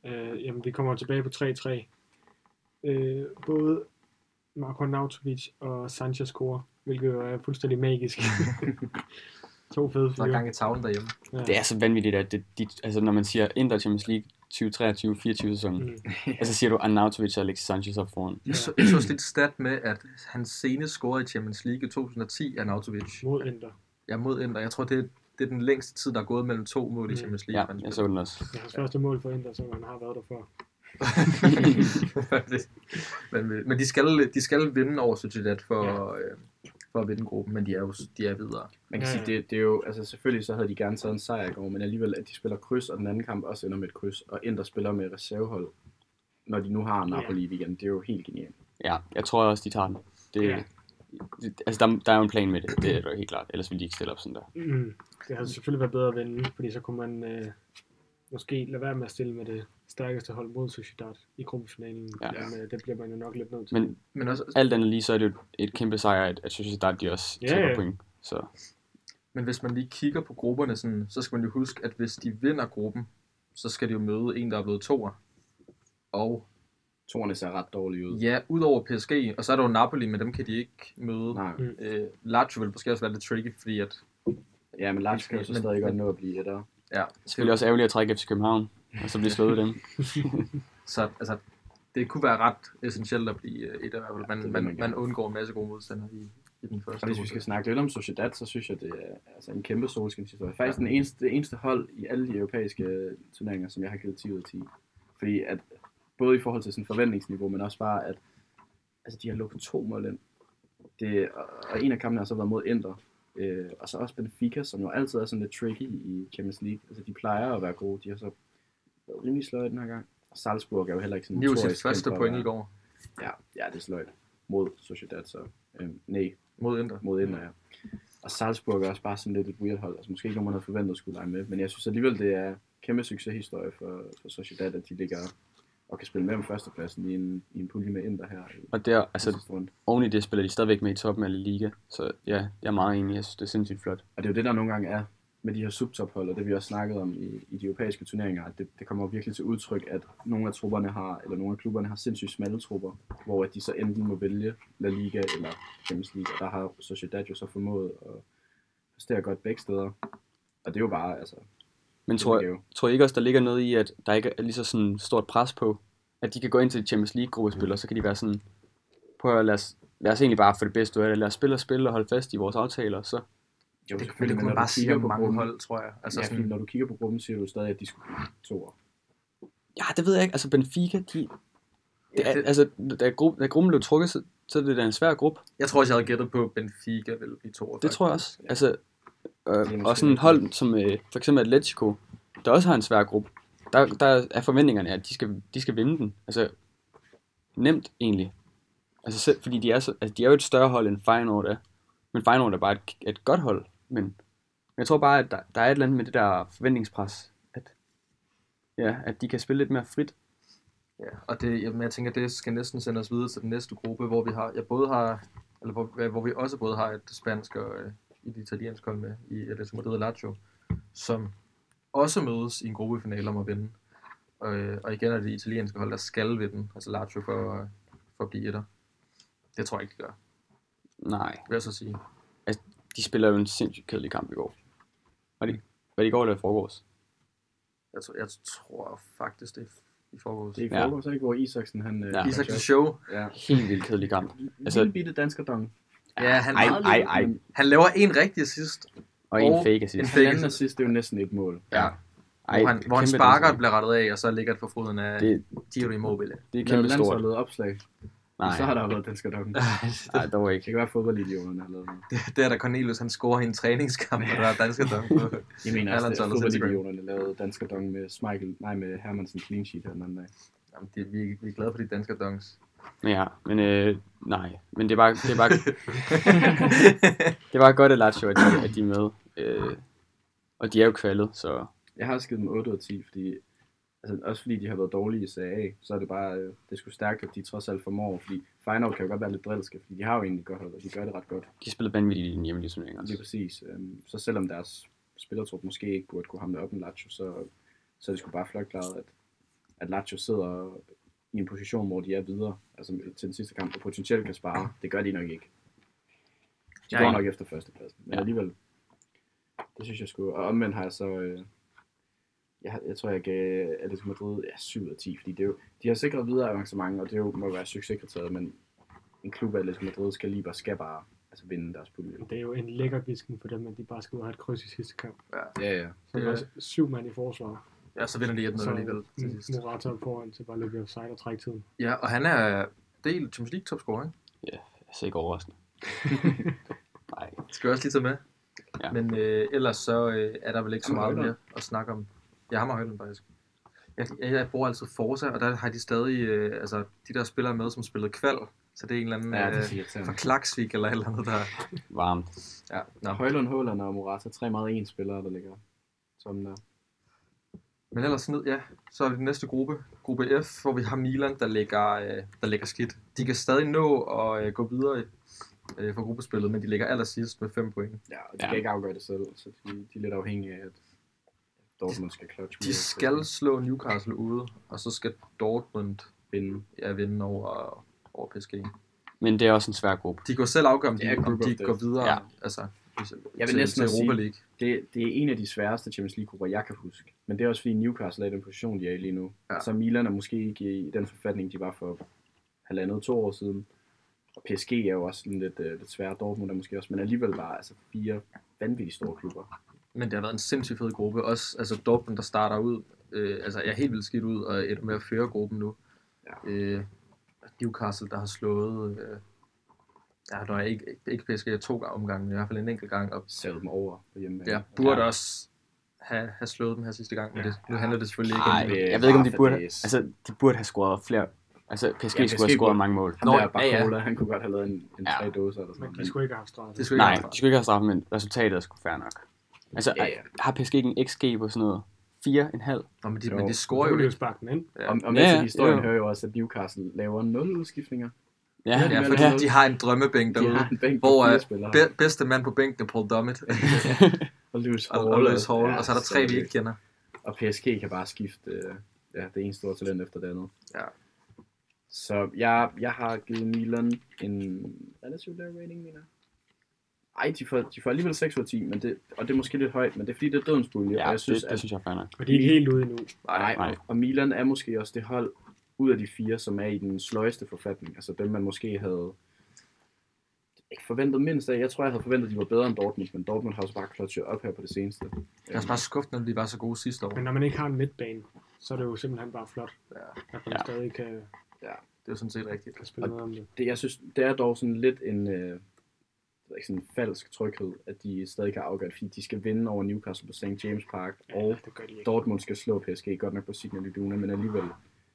Øh, jamen, vi kommer tilbage på 3-3. Øh, både Marco Nautovic og Sanchez scorer, hvilket jo er fuldstændig magisk. to fede Der er fyre. gang i tavlen derhjemme. Det er så vanvittigt, at det, de, altså, når man siger Inter Champions League 2023-24 sæsonen, Mm. Altså siger du Arnautovic og Alexis Sanchez op foran. Jeg så, jeg så også lidt stat med, at han senest scorede i Champions League i 2010 af Nautovic. Mod Inter. Jeg er mod Inter. Jeg tror, det er, det er den længste tid, der er gået mellem to mål i Mm. Champions Ja, League. man jeg så spiller. den også. Det er hans første mål for Inter, som han har været der før. Det- man vil- men de skal, de skal vinde over Sociedad for, ja. øh, for at vinde gruppen, men de er jo de er videre. Man kan Ja, ja, sige, ja. det, det er jo, altså selvfølgelig så havde de gerne taget en sejr i går, men alligevel, at de spiller kryds, og den anden kamp også ender med et kryds, og Inter spiller med reservehold, når de nu har Napoli i weekenden, det er jo helt genialt. Ja, jeg tror også, de tager den. Det, Ja. det, altså, der, der er jo en plan med det, det er jo helt klart. Ellers ville de ikke stille op sådan der. Mm. Det havde selvfølgelig været bedre at vinde, fordi så kunne man øh, måske lade være med at stille med det stærkeste hold mod Sociedad i gruppefinalen. Ja. Ja. Men øh, det bliver man jo nok lidt nødt til. Men Men også, alt andet lige, så er det jo et kæmpe sejr, at, at Sociedad de også Ja, tager ja. point. Så men hvis man lige kigger på grupperne, sådan, så skal man jo huske, at hvis de vinder gruppen, så skal de jo møde en, der er blevet toer. Og Torene ser ret dårlige ud. ja, udover PSG, og så er der jo Napoli, men dem kan de ikke møde. Nej. Mm. Øh, Lazio vil måske også være lidt tricky, fordi at... Ja, men Lars kan jo så Men- stadig godt men- nå at blive der. Ja, selvfølgelig også ærgerligt at trække FC København, og så blive slået af dem. Så altså, det kunne være ret essentielt at blive øh, et af i hvert fald. Man, vil man, man man, gerne. undgår en masse gode modstandere i, i den første Og hvis vi runde. skal snakke lidt om Sociedad, så synes jeg, det er altså, en kæmpe solskinshistorie. Faktisk den eneste, det eneste hold i alle de europæiske øh, turneringer, som jeg har givet 10 ud af 10. Fordi at, både i forhold til sådan forventningsniveau, men også bare, at altså, de har lukket to mål ind. Det, og, og en af kampene har så været mod Inter. Øh, og så også Benfica, som jo altid er sådan lidt tricky i Champions League. Altså, de plejer at være gode. De har så været rimelig sløjt den her gang. Og Salzburg er jo heller ikke sådan Det er jo sit notorisk kendt første for at point i være- går Ja, ja det er sløjt. Mod Sociedad, så. Øhm, nej, mod Inter. mod Inter, ja. Og Salzburg er også bare sådan lidt et weird hold, altså måske ikke nogen, man havde forventet skulle lege med, men jeg synes alligevel, det er en kæmpe succeshistorie for, for Sociedad, at de ligger og kan spille med om førstepladsen i en, i en pulje med Inter her. i Og der, altså, sidste runde. oven i det spiller de stadigvæk med i toppen af La Liga. Så ja, jeg er meget enig. Jeg synes, det er sindssygt flot. Og det er jo det, der nogle gange er med de her subtophold, og det vi også snakket om i, i de europæiske turneringer, at det, det kommer virkelig til udtryk, at nogle af trupperne har, eller nogle af klubberne har sindssygt smalle trupper, hvor at de så enten må vælge La Liga eller Champions League, og der har Sociedad jo så formået at præstere godt begge steder. Og det er jo bare, altså, Men tror, gave. tror I ikke også, der ligger noget i, at der ikke er lige så sådan stort pres på, at de kan gå ind til et Champions League-gruppespil, og så kan de være sådan, prøv at lade os, lad os egentlig bare få det bedste ud af det, lad os spille og spille og holde fast i vores aftaler, så Jo, Det, men det kunne man bare sige om mange hold, tror jeg. Altså, Altså, ja, sådan, fordi når du kigger på gruppen, siger du stadig, at de skulle blive to år. ja, det ved jeg ikke, altså Benfica, de, det er, Ja, det... det- altså, da, gruppen, da gruppen blev trukket, så, så er det da en svær gruppe, Jeg tror også, jeg havde gættet på, at Benfica ville blive to. det tror jeg også, altså, Det er øh, måske og sådan et lidt- hold som øh, for eksempel Atletico, der også har en svær gruppe, der, der er forventningerne, at de skal, de skal vinde den, altså, nemt egentlig, Altså selv, fordi de er, så, altså de er jo et større hold end Feyenoord er. Men Feyenoord er bare et, et godt hold. Men, men jeg tror bare, at der, der er et eller andet med det der forventningspres. At, ja, at de kan spille lidt mere frit. Ja, og det, jamen, jeg tænker, det skal næsten sende os videre til den næste gruppe, hvor vi har, jeg både har, eller hvor, hvor vi også både har et spansk og øh, i det italienske hold med, i Atletico Madrid og Lazio, som også mødes i en gruppefinale om at vinde. Og, øh, og igen er det italienske hold, der skal vinde, altså Lazio for, for at blive etter. Det tror jeg ikke, de gør, Nej, vil jeg så sige. de spiller jo en sindssygt kedelig kamp i går. Var det, var det i går eller i forgårs? Jeg, tror, jeg tror faktisk, det er i forgårs. Det er i Ja. forhold til, hvor Isaksen han... øh, Ja. gør Isak sjov. til show. Ja. Helt vildt kedelig kamp. Altså- Altså, Lille bitte dansker dong. Ja, han, Ej, ej, ej. han laver en rigtig assist, Og en Og fake assist. fake Halvanden assist. assist, det er jo næsten et mål. Ja. Ej, hvor han, hvor han kæmpe sparker og dansk. bliver rettet af, og så ligger det for foden af Det, Giro Immobile. det er Når kæmpe stort. landsholdet opslag, Nej, så har der jo været dansker dong. nej, dog Det ikke. kan være, at fodboldidionerne har lavet noget. Det er da Cornelius, han scorer i en træningskamp, og der er danske dømme på. Jeg mener også, at Erlandsholdet er sindssygt godt. fodboldidionerne lavede dansker dong med, Schmeichel, nej, med Hermansen clean sheet her den anden dag. Jamen, det, vi, er- vi er glade for de danske dunks. Men ja, men øh, nej. Men det er bare, det er bare, det er bare godt, at Lazio, at de, at de er med. Øh, og de er jo kvalet, så Jeg har også givet dem 8 ud af 10, fordi, altså, også fordi de har været dårlige i Serie A, så er det bare, øh, det skulle stærkt, at de trods alt formår, fordi Feyenoord kan jo godt være lidt drilske, fordi de har jo egentlig et godt hold, og de gør det ret godt. de spillede vanvittigt i den hjemlige turnering Lige også. præcis. Øhm, Så selvom deres spillertrup måske ikke burde kunne hamle op med Lazio, så, så er det sgu bare flot klaret, at, at Lazio sidder i en position, hvor de er videre altså til den sidste kamp, og potentielt kan spare. Det gør de nok ikke. De Nej. går nok efter førstepladsen, men Ja. alligevel, det synes jeg sgu. Og omvendt har jeg så, øh, jeg, har- jeg tror, jeg gav Atletico Madrid ja, 7 ud af 10, fordi det er jo, de har sikret videre avancement, og det er jo, må være succeskriteriet, men en klub af Atletico Madrid skal lige bare, skal bare altså, vinde deres pulje. Det er jo en lækker visken for dem, at de bare skal ud og have et kryds i sidste kamp. Ja, ja. Så er Ja. der også syv mand i forsvaret. Ja, så vinder de 1-0 Så alligevel til sidst. mm, Morata op foran til bare at løbe offside og trække tiden. Ja, og han er del Champions League topscorer, ikke? Altså ikke overraskende. nej, Det skal vi også lige tage med. Ja. Ja. Men øh, ellers så øh, er der vel ikke så Ham og meget mere Højlund. at snakke om. Ja, ham og Højlund faktisk. Jeg, jeg, jeg bruger altid Forza, og der har de stadig øh, altså, de der spillere med, som spillede kval. Så det er en eller anden Ja, ja, det er øh, sikkert. fra Klaksvik eller et eller andet, der... varmt. Ja, nå. Højlund, Håland og Morata, tre meget ens spillere, der ligger som der. Men ellers ned, ja, så er det den næste gruppe, gruppe F, hvor vi har Milan, der ligger, øh, der ligger skidt. De kan stadig nå at øh, gå videre øh, for gruppespillet, men de ligger allersidst med 5 point. Ja, og de Ja. ja. kan ikke afgøre det selv, så de, de er lidt afhængige af, at Dortmund skal clutch. De skal slå Newcastle ude, og så skal Dortmund vinde. ja, vinde over, over PSG. Men det er også en svær gruppe. De kan jo selv afgøre, om Det de, er om group of de death. går videre Ja. ja. altså, til, Jeg vil til, næsten til også Europa sige- League. Det, det er en af de sværeste Champions League-grupper, jeg kan huske. Men det er også fordi Newcastle er i den position, de er i lige nu. Ja. Ja. Så Milan er måske ikke i den forfatning, de var for halvandet, to år siden. Og PSG er jo også sådan lidt, øh, lidt svære. Dortmund er måske også, men alligevel bare altså fire vanvittigt store klubber. Men det har været en sindssygt fed gruppe. Også altså Dortmund, der starter ud. Øh, altså, jeg er helt vildt skidt ud, og ender med at føre gruppen nu. Ja. Ja. Øh, Newcastle, der har slået... Øh, ja, der er ikke, ikke PSG to gange omgange, men i hvert fald en enkelt gang. Og Savet dem over på hjemmebane. jeg burde Ja. ja. også have, have slået dem her sidste gang, men Ja. det, nu handler det selvfølgelig ikke Nej, om... det er jeg ved ikke, om de bare burde, fadæs. altså, de burde have scoret flere. Altså, PSG, Ja, ja, PSG skulle have scoret burde- mange mål. Ham Nå, Nå, der ja, Barcola, ja, han kunne godt have lavet en, en Ja. tre doser eller sådan Men noget. de Men skulle ikke have haft straffet. Det er sgu ikke Nej, ret de skulle ikke have straffet, men resultatet er sgu fair nok. Altså, Ja, ja. har PSG ikke en XG på sådan noget? 4,5? Nå, men, de, Jo. men de Så scorer kunne jo de jo ikke. sparke den ind. Ja. og, og Ja, med ja, til historien jo. hører jo også, at Newcastle laver nul udskiftninger. Ja, Ja, Ja, men fordi altså- de har en drømmebænk De derude. har en bænk på Hvor fire er spillere. be- bedste mand på bænken er Paul Dummett og Lewis Hall. og, og Lewis Hall, og så er der tre, vi sindssygt. ikke kender. Og PSG kan bare skifte øh, ja, det ene store talent efter det andet. Ja. Så jeg, jeg har givet Milan en relativt lav rating, mener jeg. Ej, de får, de får alligevel 6 ud af 10, men det, og det er måske lidt højt, men det er fordi, det er dødens pulje, ja og jeg synes, det, at det, synes jeg er fair nok. Og de er ikke helt ude endnu. Nej, Nej. nej. Og Milan er måske også det hold ud af de fire, som er i den sløjeste forfatning. Altså dem, man måske havde ikke forventet mindst af. Jeg tror, jeg havde forventet, at de var bedre end Dortmund, men Dortmund har også bare klotchet op her på det seneste. Jeg er også bare skuffet, at de var så gode sidste år. Men når man ikke har en midtbane, så er det jo simpelthen bare flot, Ja, at man Ja. stadig kan, det er jo sådan set rigtigt. kan spille Og- noget om det. Det, jeg synes, det er dog sådan lidt en øh, jeg ved ikke, sådan en falsk tryghed, at de stadig kan afgøre det, fordi de skal vinde over Newcastle på St. James Park, Ja, og det gør de ikke. Dortmund skal slå PSG, godt nok på Signal Iduna, men alligevel,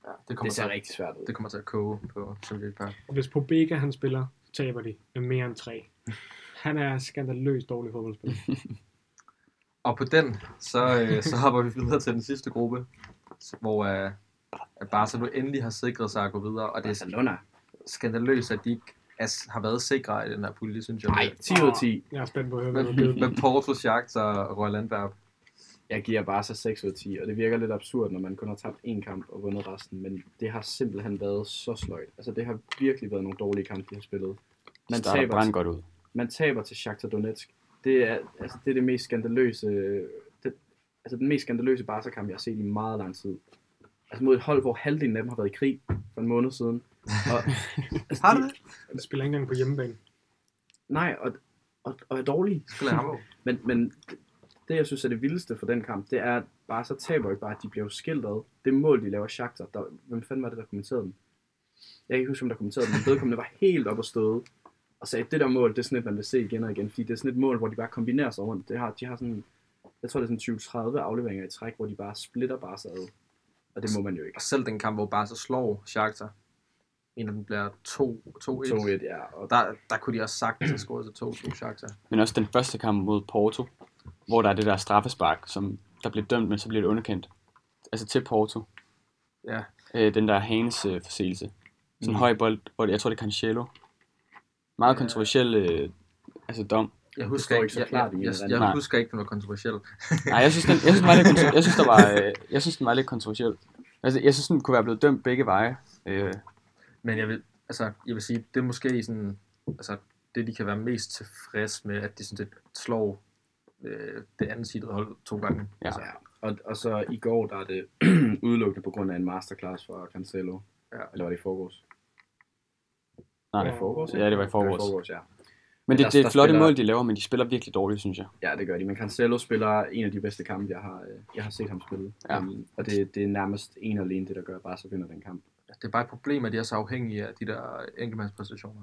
Ja, det, kommer det til, ser at- rigtig svært ud. det kommer til at koge på Champions Park. Hvis Pobega han spiller, taber de med mere end tre. Han er skandaløst dårlig fodboldspiller. Og på den, så, øh, så hopper vi videre til den sidste gruppe, hvor øh, at Barca nu endelig har sikret sig at gå videre. Og det er Barcelona. skandaløst, at de ikke er, har været sikre i den her pulje, synes jeg. Nej, 10 ud af 10. Jeg er spændt på at høre, hvad Med, du har givet den. med Porto, Shakhtar og Royal Antwerp. Jeg giver bare så 6 ud af 10, og det virker lidt absurd, når man kun har tabt én kamp og vundet resten, men det har simpelthen været så sløjt. Altså, det har virkelig været nogle dårlige kampe, de har spillet. Man starter taber, brand godt ud. man taber til Shakhtar Donetsk. Det er, altså, det er det mest skandaløse, det, altså den mest skandaløse Barca-kamp, jeg har set i meget lang tid. Altså mod et hold, hvor halvdelen af dem har været i krig for en måned siden. Og, altså, Har du de- det? Jeg spiller ikke engang på hjemmebane. Nej, og, og, og er dårlige. Spiller ham Men, men det, jeg synes er det vildeste for den kamp, det er, at bare så taber ikke bare, at de bliver jo skilt ad. Det mål, de laver Shakhtar, der, hvem fanden var det, der kommenterede den? Jeg kan ikke huske, om der kommenterede den, men vedkommende var helt op og støde. Og sagde, at det der mål, det er sådan et, man vil se igen og igen. Fordi det er sådan et mål, hvor de bare kombinerer sig rundt. Det har, de har sådan, jeg tror, det er sådan 20-30 afleveringer i træk, hvor de bare splitter bare sig ad. Og det må man jo ikke. Og selv den kamp, hvor Barca slår Shakhtar, en af dem bliver 2-1. 2-1, ja. Og Der, der kunne de også sagtens have scoret til 2-2 Shakhtar. Men også den første kamp mod Porto, hvor der er det der straffespark, som der bliver dømt, men så bliver det underkendt. Altså til Porto. Ja. Øh, den der Hanes øh, forseelse. Sådan en Mm. mm. høj bold, hvor det, jeg tror det er Cancelo. Meget Ja. kontroversiel øh, altså dom. Jeg står husker ikke ikke, så jeg, klart i jeg, en jeg, eller anden jeg Nej. husker ikke, den var kontroversiel. Nej, jeg synes, den, jeg synes, den var lidt, kontro- jeg synes, der var, øh, jeg synes, den var lidt kontroversiel. Altså, jeg synes, den kunne være blevet dømt begge veje. Øh, Men jeg vil, altså, jeg vil sige, det er måske sådan, altså, det, de kan være mest tilfreds med, at de sådan set slår øh, det andet sidede hold to gange. Altså, ja. Ja. Og, og så i går, der er det udelukkende på grund af en masterclass fra Cancelo. Ja. Eller var det i forgårs? Nej. Var det i forgårs? Ja, det var i forgårs. Det var i forgårs, ja. Men der- det, det der er flotte spiller- mål, de laver, men de spiller virkelig dårligt, synes jeg. Ja, det gør de. Men Cancelo spiller en af de bedste kampe, jeg har, øh, jeg har set ham spille. Ja. Øhm, Og det, det er nærmest en og alene det, der gør, at Barca vinder den kamp. Det er bare et problem, at de er så afhængige af de der enkeltmandspræstationer.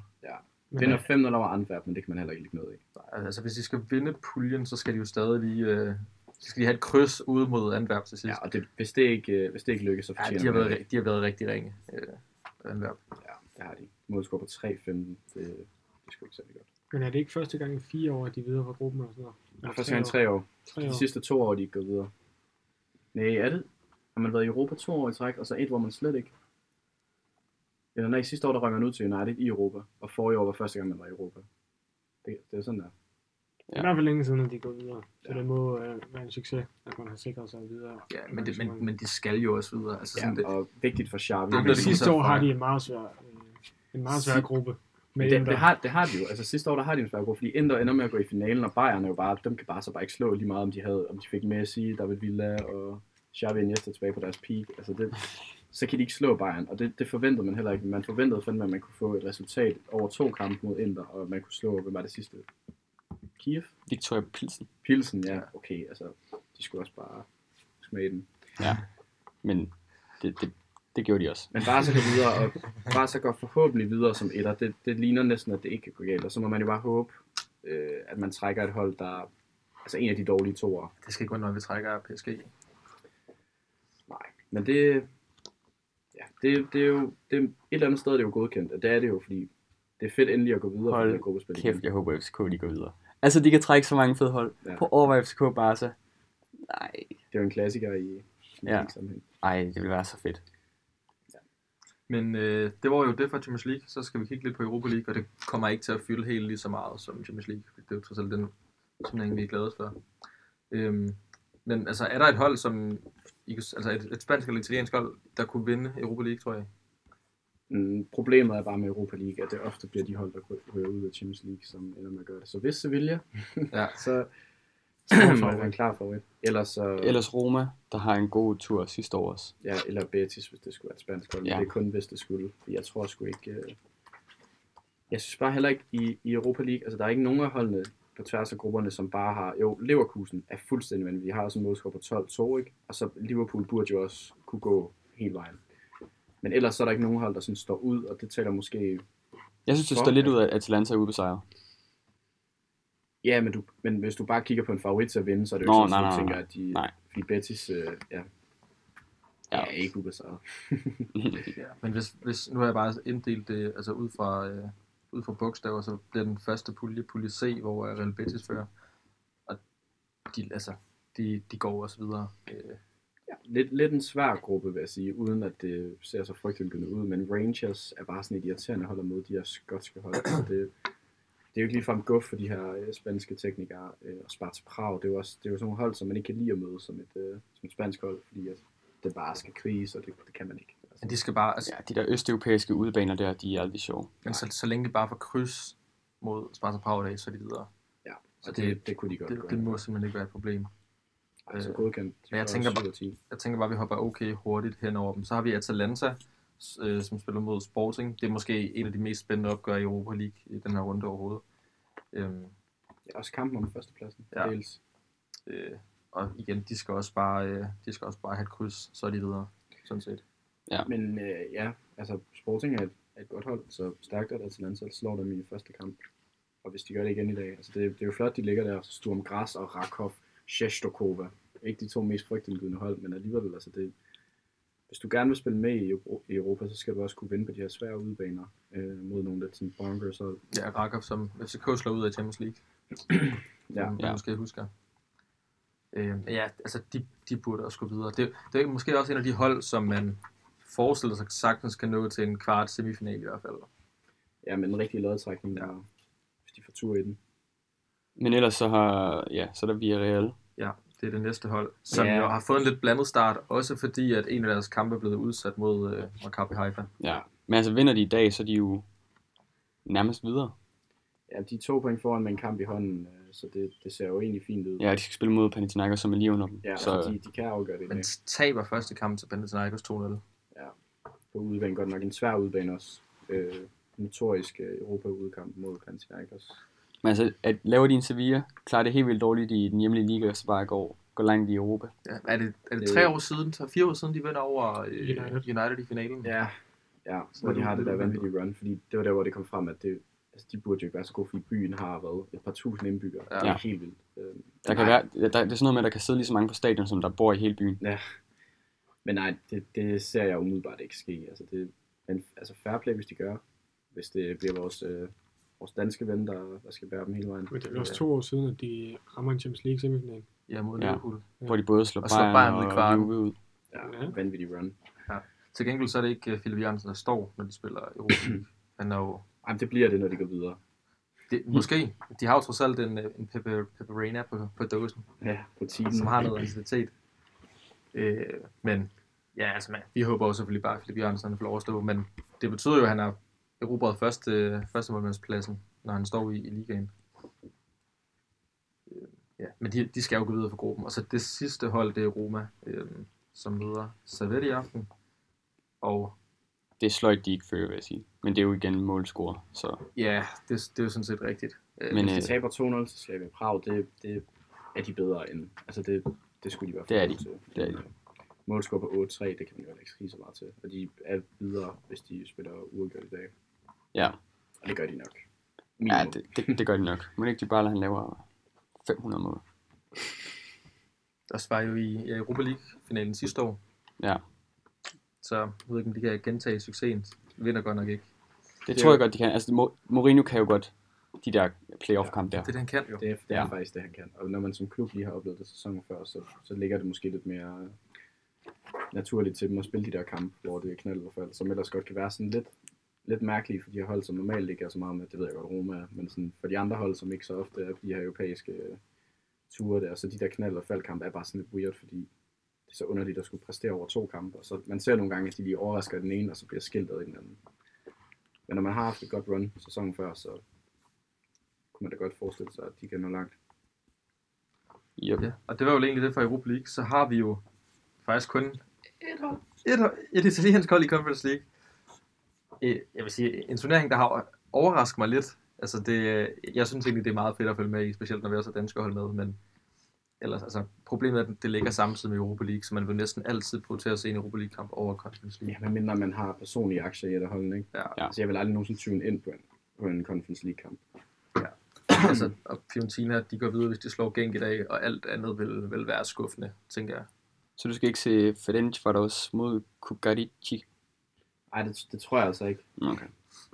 Men, Vinder 5-0 over Antwerp, men det kan man heller ikke lægge noget i. Altså, hvis de skal vinde puljen, så skal de jo stadig lige... Øh, så skal de have et kryds ude mod Antwerp til sidst. Ja, og det, hvis, det ikke, øh, hvis det ikke lykkes, så Ja, fortjener de, har man været, det. ri- de har været rigtig ringe. Øh, Antwerp. Ja, det har de. Målscore på 3-15. Det, det er sgu ikke særlig godt. men er det ikke første gang i fire år, at de er videre fra gruppen? Og sådan noget? Ja, første gang i tre år. Tre De år. sidste to år, de ikke gået videre. Nej, er det? Har man været i Europa to år i træk, og så et, hvor man slet ikke... Eller nej, sidste år, der røg man ud til United i Europa, og forrige år var første gang, man var i Europa. Det, det er sådan der. Det er i hvert fald længe siden, at de går videre. Så det må øh, være en succes, at man har sikret sig videre. Ja, men, det, men, men de skal jo også videre. Altså, sådan Ja, ja, det, og vigtigt for Xavi. ligesom- Det er Men de sidste så år har fejl. de en meget svær, øh, en meget svær Sid- gruppe. Med Men det, Inter. det, har, det har de jo. Altså sidste år, der har de en svær gruppe, fordi Inter ender med at gå i finalen, og Bayern er jo bare, dem kan bare så bare ikke slå lige meget, om de, havde, om de fik Messi, David Villa og Xavi Iniesta tilbage på deres peak. Altså det, så kan de ikke slå Bayern, og det, det forventede man heller ikke. Man forventede fandme, at man kunne få et resultat over to kampe mod Inter, og man kunne slå, hvad var det sidste? Kiev? Victoria Pilsen. Pilsen, ja. Okay, altså, de skulle også bare smage den. Men det, det, det gjorde de også. Men bare så går videre, og bare så går forhåbentlig videre som etter. Det, det ligner næsten, at det ikke kan gå galt. Og så må man jo bare håbe, øh, at man trækker et hold, der altså en af de dårlige toer. det skal ikke være noget, vi trækker af PSG. Nej. Men det, ja, det, det er jo det, er- et eller andet sted er det jo godkendt. Og det er det jo, fordi det er fedt endelig at gå videre fra Hold det her gruppespil. Kæft, jeg håber FCK de går videre. Altså, de kan trække så mange fede hold. Ja. Ja. På overvej FCK Barca. Nej. Det er jo en klassiker i, i Ja. ja. sammenhæng. Ej, det ville være så fedt. Men øh, det var jo det for Champions League. Så skal vi kigge lidt på Europa League, og det kommer ikke til at fylde helt lige så meget som Champions League. Det er jo trods alt den turnering, vi er glade for. Øhm, men altså, er der et hold, som... I kunne- Altså et, et spansk eller italiensk hold, der kunne vinde Europa League, tror jeg. Mm, problemet er bare med Europa League, at det ofte bliver de hold, der ryger ud af Champions League, som ender med at gøre det. Så hvis Sevilla, Ja. så, så er man klar favorit. Ellers så... Ellers Roma, der har en god tur sidste år også. Ja, eller Betis, hvis det skulle være et spansk hold. Ja. Ja. Det er kun, hvis det skulle. For jeg tror sgu ikke... Øh... Jeg synes bare heller ikke, i, i Europa League, altså der er ikke nogen af holdene på tværs af grupperne, som bare har... Jo, Leverkusen er fuldstændig vanvittig. Vi har også en målscore på 12-2, ikke? Og så Liverpool burde jo også kunne gå hele vejen. Men ellers så er der ikke nogen hold, der sådan står ud, og det taler måske... Jeg synes, det Hvor? står lidt ud af, at Atalanta er ubesejret. Ja, men, du, men hvis du bare kigger på en favorit til at vinde, så er det jo Nå, ikke sådan, nej, at du tænker, nej, nej. at de... Nej. Fordi Betis, øh, ja, ja. Ja. er ikke ubesejret. Ja, men hvis, hvis, nu har jeg bare inddelt det altså ud fra, øh, ud fra bogstaver, så bliver den første pulje, pulje C, hvor øh, Real Betis fører. Og de, altså, de, de går også videre. Øh, lidt, lidt en svær gruppe, vil jeg sige, uden at det ser så frygtindgydende ud, men Rangers er bare sådan et irriterende hold mod de her skotske hold, så det, det er jo ikke ligefrem guf for de her øh, spanske teknikere øh, og Sparta Prag. Det er, jo også, det er jo sådan nogle hold, som man ikke kan lide at møde som et, øh, som et spansk hold, fordi at det bare skal kriges, og det, det kan man ikke. Altså, Men de skal bare, altså, Ja, de der østeuropæiske udebaner der, de er aldrig sjove. men så, så længe de bare får kryds mod Sparta Prag i dag, så er de videre. ja, Og og det, det- det kunne de godt Det, gøre. det må simpelthen ikke være et problem. altså, øh, godkendt. men jeg Så tænker syv bare- ud af ti. Jeg tænker bare, at vi hopper okay hurtigt hen over dem. Så har vi Atalanta, s- øh, som spiller mod Sporting. Det er måske en af de mest spændende opgør i Europa League i den her runde overhovedet. Øhm, Ja, også kampen om førstepladsen. Ja. Ja. Dels. øh, og igen, de skal også bare, øh, de skal også bare have et kryds, så er de videre, sådan set. Men øh, ja, altså Sporting er et, er et godt hold, så stærkt at Atalanta slår dem i første kamp. Og hvis de gør det igen i dag, altså det, det er jo flot, de ligger der, Sturm Græs og Rakov, Sjestokova. Ikke de to mest frygtindgydende hold, men alligevel, altså det, hvis du gerne vil spille med i, Euro- i Europa, så skal du også kunne vinde på de her svære udbaner øh, mod nogle lidt sådan bonkers hold. Ja, Rakov, som FCK slår ud af Champions League. Ja, ja. Ja. jeg måske husker. Øh, ja, altså de, de burde også gå videre. Det, det er måske også en af de hold, som man forestiller sig sagtens kan nå til en kvart semifinal i hvert fald. ja men en rigtig lodtrækning, der, hvis de får tur i den. Men ellers så har, ja, så er der Villarreal. Ja, det er det næste hold, som Ja. ja. jo har fået en lidt blandet start, også fordi at en af deres kampe er blevet udsat mod øh, Maccabi Haifa. Ja. Men altså vinder de i dag, så er de jo nærmest videre. Ja, de er to point foran med en kamp i hånden, øh, så det, det ser jo egentlig fint ud. Ja, de skal spille mod Panathinaikos, som er lige under dem. Ja, så... så de, de kan afgøre det. i Men dag. taber første kamp til Panathinaikos 2-0. på udebane godt nok. En svær udebane også. Øh, notorisk øh, Europa-udkamp mod Panathinaikos. men altså, at laver de en Sevilla, klarer det helt vildt dårligt i den hjemlige liga, og så bare går, går langt i Europa. Ja, er det, er det Det- tre år siden, tre, fire år siden, de vinder over øh, United. United. United i finalen? Ja. Ja, hvor er de det har det der uventet. vanvittige run, fordi det var der, hvor det kom frem, at det, altså, de burde jo ikke være så gode, fordi byen har været et par tusind indbyggere. Ja. Ja. Det er helt vildt. Øh, Der kan være, der, der, det er sådan noget med, at der kan sidde lige så mange på stadion, som der bor i hele byen. Ja. Men nej, det, det ser jeg umiddelbart ikke ske. Altså, det, men, altså fair play, hvis de gør. Hvis det bliver vores, øh, vores danske ven, der, der skal bære dem hele vejen. Men det er vel også to år siden, at de rammer en Champions League semifinal. ja mod Ja. Liverpool. Hvor de både slår Og slår Bayern, Bayern ud i og kvarten. Juve ud. Ja, Ja. vanvittig run. Til gengæld så er det ikke øh, Philip Jørgensen, der står, når de spiller Europa League. Han er jo Jamen, det bliver det, når de går videre. Det, måske. De har jo trods alt en, øh, en pepe, pepperina på, på dåsen, Ja, på tiden. som har noget intensitet. Øh, men ja, altså, man, vi håber jo selvfølgelig bare, at Philip Jørgensen han får lov at stå, men det betyder jo, at han har erobret første, øh, første målmandspladsen, når han står i, i ligaen. Øh, ja, men de, de skal jo gå videre for gruppen. Og så det sidste hold, det er Roma, øh, som møder Servette i aften. Og Det sløjt de ikke før, vil jeg sige. Men det er jo igen målscore, så... ja, det, det er jo sådan set rigtigt. Øh, Men Hvis øh, de taber 2-0 til Slavia Prag, det, det er de bedre end. Altså det, det skulle de være Det er de. til. Det er de. Målscore på 8-3, det kan man jo heller ikke skrige så meget til. Og de er videre, hvis de spiller uafgjort i dag. ja, Og det gør de nok. ja Minimum. det, det, det, gør de nok. Må ikke de bare lade han laver 500 mål? Der var jo i ja, Europa League-finalen sidste år, Ja, Så jeg ved ikke, om de kan gentage succesen. De vinder godt nok ikke. det Det tror er- jeg godt, de kan. Altså, Mo- Mourinho kan jo godt de der playoff-kamp der. Det er det, han kan jo. det, er, det er Ja. faktisk det, han kan. Og når man som klub lige har oplevet det sæsonen før, så, så ligger det måske lidt mere øh, naturligt til dem at spille de der kampe, hvor det er knald for fald, som ellers godt kan være sådan lidt, lidt mærkelige for de her hold, som normalt ikke er så meget med, det ved jeg godt, Roma er, men sådan for de andre hold, som ikke så ofte er på de her europæiske øh, ture der, så de der knald og faldkampe er bare sådan lidt weird, fordi det er så underligt at skulle præstere over to kampe, og så man ser nogle gange, at de lige overrasker den ene, og så bliver skiltet af den anden. Men når man har haft et godt run sæsonen før, så kunne man da godt forestille sig, at de kan nå langt. Yep. Ja. Og det var jo egentlig det for Europa League. Så har vi jo faktisk kun et hold. Et, hold- et italiensk hold i Conference League. Øh, Jeg vil sige, en turnering, der har overrasket mig lidt. Altså det, øh, jeg synes egentlig, det er meget fedt at følge med i, specielt når vi også har danske hold med, men ellers, altså, problemet er, at det ligger samtidig med Europa League, så man vil næsten altid prioritere at se en Europa League-kamp over Conference League. Ja, men mindre man har personlige aktier i et af holdene, ikke? Ja. Ja. Altså, jeg vil aldrig nogensinde tyve ind på en, på en Conference League-kamp. altså, og Fiorentina, de går videre, hvis de slår Genk i dag, og alt andet vil, vil være skuffende, tænker jeg. Så du skal ikke se Ferenc var der også mod Kukarici. Ej, det, det tror jeg altså ikke. Okay.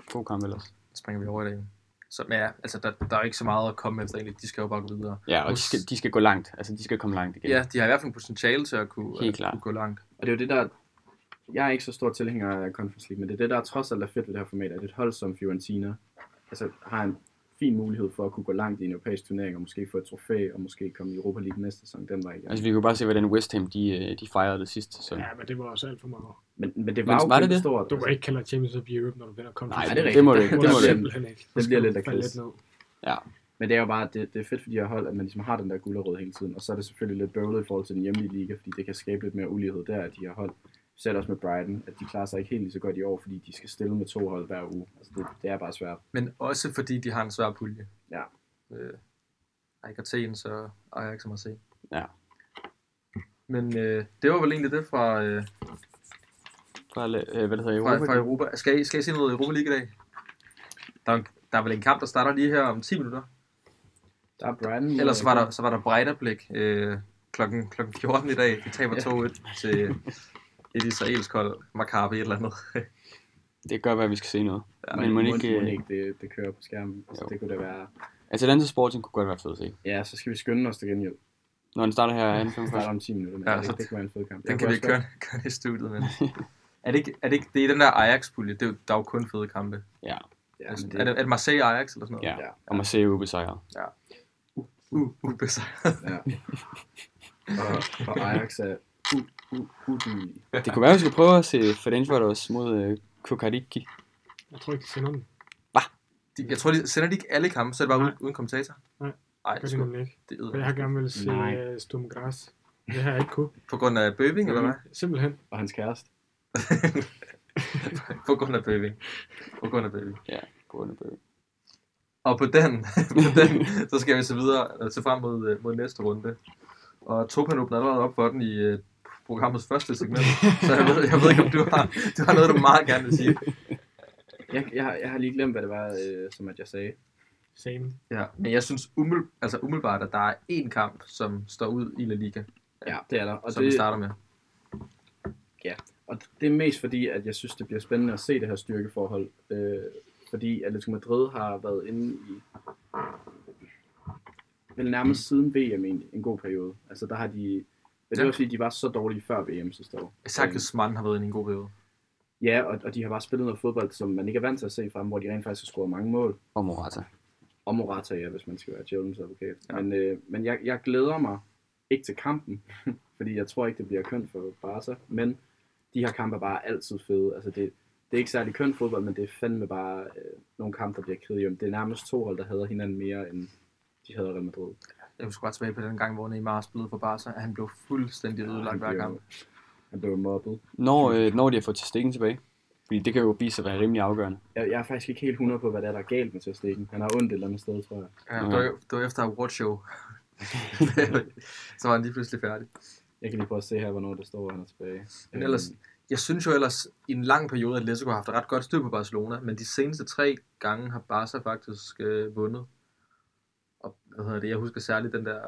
God kamp ellers. Så springer vi over i dag. Så men ja, altså der, der er jo ikke så meget at komme efter egentlig. De skal jo bare gå videre. Ja, og de skal, de skal gå langt. Altså, de skal komme langt igen. Ja, de har i hvert fald potentiale til at kunne, Helt at klart. kunne gå langt. Og det er jo det der, jeg er ikke så stor tilhænger af Conference League, men det er det, der trods alt er fedt ved det her format, at et hold som Fiorentina altså, har en fin mulighed for at kunne gå langt i en europæisk turnering, og måske få et trofæ, og måske komme i Europa League næste sæson, den vej igen. Altså, vi kunne bare se, hvordan West Ham, de, øh, de fejrede det sidste sæson. Ja, men det var også alt for meget. Men, men det var Men jo var det kæmpe det? stort. Du må altså. ikke kalde dig Champions of Europe, når du vinder Nej, konference. det er det, rigtigt. det må du Det ikke. må Det må du du ikke. selv. simpelthen ikke. Det bliver lidt af akavet. kris. Ja. Men det er jo bare, det, det er fedt for de her hold, at man ligesom har den der gulderød hele tiden. Og så er det selvfølgelig lidt bøvlet i forhold til den hjemlige liga, fordi det kan skabe lidt mere ulighed der, at de her hold, selv også med Brighton, at de klarer sig ikke helt lige så godt i år, fordi de skal stille med to hold hver uge. Altså det, det er bare svært. Men også fordi de har en svær pulje. Ja. Øh, ikke Athen, så Ajax og Marseille. Ja. Men øh, det var vel egentlig det fra, øh, Fra, øh, hvad det hedder, fra, Europa. fra Europa. Skal I, skal I se noget Europa League i dag? Der er, en, der er vel en kamp, der starter lige her om 10 minutter. Der er Brighton. øh, Ellers så var der, så var der Breitablik øh, klokken, klokken 14 i dag. De taber 2-1 til et israelsk hold, Maccabi et eller andet. Det gør, hvad vi skal se noget. Ja, men må ikke... Mon øh, ikke det, det kører på skærmen. Altså, Jo. det kunne da være... Atalanta Sporting kunne godt være fed at se. Ja, så skal vi skynde os til gengæld. Når den starter her, er Vi starter om 10 minutter, men Ja, ja, det, så- det, kan være en fed kamp. Den Jeg kan kunne vi ikke også køre, køre i studiet, men... Er det, ikke, er det ikke, det er den der Ajax-pulje, det er jo, der er jo kun fede kampe. godt- Ja, Altså, men er, det, det, er det Marseille Ajax eller sådan noget? Uh, Ja, Ja. og man ser ubesejret. U, ubesejret. ja. Og, og Ajax er... U, u, uduelig. Det kunne være, at vi skulle prøve at se Ferencvaros mod øh, Kokariki. Jeg tror ikke, de sender den. De, jeg tror, de sender de ikke alle kampe, så er det bare uden, uden kommentator. Nej. Nej, Gør det det sgu, nemlig ikke. det Og jeg er har gerne vil se Nej. øh, Stum Græs. Det har jeg ikke kunne. På grund af Bøving, eller hvad? Simpelthen. Og hans kæreste. På grund af Bøving. På grund af Bøving. Ja, gående bøge. Og på den, på den så skal vi så videre øh, se frem mod, øh, mod næste runde. Og Topan åbner allerede op for den i øh, programmets første segment, så jeg ved, jeg ved ikke, om du har, du har noget, du meget gerne vil sige. Jeg, jeg, har- jeg har lige glemt, hvad det var, øh, som at jeg sagde. Same. Ja, men jeg synes umiddel, altså umiddelbart, at der er én kamp, som står ud i La Liga, Ja, det er der. og Og som det... vi det, starter med. og det er mest fordi, at jeg synes, det bliver spændende at se det her styrkeforhold. Øh, fordi Atletico Madrid har været inde i vel nærmest siden VM egentlig, en god periode. Altså der har de... Men det Ja. var fordi, de var så dårlige før VM sidste år. Øhm, Sakkes mand har været inde i en god periode. Ja, og, og de har bare spillet noget fodbold, som man ikke er vant til at se fra dem, hvor de rent faktisk har scoret mange mål. Og Morata. Og Morata, ja, hvis man skal være djævelens advokat. Ja. Ja. Men, øh, men jeg, jeg glæder mig ikke til kampen, fordi jeg tror ikke, det bliver kønt for Barca. Men de her kampe er bare altid fede. Altså det, det er ikke særlig kønt fodbold, men det er fandme bare øh, nogle kampe, der bliver kriget om. Det er nærmest to hold, der hader hinanden mere, end de hader Real Madrid. Jeg husker godt tilbage på den gang, hvor Neymar spillede for Barca, at han blev fuldstændig ødelagt hver blev- kamp. Han blev mobbet. Når, øh, når de har fået til stikken tilbage. Fordi det kan jo vise sig at være rimelig afgørende. Jeg, jeg er faktisk ikke helt 100 på, hvad der er, der er galt med Ter Stegen. Han har ondt et eller andet sted, tror jeg. Ja, det, var, det var efter awardshow. så var han lige pludselig færdig. Jeg kan lige prøve at se her, hvornår det står, at han er tilbage. Men ellers- Øhm. Jeg synes jo ellers, i en lang periode, at Atletico har haft ret godt styr på Barcelona, men de seneste tre gange har Barca faktisk øh, vundet. Og hvad hedder det, jeg husker særligt den der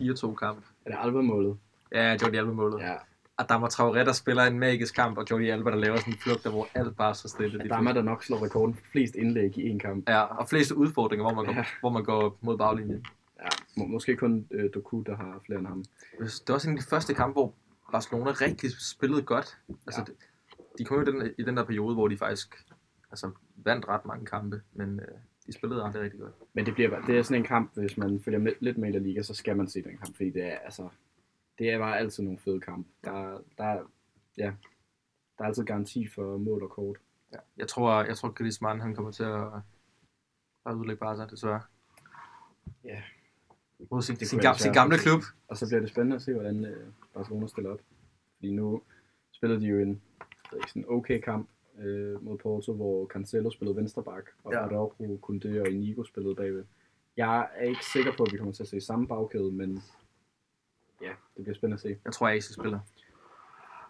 øh, 4-2-kamp. Er det Alba-målet? Ja, Jordi Alba-målet. Ja. Ja, Adama Traoré, der spiller en magisk kamp, og Jordi Alba, der laver sådan en flugter, hvor alt bare så stille. lige der er man, der nok slår rekorden for flest indlæg i en kamp. Ja, og fleste udfordringer, hvor man går, Ja. hvor man går mod baglinjen. Ja, må, måske kun øh, Doku, der har flere end ham. Det var også en af de første kampe, hvor Barcelona rigtig spillede godt. Altså, Ja. ja. De kom jo i den, i den der periode, hvor de faktisk altså, vandt ret mange kampe, men øh, de spillede aldrig rigtig godt. Men det, bliver, bare- det er sådan en kamp, hvis man følger med, lidt med i La Liga, så skal man se den kamp, fordi det er, altså, det er bare altid nogle fede kampe. Der, der, er- ja, der er altid garanti for mål og kort. Ja. Jeg tror, jeg tror Griezmann han kommer til at, at udlægge Barca, desværre. Ja. Mod sin, Det sin, kunne gam, ellers sin være- gamle klub. Og så bliver det spændende at se, hvordan øh, Barcelona stiller op. Fordi nu spillede de jo en jeg ved ikke, sådan okay kamp øh, mod Porto, hvor Cancelo spillede venstreback, og Ja. ja. Araujo, Koundé og Inigo spillede bagved. Jeg er ikke sikker på, at vi kommer til at se samme bagkæde, men ja, det bliver spændende at se. Jeg tror, AC spiller.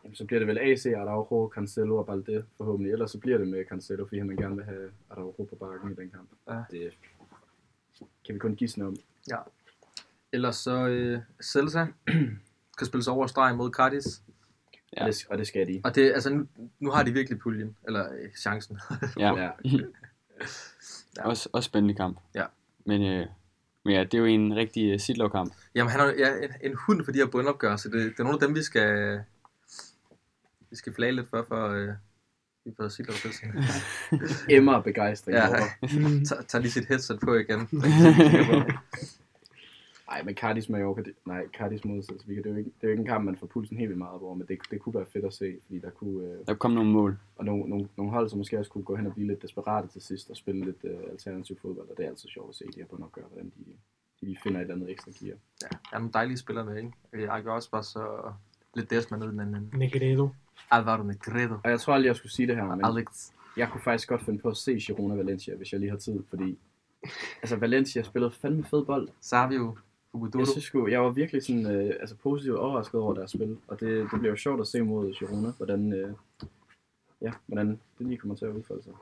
Jamen, så bliver det vel AC, Araujo, Cancelo og Balde forhåbentlig. Ellers så bliver det med Cancelo, fordi han gerne vil have Araujo på bakken i den kamp. Ja. Det kan vi kun gisne om. Ellers så øh, Celta kan spille sig over stregen mod Cardis. Ja. Ja. Og, det, og det skal de. Og det, altså, nu, nu har de virkelig puljen, eller øh, chancen. Ja. Ja. Ja. Også, også spændende kamp. Ja. Men, øh, men ja, det er jo en rigtig uh, sitlovkamp. Jamen, han er ja, en, en hund for de her bundopgør, så det, det er nogle af dem, vi skal, vi skal flage lidt for, for øh, vi får sige det selv. Emmer begejstring. Ja. Ja. Tag, tag lige sit headset på igen. Nej, men Cardis Mallorca, det, nej, Cardis mod Sevilla, det er jo ikke, det er jo ikke en kamp, man får pulsen helt vildt meget op over, men det, det kunne være fedt at se, fordi der kunne, øh, Der kom nogle mål. og nogle, nogle, nogle hold, som måske også kunne gå hen og blive lidt desperate til sidst og spille lidt øh, alternativ fodbold, og det er altid sjovt at se, de her bundopgør, hvordan de, de finder et eller andet ekstra gear. Ja, der er nogle dejlige spillere med, ikke? Øh, Jeg gør også bare så lidt desma ned i den anden. ende. Negredo. Alvaro Negredo. Og jeg tror aldrig, jeg skulle sige det her, men Alex. jeg kunne faktisk godt finde på at se Girona Valencia, hvis jeg lige har tid, fordi altså Valencia spillede fandme fed bold. Savio. Hugo Jeg synes sgu, jeg var virkelig sådan, øh, altså positivt overrasket over deres spil, og det, det blev jo sjovt at se mod Girona, hvordan, øh, ja, hvordan det lige kommer til at udfolde sig.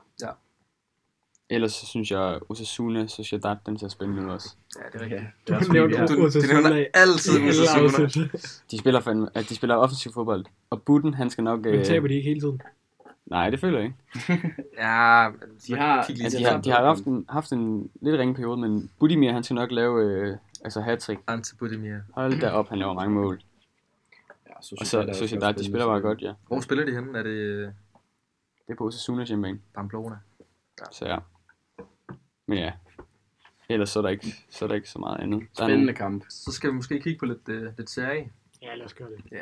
Ellers så synes jeg, Osasuna, Sociedad, den ser spændende ud også. Ja, det er rigtigt. Ja, Du deres nævnte liga. Du, du Osasuna nævner i- altid Osasuna. De spiller, fandme, at de spiller offensiv fodbold, og Butten, han skal nok... øh, Men taber de ikke hele tiden? nej, det føler jeg ikke. Ja, men De har- Kig lige Altså, til tabt de har, ham. de har haft, kampen. en, haft en lidt ringe periode, men Budimir, han skal nok lave øh, altså hat-trick. Ante Budimir. Hold da op, han laver mange mål. Ja, Og så er også godt Sociedad, de spillende, spiller bare så- godt, ja. Hvor spiller de henne? Er det øh, Det er på Osasuna hjemmebane, Pamplona? så ja. Men ja, ellers så er der ikke så, er der ikke så meget andet. Der er Spændende kamp. Så skal vi måske kigge på lidt, øh, lidt serie. Ja, lad os gøre det. Ja,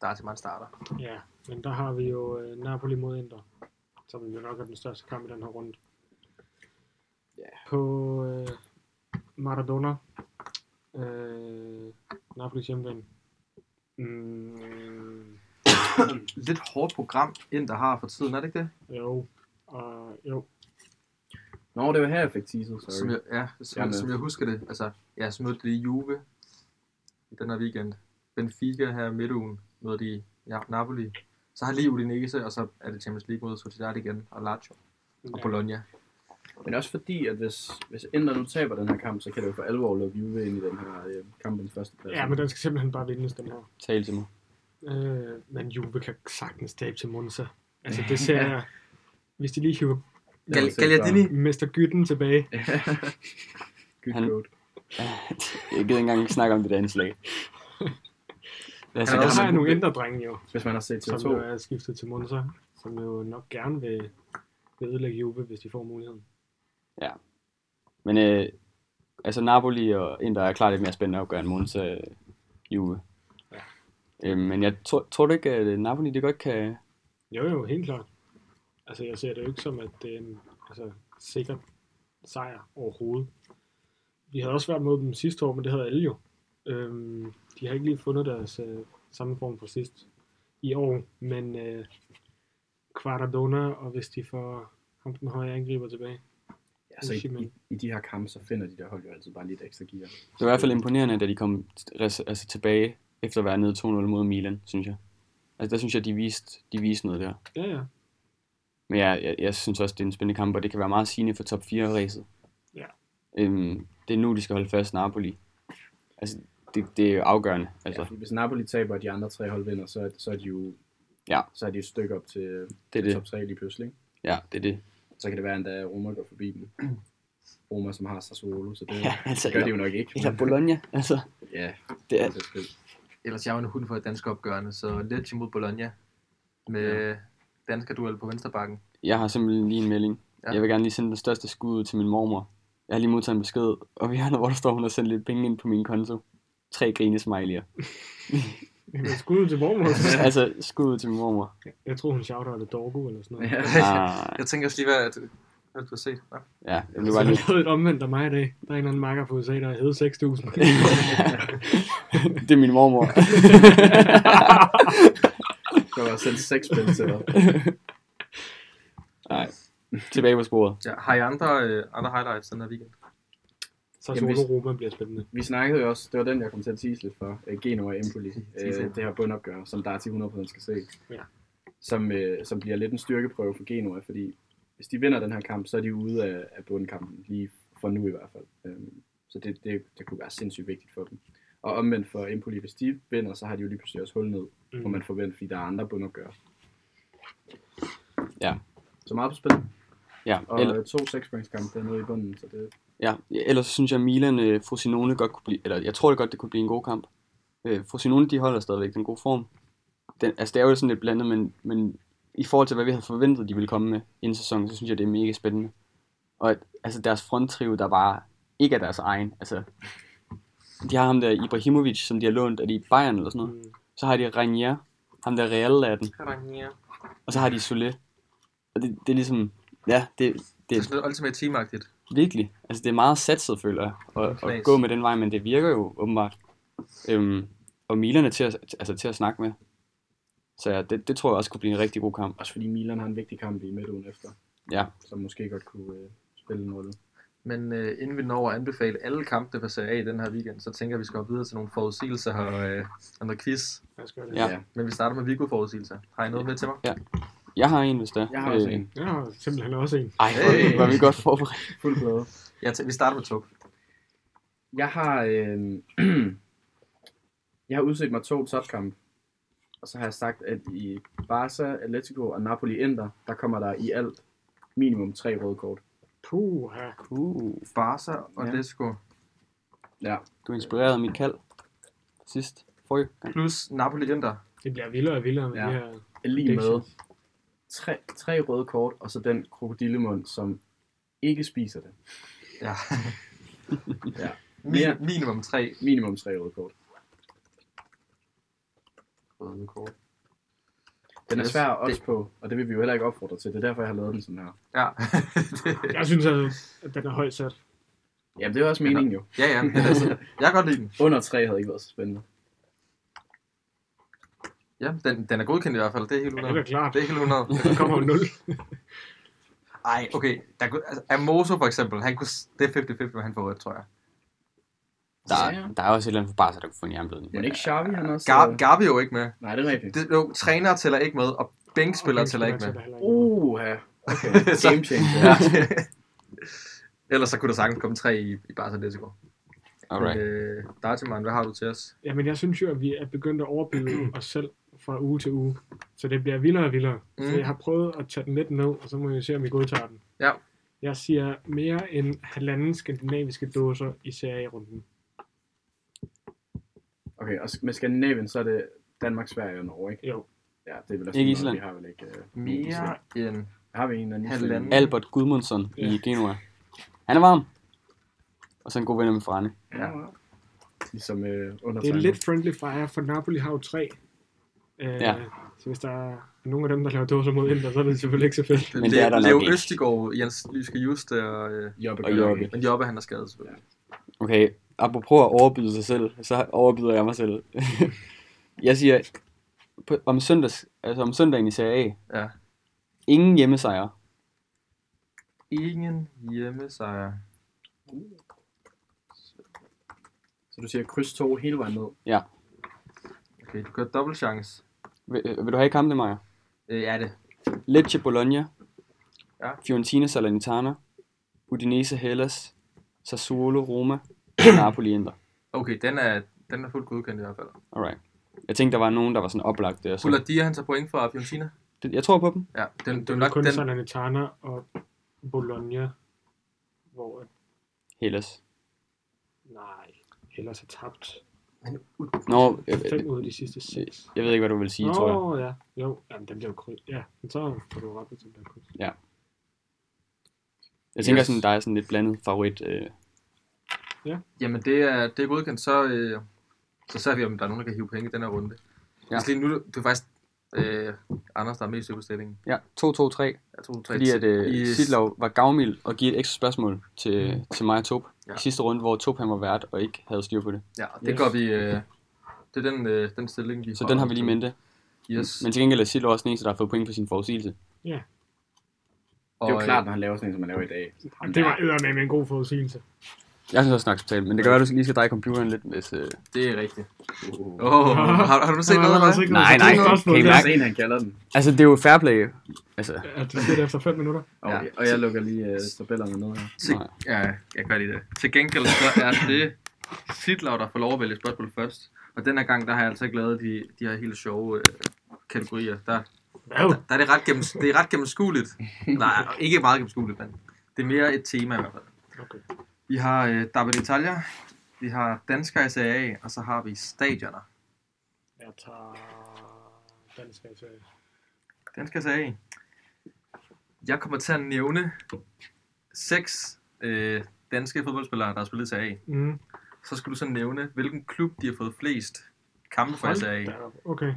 der er til mange starter. Ja, men der har vi jo øh, Napoli mod Inter, som jo nok er den største kamp i den her runde. Ja. På øh, Maradona, øh, Napolis hjemmebane. Mm, Lidt hårdt program, ind der har for tiden, er det ikke det? jo, og jo, Nå, det var her, jeg fik teaset, sorry. Som jeg, ja, som, Jeg er jeg, med. som jeg husker det. Altså, ja, så mødte de Juve i den her weekend. Benfica her midt ugen mødte de ja, Napoli. Så har lige Udinese, og så er det Champions League mod Sociedad igen, og Lazio og Bologna. Men også fordi, at hvis, hvis Inter nu taber den her kamp, så kan det jo for alvor lukke Juve ind i den her øh, kamp den første plads. ja, men den skal simpelthen bare vindes, den her. Tale til mig. Øh, men Juve kan sagtens tabe til Monza. Altså, det ser jeg. Hvis de lige hiver Det var Gal- selv Gagliardini, Mester Gytten tilbage. Good Han- goat. Jeg gider ikke engang snakke om det der indslag. Altså, Ja, Der der, har men- jeg nogle indre drenge jo. Hvis man har set til som øh, jo to. er skiftet til Monza, som jo nok gerne vil, vil ødelægge Juve, hvis de får muligheden. men øh, altså Napoli og Inter er klart lidt mere spændende opgør end Monza øh, Juve. Øh, men jeg tror, tror du ikke, at øh, Napoli det godt kan... Jo, jo, helt klart. Altså, jeg ser det jo ikke som, at det er en altså, sikker sejr overhovedet. Vi havde også været mod dem sidste år, men det havde alle jo. Øhm, de har ikke lige fundet deres øh, samme form for sidst i år, men øh, Quaradona, og hvis de får ham den høje angriber tilbage. Altså, i, i, i, de her kampe, så finder de der hold jo altid bare lidt ekstra gear. Det var i hvert fald imponerende, da de kom t- res- altså, tilbage efter at være nede 2-0 mod Milan, synes jeg. Altså, der synes jeg, de viste, de viste noget der. Ja, ja. Men jeg, jeg, jeg synes også, det er en spændende kamp, og det kan være meget sigende for top 4-ræset. Ja. Øhm, det er nu, de skal holde fast Napoli. Altså, det, det er jo afgørende. Altså. Altså, Ja, fordi hvis Napoli taber, og de andre tre hold vinder, så, er- så er de jo Ja. så er de et stykke op til, det er til top det. 3 lige pludselig. ikke? Ja, det er det. Så kan det være, endda, at Roma går forbi dem. Roma, som har Sassuolo, så det Ja, altså, gør de eller, jo nok ikke. eller Bologna. Altså, Ja, det er, det er spil. ellers jeg er jo en hund for et dansk opgørende, så Lecce mod Bologna med ja. danskerduel på venstrebakken. jeg har simpelthen lige en melding. Ja. Ja. Jeg vil gerne lige sende den største skud ud til min mormor. Jeg har lige modtaget en besked, og vi har noget, hvor der står, hun har sendt lidt penge ind på min konto. Tre grinesmiley'er. Men skud til Bormos. altså, skud ud til min mormor. Jeg tror, hun shouter eller Dorgo eller sådan noget. Ja. Ah, Jeg tænker også lige, hvad, hvad du har set. Nå. ja, jeg blev Så bare har lige... lavet et omvendt af mig i dag. Der er en eller anden makker på USA, der hed 6.000. det er min mormor. Der var selv seks spil til dig. Nej, tilbage på sporet. Ja, har I andre, øh, andre highlights den her weekend? så Jamen, hvis- Solo Roma bliver spændende. Vi snakkede jo også, det var den, jeg kom til at tease lidt for, øh, Genoa Empoli, Tease øh, lidt. det her bundopgør, som der er til 100% skal se, Ja. som, øh, som bliver lidt en styrkeprøve for Genoa, fordi hvis de vinder den her kamp, så er de ude af, af bundkampen, lige for nu i hvert fald. Øhm, så det, det, det kunne være sindssygt vigtigt for dem. Og omvendt for Empoli, hvis de vinder, så har de jo lige pludselig også hul ned, mm. hvor man forventer, fordi der er andre bundopgør. Ja. Så meget på spil. Ja, Og eller, Eller... to sekspointskampe dernede i bunden, så det... ja, ellers så synes jeg, at Milan øh, Frosinone godt kunne blive, eller jeg tror det godt, det kunne blive en god kamp. Øh, Frosinone, de holder stadigvæk den gode form. Den, altså, det er jo sådan lidt blandet, men, men i forhold til, hvad vi havde forventet, de ville komme med inden sæsonen, så synes jeg, det er mega spændende. Og at, altså, deres fronttrio, der bare ikke er deres egen. Altså, de har ham der Ibrahimovic, som de har lånt, er de i Bayern eller sådan noget. Mm. Så har de Ranier, ham der Real er den. Ranier. Og så har de Solé. Og det, det er ligesom, ja, det, Det er det sådan lidt ultimate teamagtigt. Virkelig. Altså, det er meget satset, føler jeg, at, Præcis. at gå med den vej, men det virker jo åbenbart. Øhm, og Milan er til at, altså, til at snakke med. Så ja, det, det tror jeg også kunne blive en rigtig god kamp. Også fordi Milan har en vigtig kamp i midtugen efter, Ja, som måske godt kunne øh, spille en rolle. Men øh, inden vi når at anbefale alle kampene fra Serie A i den her weekend, så tænker jeg, at vi skal hoppe videre til nogle forudsigelser og, øh, og noget quiz. Lad os gøre det. Ja. Men vi starter med Vigo-forudsigelser. Har I noget med til mig? jeg har en, hvis der. Jeg har også en. Jeg har simpelthen også en. Ej, hvor Hey. hey. var vi godt forberedt. Fuld plade. Ja, t- vi starter med Tuk. Jeg har, øh, jeg har udset mig to topkampe. Og så har jeg sagt, at i Barca, Atletico og Napoli Inter, der kommer der i alt minimum tre røde kort. Puh, her. Uh, Barca og Ja. ja. Desco. Ja. du inspirerede mit kald sidst. Forrige gang. Plus Napoli Inter. Det bliver vildere og vildere med Ja. ja. de her... Lige med predictions. tre, tre røde kort, og så den krokodillemund, som ikke spiser det. Ja. Ja. Min- minimum tre Minimum tre røde kort. røde kort. Den er Yes, svær at det- odds på, og det vil vi jo heller ikke opfordre til. Det er derfor, jeg har lavet den sådan her. Ja. Jeg synes, at, at den er højt sat. Jamen, det er også meningen jo. ja, ja. Den er så. Jeg kan godt lide den. Under tre havde ikke været så spændende. Ja, den, den er godkendt i hvert fald. Det er helt Ja, det er 100. da klart. Det er helt 100. Der kommer jo 0. Ej, okay. Der kunne, altså, Amoso for eksempel, han kunne, s- det er 50-50, hvad han får rødt, tror jeg. Der, der er også et eller andet for Barca, der kunne få en jernblødning. Men ikke Xavi, han også... øh, Gar, Garbi er jo ikke med. Nej, det er rigtigt. Det, jo, træner tæller ikke med, og bænkspillere tæller ikke med. Uh, ja. Okay. Så- Game changer. Ja. Ellers så kunne der sagtens komme tre i, i Barca Atletico. Alright. Øh, Dartiman, hvad har du til os? Jamen, jeg synes jo, at vi er begyndt at overbyde os selv fra uge til uge. Så det bliver vildere og vildere. Mm. Så Mm. jeg har prøvet at tage den lidt ned, og så må vi se, om vi godtager den. Ja. Jeg siger mere end halvanden skandinaviske dåser i serierunden. Okay, og s- med Skandinavien, så er det Danmark, Sverige og Norge, ikke? Jo. Ja, det er vel også... Ikke noget, Island. Vi har vel ikke... Uh, Mere end... Har vi en eller anden Island? Halvanden. Albert Gudmundsson Ja. i Genua. Han er varm. Og så en god venner med Frane. Ja. Ligesom uh, under Det er lidt friendly fire, for Napoli har jo tre. Øh, Ja. Så hvis der er nogen af dem, der laver dåser mod Inter, så er det selvfølgelig ikke så fedt. Men det er der nok Leo ikke. Østigård, Jens Lyske Just, og, øh, Jobbe Og gør Jobbe. ikke. men Jobbe, han er skadet selvfølgelig. Okay, apropos at overbyde sig selv, så overbyder jeg mig selv. jeg siger, på, om, søndags, altså om søndagen i Serie A, Ja. ingen hjemmesejre. Ingen hjemmesejr. Så du siger kryds 2 hele vejen ned. Okay, du kører dobbelt chance. Vil, øh, vil du have i kampen, Maja? Øh, er det? Lecce Bologna, Ja. Fiorentina Salernitana, Udinese Hellas, Sassuolo Roma, Napoli Inter. Okay, den er, den er fuldt godkendt i hvert fald. Alright. Jeg tænkte, der var nogen, der var sådan oplagt der. Så Bullardia, han tager point fra Fiorentina. det, jeg tror på dem. Ja, den, det Det er er nok kun den... den... Salernitana og Bologna, hvor... at- Hellas. Nej, ellers er tabt. Nå, øh, Fem øh, ud af de sidste seks. jeg ved ikke, hvad du vil sige, tror jeg. ja. Jo, jamen, den bliver jo kryds. Ja, men så får du ret, hvis den bliver kryds. Jeg tænker, Yes. sådan, der er sådan lidt blandet favorit. Øh. Jamen, det er, det er godkendt, så, øh, så ser vi, om der er nogen, der kan hive penge i den her runde. Ja. Ja. Lige nu, det er faktisk øh, Anders, der er mest i udstillingen. Ja, 2-2-3. Jeg tror, tre, Fordi at øh, i- Sidlov var gavmild og give et ekstra spørgsmål til, til mig og Tob Mm. Ja. ja. i sidste runde, hvor Tob han var vært og ikke havde styr på det. Ja, det yes. Yes. går vi... Øh, det er den, øh, den stilling, vi Så den har vi lige i mente. Yes. Men til gengæld er Sidlov også den eneste, der har fået point på sin forudsigelse. Det er jo øh, klart, når han laver sådan en, som han laver i dag. Jamen, det var eddermame en god forudsigelse. Jeg synes også, den er acceptabel, men det kan være, du lige skal dreje computeren lidt, hvis... Øh... Det er rigtigt. Uh. Åh, oh, har, har du set noget af altså det? Nej, nej, kan I Det er mærke- også en, han kalder den. Altså, det er jo fair play. Altså, At du siger det efter 5 minutter. Okay, Ja. og jeg lukker lige uh, tabellerne ned her. nej. Ja, jeg gør lige det. Til gengæld så er det Sidlav, der får lov at vælge spørgsmål først. Og den her gang, der har jeg altså ikke lavet de, de her helt sjove øh, kategorier. Der, Hvad? Der er det, ret gennems, det er ret gennemskueligt. Nej, ikke meget gennemskueligt, men det er mere et tema i hvert fald. Okay. Vi har øh, Dabbe Detaljer, vi har Dansker i SAA, og så har vi Stadioner. Jeg tager dansk altså. Dansker i SAA. Jeg kommer til at nævne seks øh, danske fodboldspillere, der har spillet i SAA. Mm. Så skal du så nævne, hvilken klub de har fået flest kampe for i Hold SAA. da op. Okay.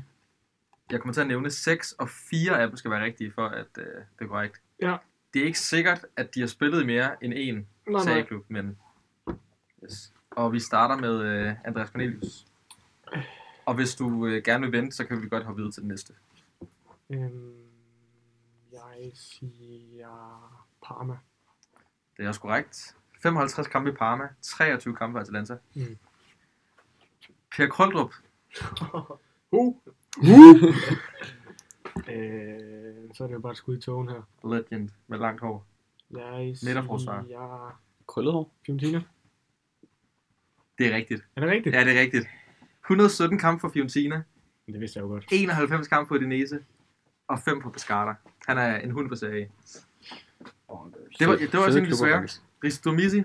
Jeg kommer til at nævne 6, og 4 af dem skal være rigtige, for at øh, det er korrekt. Ja. Det er ikke sikkert, at de har spillet i mere end en Nej, nej. serieklub, men... Yes. Og vi starter med øh, Andreas Cornelius. Og hvis du øh, gerne vil vente, så kan vi godt hoppe videre til den næste. Øhm, jeg siger Parma. Det er også korrekt. 55 kampe i Parma, 23 kampe for Atalanta. Mm. Per Koldrup, uh. øh, så er det jo bare et skud i togen her. legend med langt hår. Jeg Midterforsvarer. siger Krøllet hår. Fiorentina. Det er rigtigt. Er det rigtigt? Ja, det er rigtigt. 117 kampe for Fiorentina, Men Det vidste jeg jo godt. 91 kampe på Udinese og 5 på Pescara. Han er en hund på serie. Det var, det var også en af de svære. Ristomisi,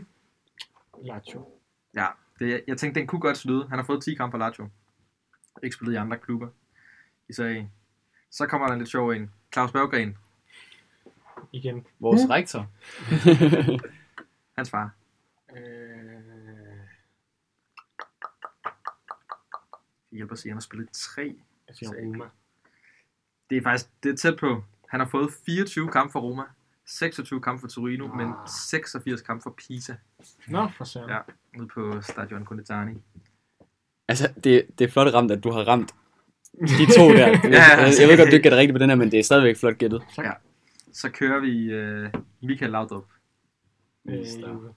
Lazio. ja, det, jeg tænkte, den kunne godt snyde. Han har fået 10 kampe for Lazio. Ikke spillet i andre klubber i serie. Så kommer der en lidt sjov en. Claus Berggren, Igen. Vores rektor. hans far. Øh, Det hjælper sig, han har spillet i 3. jeg siger Så- Roma. Det er faktisk det er tæt på. Han har fået 24 kampe for Roma, 26 kampe for Torino, men Ah. 86 kampe for Pisa Nå, for søren. Ja. nede på Stadion Conitani. Altså, det, det er flot ramt, at du har ramt de to der. Ja, Jeg, altså. jeg ved godt, du ikke gætter rigtigt på den her, men det er stadigvæk flot gættet. Så kører vi øh, Michael Laudrup. Øh, Mister. Juve.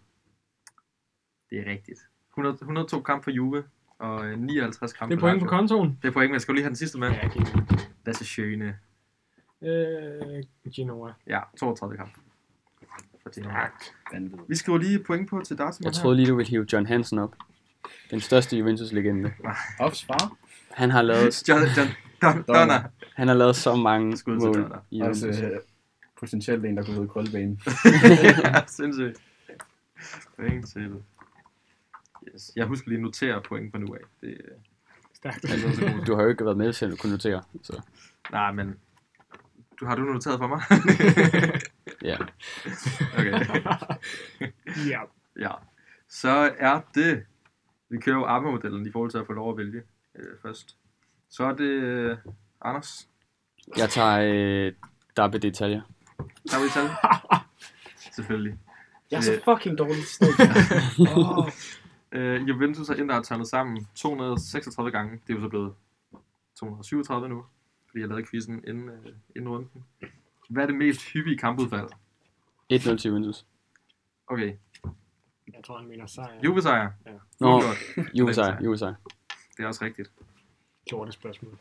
Det er rigtigt. 100, 102 kampe for Juve og øh, 59 kampe det er point på Lazio. kontoen. Det er point, men jeg skal jo lige have den sidste med. Ja, jeg kigger. Lasse Schøne. Øh, Genoa. Ja, 32 kamp. For det her. Vanvittigt. Vi skriver lige point på til Dartsen. Jeg troede lige, du ville hive John Hansen op. Den største Juventus-legende. Offs far. Han har lavet, John, John, Don, Donner. han har lavet så mange Skud til mål Donner. i Også Juventus. øh, potentielt en, der kunne hedde Krøllebanen. ja, sindssygt. Point til. Yes. Jeg husker lige at notere point på nu af. Det, øh, Stærkt. er altid så godt. øh, Du har jo ikke været med, selv du kunne notere. Så, Nej, men... Du, har du noteret for mig? ja. okay. ja. Ja. Så er det... Vi kører jo ABBA-modellen i forhold til at få lov at vælge øh, først. Så er det øh, Anders. Jeg tager øh, Dabbe detaljer. Der er vi tal. Selvfølgelig. Jeg er er så så fucking dårlig sted. oh, Øh, Juventus og Inter har tegnet sammen 236 gange. Det er jo så blevet 237 nu, fordi jeg lavede quizzen inden, øh, inden runden. Hvad er det mest hyppige kampudfald? 1-0 til Juventus. Okay, Jeg tror, han mener sejr. Juve sejr. Ja. Nå, Uafgjort. Juve sejr, Juve sejr. Det er også rigtigt. Gjorde det spørgsmål.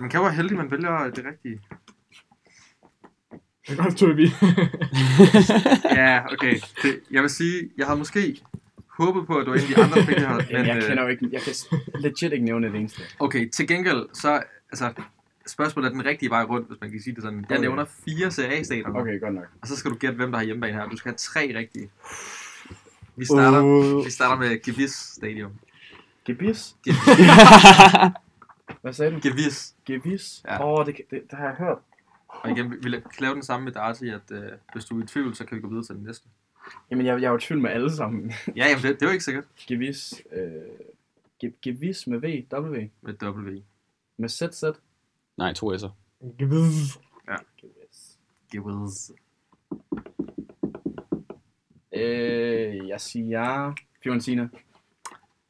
Man kan jo være heldig, man vælger det rigtige. Det er godt, Tobi. Ja, okay. Det, jeg vil sige, jeg havde måske håbet på, at du var en af de andre der fik det her. Men, jeg øh, kender jo ikke, jeg kan legit ikke nævne det eneste. Okay, til gengæld, så altså, spørgsmålet er den rigtige vej rundt, hvis man kan sige det sådan. Jeg Okay. nævner fire CA-stater, okay. Okay, godt nok. og så skal du gætte, hvem der har hjemmebane her. Du skal have tre rigtige. Vi starter, Uh. Øh. vi starter med Gevis Stadium. Gebis? Ge- Hvad sagde du? Gevis. Gebis? Ja. Åh, oh, det, det, det, har jeg hørt. Og igen, vi, vi kan lave den samme med Darcy, at øh, hvis du er i tvivl, så kan vi gå videre til den næste. Jamen, jeg, jeg er jo i tvivl med alle sammen. Ja, jamen, det, det er jo ikke sikkert. Gebis, øh, Ge- Gebis med V, W, Med W. med Z, Z. Nej, to S'er. Geviss. Gebis. Gevis. Øh, jeg siger Fiorentina.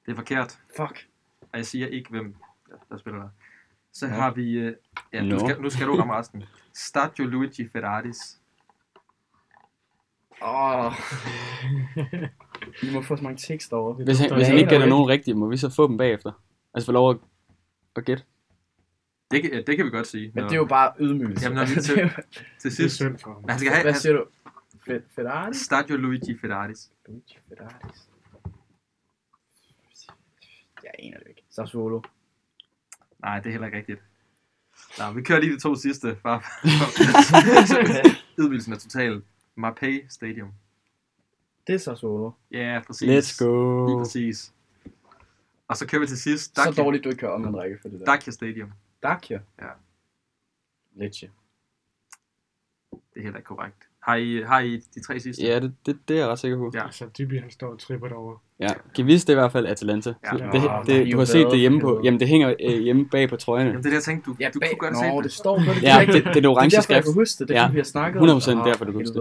Det er forkert, Fuck. og jeg siger ikke, hvem der, der spiller der. Så Nå. har vi... Øh, ja, nu Nå. skal, nu skal du ramme resten. Stadio Luigi Ferraris. Åh. Oh. I må få så mange tekster over. Hvis han, hvis han Jeg ikke aner gætter ikke. nogen rigtige, må vi så få dem bagefter? Altså få lov at, at gætte? Det, kan- ja, det kan vi godt sige. Men Nå. det er jo bare ydmygelse. Jamen, når vi Altså, til- det er jo- til Det er sidst. synd for ham. Men han skal have Hvad han, siger du? Fe- Ferrari? Stadio Luigi Ferraris. Luigi Ferrari. Jeg aner det ikke. Sassuolo. Nej, det er heller ikke rigtigt. Nå, vi kører lige de to sidste. Bare Udvidelsen er total. Marpay Stadium. Det er Sassuolo. Ja, præcis. Let's go. Lige præcis. Og så kører vi til sidst. Så Dacia, dårligt, du ikke kan om en række for det der. Dacia Stadium. Dakia? Ja. Lecce. Det er heller ikke korrekt. Har I, har I de tre sidste? Ja, det, det, det er jeg ret sikker på. Ja. Altså, Dyby, han står og tripper derovre. Ja, Gevis det er i hvert fald Atalanta. Ja. Ja. Ja. Det, Nå, det, de du er har jo set glade det hjemme for på. helvede. Jamen, det hænger øh, hjemme bag på trøjerne. Jamen, det er det, jeg tænkte. Du, du kunne godt se Nå, det det. står på det. Ja, det, det er det det er orange derfor, jeg skrift. kan huske det. Det er Ja. fordi, vi har snakket 100% om derfor, du kan huske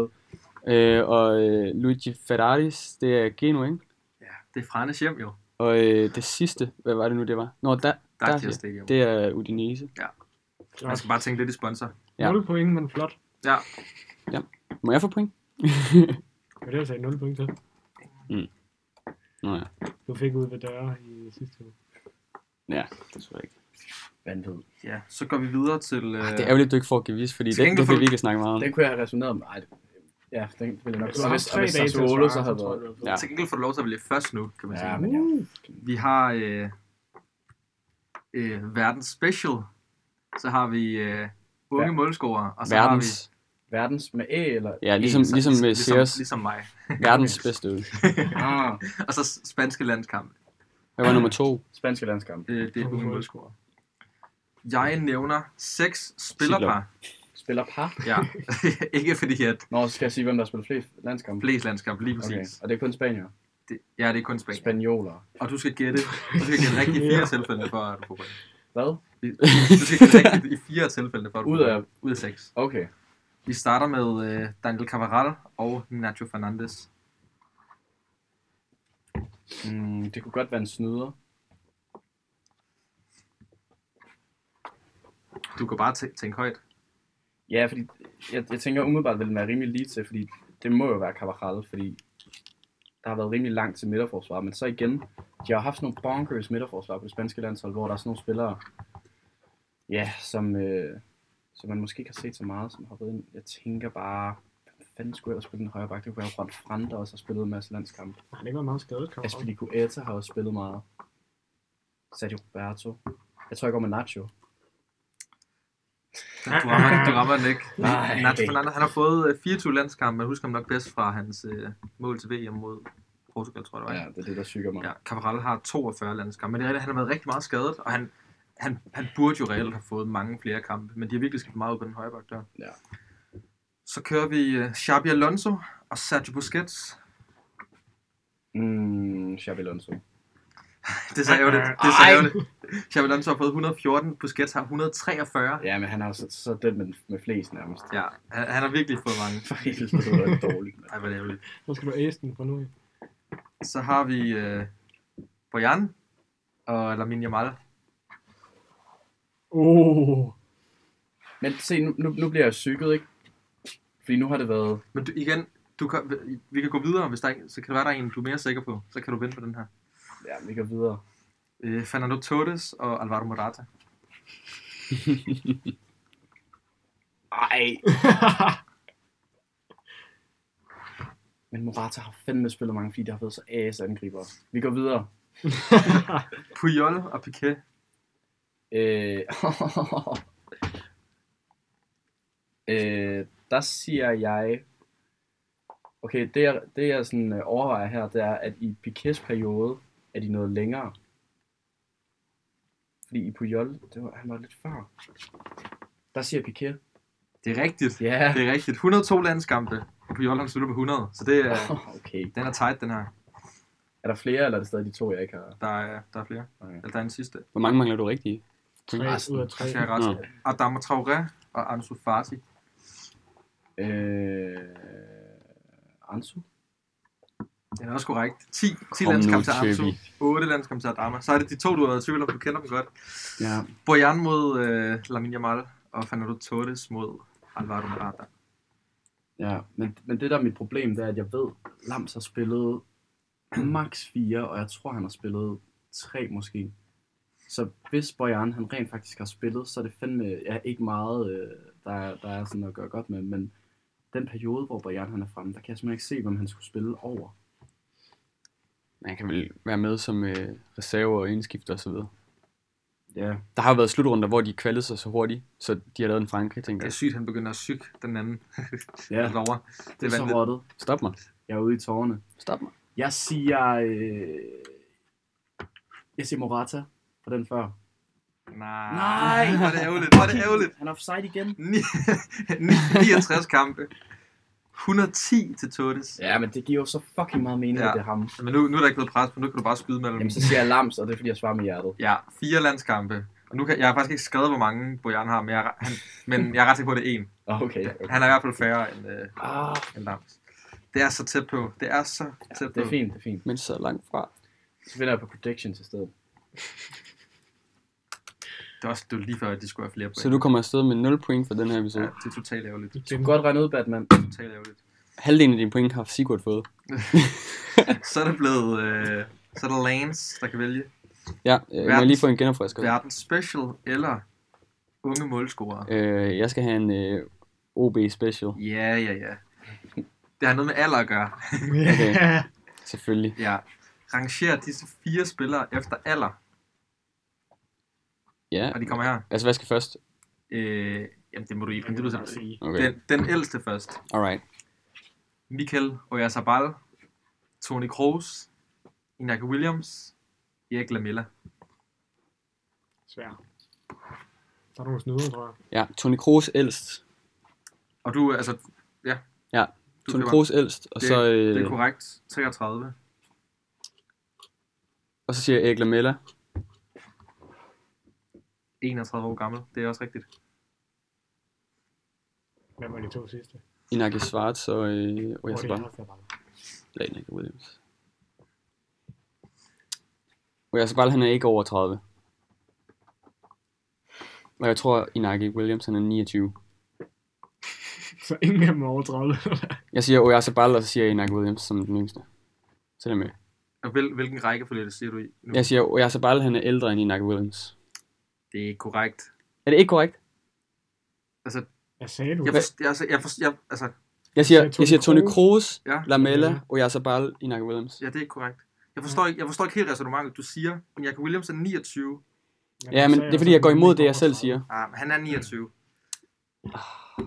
helvede. Øh, og øh, Luigi Ferraris, det er Geno, ikke? Ja, det er Franes hjem jo. Og øh, det sidste, hvad var det nu, det var? Nå, da, Dacia der, Stadium. det er Udinese. Man Klart. skal bare tænke lidt i sponsor. Ja. 0 Altså, point, men flot. Ja, Må jeg få point? Ja, det har jeg sagt 0 point til. Nå ja. Du fik ud ved døre i sidste uge. Ja, det tror jeg ikke. Vanvid. ja. Så går vi videre til... Øh, Det er ærgerligt, du ikke får Gevis, fordi Til det, gengæld det får kan vi du- ikke snakke meget om. Den kunne jeg have resoneret med. Ej, det- ja, den ville jeg nok. Du Og Altså, hvis, og har haft Altså, tre hvis dage til altså. at Sassuolo, svare, så så havde tror jeg, været... du har Ja. fået. Til gengæld får du lov til at vælge først nu, kan man Ja, sige. men ja. Vi har øh, øh, verdens special. Så har vi øh, unge Ver- målscorer. Og så har Verdens, Verdens med æ, eller... ja, ligesom, vi... så- ligesom med ligesom, Sears, ligesom mig. verdens bedste øl. Ah, Og så s- spanske landskamp. Hvad var nummer to? spanske landskamp. Øh, det er unge Unge målscorer. Jeg nævner seks spillerpar. Spiller par. Ja. Ikke fordi at Nå, så skal jeg sige, hvem der spiller flest landskampe. flest landskamp, lige Okay, præcis. Okay. og det er kun spanier. Det, ja, det er kun Spanien. Spanioler. Og du skal gætte, du skal gætte rigtigt i fire tilfælde, for at du får point. Hvad? Du skal gætte rigtigt i fire tilfælde, for at du Ud får af- point. Ud af seks. Okay. Vi starter med øh, Daniel Cavaral og Nacho Fernandes. Mm, det kunne godt være en snyder. Du kan bare tæ- tænke højt. Ja, fordi jeg, jeg tænker umiddelbart, vil den være rimelig lige til, fordi det må jo være Cavajal, fordi der har været rimelig langt til midterforsvar. Men så igen, de har haft sådan nogle bonkers midterforsvar på det spanske landshold, hvor der er sådan nogle spillere, ja, som, øh, som man måske ikke har set så meget, som har været ind. Jeg tænker bare, hvem fanden skulle ellers spille den højre bak? Det kunne være Ron Fran, der også har spillet en masse landskampe. Har han ikke været meget skadet, Karl? Aspilicueta har også spillet meget. Sergio Roberto. Jeg tror, jeg går med Nacho. Du rammer, den- du rammer den ikke. Nej. Nacho Fernandes han har fået øh, 24 landskampe, men husker ham nok bedst fra hans øh, mål til VM mod Portugal, tror jeg det var. Ja, det er det, der syger mig. Ja, Cabral har 42 landskampe, men det er rigtigt, han har været rigtig meget skadet, og han, han, han burde jo reelt have fået mange flere kampe, men de har virkelig skiftet meget ud på den højre bak der. Ja. Så kører vi uh, Xabi Alonso og Sergio Busquets. Mm, Xabi Alonso. Det er så ærgerligt. Det er så ærgerligt. Xabi Alonso har fået 114, Busquets har 143. Ja, men han er jo så, så den med, med flest nærmest. Ja, han, han har virkelig fået mange. For helvede, hvor er det dårligt. mand. Ej, hvor er det ærgerligt. Så skal du æse den fra nu. af. Så har vi uh, Bojan og Lamine Yamal. Åh, oh, Men se, nu, nu, nu bliver jeg psyket, ikke? Fordi nu har det været... Men du, igen, du kan, vi kan gå videre, hvis der, er en- så kan det være, der er en, du er mere sikker på. Så kan du vinde på den her. Ja, vi går videre. Øh, Fernando Torres og Alvaro Morata. Ej! Men Morata har fandme spillet mange, fordi der har været så as angriber. Vi går videre. Puyol og Piqué. Øh... øh, der siger jeg... Okay, det jeg, det jeg sådan øh, overvejer her, det er, at i Piquets periode er de noget længere. Fordi i Puyol, det var, han var lidt før. Der siger Piquet. Det er rigtigt. Ja. Det er rigtigt. 102 landskampe. Puyol han slutter på 100, så det er, Okay. den er tight, den her. Er der flere, eller er det stadig de to, jeg ikke har? Der er, der er flere. Okay. Eller der er en sidste. Hvor mange mangler du rigtige? tre Resten. ud af tre. Der skal jeg ret. Nå. Adama Traoré og Ansu Fati. Øh... Ansu? Den er også korrekt. 10, 10 Kom nu, landskampe til Ansu, Tøbi. 8 landskampe til Adama. Så er det de to, du har været i tvivl om, du kender dem godt. Ja. Bojan mod øh, Lamine Yamal og Fernando Torres mod Alvaro Morata. Ja, men, men det der er mit problem, det er, at jeg ved, Lams har spillet max 4, og jeg tror, han har spillet 3 måske. Så hvis Bojan han rent faktisk har spillet, så er det fandme ja, ikke meget, øh, der, er- der er sådan at gøre godt med. Men den periode, hvor Bojan han er fremme, der kan jeg simpelthen ikke se, hvem han skulle spille over. Man kan vel være med som øh, reserve og indskifter og så videre. Ja, Der har jo været slutrunder, hvor de kvalede sig så hurtigt, så de har lavet en Frankrig, tænker Det er jeg. sygt, han begynder at syge den anden ja. derovre. Det er så vanvittigt. rottet. Stop mig. Jeg er ude i tårerne. Stop mig. Jeg siger... Øh... Jeg siger Morata fra den før. Nej, Nej. hvor er det ærgerligt, hvor er det ærgerligt. Han er offside igen. Ni- 69 kampe. 110 til Tottes. Ja, men det giver jo så fucking meget mening, ja. Ja. at det er ham. Men nu, nu er der ikke noget pres på, nu kan du bare skyde mellem. Jamen, så siger jeg Lams, og det er, fordi jeg svarer med hjertet. Ja, fire landskampe. Og nu kan, jeg har faktisk ikke skrevet, hvor mange Bojan har, men jeg, er- han, men jeg er ret sikker på, at det er en. Ah, Okay, okay. Han er i hvert fald færre end, øh, Ah, end Lams. Det er så tæt på. Det er så tæt på. det er fint, det er fint. Men så langt fra. Så finder jeg på predictions i stedet. Det er også det var lige før, at de skulle have flere point. Så du kommer afsted med 0 point for den her Ja, episode. Ja. det er totalt ærgerligt. Du Du kan glemte, godt regne ud, Batman. Totalt ærgerligt. Halvdelen af dine point har Sigurd fået. Så er det blevet... Øh, så er der Lance, der kan vælge Ja, øh, må jeg lige få en genopfrisker? verdens special eller unge målscorer. Øh, jeg skal have en øh, OB special, Ja, ja, ja. Det har noget med alder at gøre. Okay. selvfølgelig. Ja. Ranger disse fire spillere efter alder, Ja, og de kommer her. altså hvad skal først? Øh, jamen, det må du i det princippet vil jeg selv sige. sige. Okay, Den, den ældste først. alright. Michael Oyarzabal, Tony Kroos, Inaki Williams, Erik Lamella. Svær. Der er nogle snyder, tror jeg. Ja, Tony Kroos ældst. Og du, altså, ja. Ja, Du Tony køber- Kroos ældst, og Det, så, det er øh, korrekt. 33. og så siger jeg Erik Lamella. 31 år gammel. Det er også rigtigt. Hvad var de to sidste? Inaki Schwarz og øh, Hvor og jeg er så det bare Jakob Alba? lade Inaki Williams. Og jeg så bare, han er ikke over 30. Og jeg tror, Inaki Williams han er 29. Så ingen af dem er over 30. Jeg siger Oyazabal, og så siger jeg Inaki Williams som den yngste. Så er det med. Og hvil, hvilken rækkefølge det siger du i nu? Jeg siger Oyazabal, han er ældre end Inaki Williams. Det er ikke korrekt. Er det ikke korrekt? Altså, Hvad sagde du? jeg, forst, jeg, altså, jeg, forst, jeg, altså, Jeg siger, Jeg jeg, siger jeg siger Tony Toni Kroos, Ja. Lamella, Oyazabal, Inaki Williams. ja, det er ikke korrekt. Jeg forstår, ikke, jeg forstår ikke helt resonemanget. Du siger, at Jakob Williams er 29. Ja, men sagde det er fordi, jeg også, går at imod den det, jeg ikke selv over 30. siger. Ah, men han Mm. er 29.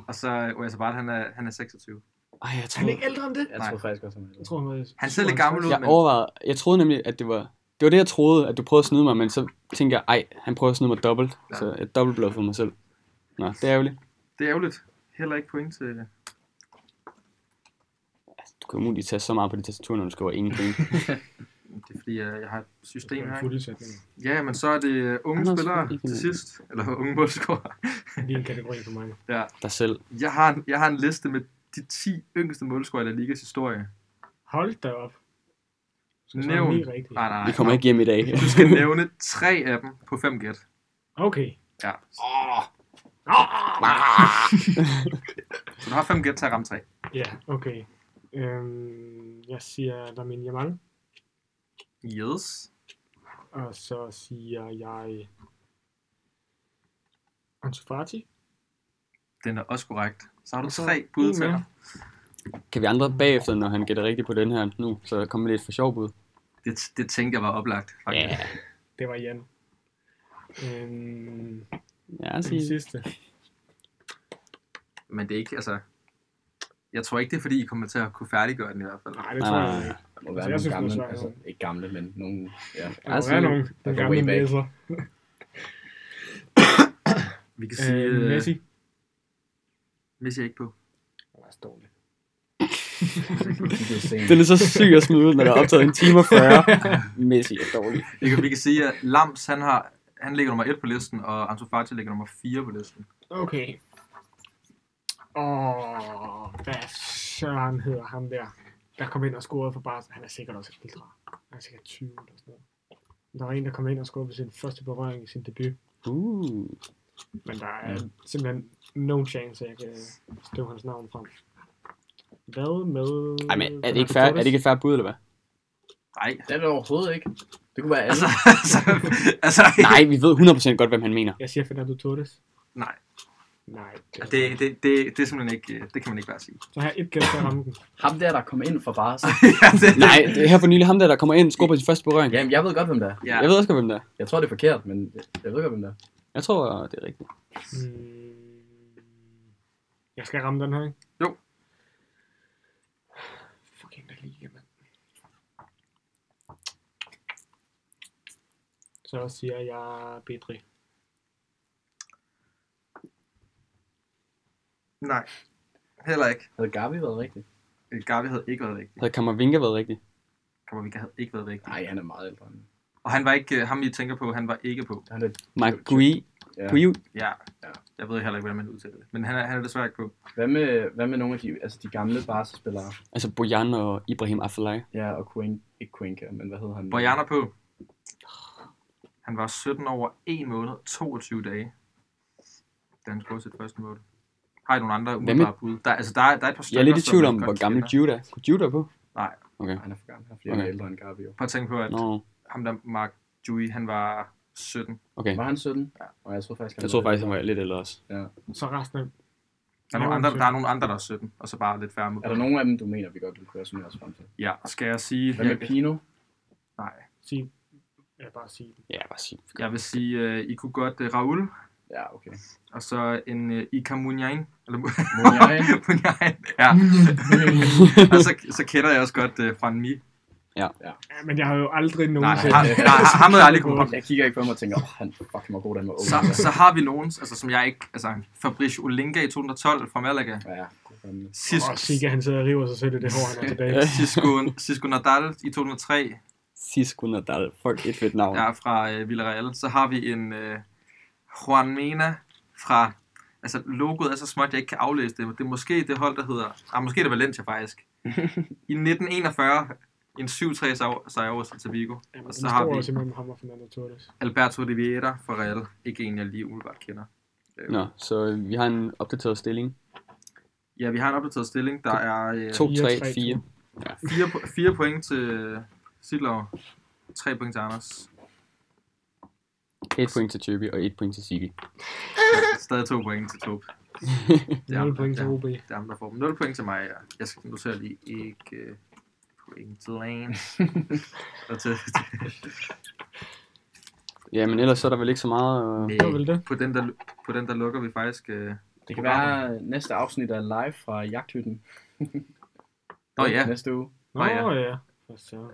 Og så Oyarzabal, han er, han er 26. Ej, jeg Er han troede, ikke ældre end det? Jeg Nej. tror faktisk også, han er Jeg tror, han var... Han ser lidt gammel ud, jeg men overvejede, jeg troede nemlig, at det var, det var det, jeg troede, at du prøvede at snyde mig, men så tænkte jeg, ej, han prøver at snyde mig dobbelt, Ja. så jeg dobbeltblad for mig selv. Nå, det er ærgerligt. det er ærgerligt. Heller ikke point til... Du kan umuligt tage så meget på dit tastatur, når du skriver ingen point. Det er fordi, øh, jeg, jeg har et system her. en ikke? fuld sætning. Ja, men så er det øh, unge Anders, spillere til ikke noget. sidst. Eller unge målscorer. Lige en kategori for mig. Dig selv. Jeg har, en, jeg har en liste med de 10 yngste målscorer i La Ligas historie. Hold da op. Skal jeg svare Nævn. lige rigtigt? Nej, nej. Vi kommer ikke hjem i dag. Du skal nævne tre af dem på 5 gæt. Okay. Ja. Ah! Så du har 5 gæt til at ramme 3. Ja, okay. Øhm, jeg siger Lamin Jamal, Yes. og så siger jeg Ansu Fati. Den er også korrekt. Så har du Og så tre bud en til mere. dig. Kan vi andre bagefter, når han gætter rigtigt på den her nu, så kommer lidt for sjov bud. Det, det tænker jeg var oplagt. Faktisk. Ja, Det var Jan. Øhm, ja, den sig. sidste. Men det er ikke, altså... Jeg tror ikke, det er fordi, I kommer til at kunne færdiggøre den i hvert fald. Nej, det Nej, tror nej, jeg nej. ikke. Der må være jeg nogle synes, det gamle, er altså svært. ikke gamle, men nogle, ja. Der Altså, altså, er nogle der går gamle way back. messer. Vi kan sige... Øh, Messi. Messi er ikke på. Han er dårlig. Det er sent. Den er så syg at smide ud, når der er optaget en time og 40. Messi er dårlig. Vi kan, vi kan sige, at Lams, han, har, han ligger nummer 1 på listen, og Ansu Fati ligger nummer 4 på listen. Okay. Åh, hvad søren hedder ham der, der kom ind og scorede for Barca. Han er sikkert også ældre. Han er sikkert 20 eller sådan noget. Men Der var en, der kom ind og scorede på sin første berøring i sin debut. Uh. Men der er Mm. simpelthen no chance, at jeg kan støve hans navn frem. Hvad med... Ej, men er det ikke fair, er det ikke et fair bud, eller hvad? Nej, Det er det overhovedet ikke. Det kunne være alle. altså, altså, altså, Nej, vi ved 100% godt, hvem han mener. Jeg siger Fernando Torres. nej, Altså, Nej. Det, det, det, det, er simpelthen ikke, øh, det kan man ikke bare sige. Så har jeg et gæld til at ramme den. Ham der, der kom ind for bare så. ja, det, Nej, det er her for nylig ham der, der kommer ind og skubber sin første berøring. Jamen, jeg ved godt, hvem det er. Ja, Jeg ved også godt, hvem det er. Jeg tror, det er forkert, men jeg ved godt, hvem det er. Jeg tror, det er rigtigt. Mm, jeg skal ramme den her, ikke? Jo. Fucking der liga, mand. Så siger jeg Petri. nej. Heller ikke. Havde Gabi været rigtig? Øh, Garvey havde ikke været rigtig. Havde Kammervinka været rigtigt? Kammervika havde ikke været rigtig. Nej, han er meget ældre. end- Og han var ikke, øh, ham I tænker på, han var ikke på. Han er Mike Gui. Ja. Gui. Ja. Ja. Jeg ved heller ikke, hvordan man udtaler det. Men han er, han er desværre ikke på. Hvad med, hvad med nogle af de, altså de gamle Barca-spillere? Altså Bojan og Ibrahim Afellay. Ja, og Cuenca, ikke Cuenca, men hvad hedder han? Bojan er på. Han var 17 over 1 måned, 22 dage, da han scorede sit første mål. Har I nogle andre med- umiddelbare bud? Der, altså, der, er, der er et par Jeg stykker, er lidt i som tvivl om, godt hvor gammel kender. Judah. Kunne Judah på? Nej, Han er for gammel, fordi han er Okay. ældre end Gabi. Jo. prøv at tænke på, at Nå, no. ham der Mark Dewey, han var 17. okay. Var han 17? Ja. Og jeg tror faktisk, han Jeg tror faktisk, han var lidt ældre også. Så resten af... Der er, Ja, nogle andre, sytten. der er nogle andre, der er 17, og så bare lidt færre med. Er der nogen af dem, du mener, vi godt kunne køre som jeres frem til? Ja, skal jeg sige... Hvad med Jeg, Pino? nej, Sige... Ja, bare sige den. Ja, bare sige. jeg vil sige, uh, I kunne godt uh, Raul, Ja, okay. og så en uh, Ika Munjain. Eller Mu- Munjain. Munjain, ja. og så, så kender jeg også godt uh, Fran Mi. Ja, men jeg har jo aldrig Nej, nogensinde... ham, nej, ham havde jeg aldrig kunne Jeg kigger ikke på ham og tænker, åh, han fucking var god, han var ung. Så, så har vi nogen, altså som jeg ikke, altså Fabrice Olinga i 2012 fra Malaga. Ja, god fanden. Sis, Åh, Sika, han sidder og river sig selv i det hår, han er tilbage. Cisco, Cisco Nadal i 2003 Cisco Nadal. Fuck, et fedt navn. ja, fra øh, Villarreal. Så har vi en øh, Juan Mena fra, altså logoet er så småt, jeg ikke kan aflæse det. men Det er måske det hold, der hedder, ah, måske er det Valencia faktisk. I 1941, en 7-3 sejr- sejr over Celta Vigo. Ja, men Og den så har står vi også imellem ham og Fernando Torres. Alberto Riviera fra Real. Ikke en, jeg lige umiddelbart kender. Nå, så vi har en opdateret stilling. Ja, vi har en opdateret stilling. Der er... Øh, 2-3-4. 4, po- 4 point til øh, Sidlov. 3 point til Anders. 1 point til Tjøbi og 1 point til Sigi. Stadig 2 point til Tob. Det er 0 ham, point til der- OB. Det er ham, der får dem. 0 point til mig. ja. Jeg skal notere lige ikke øh, point til en. Og til, Ja, men ellers så er der vel ikke så meget... Øh... Det var vel til, det. på, den der, på den der lukker vi faktisk... Øh, Det kan være næste afsnit er live fra jagthytten. Nå ja, Næste uge. Nå Nå, ja. ja. For søren.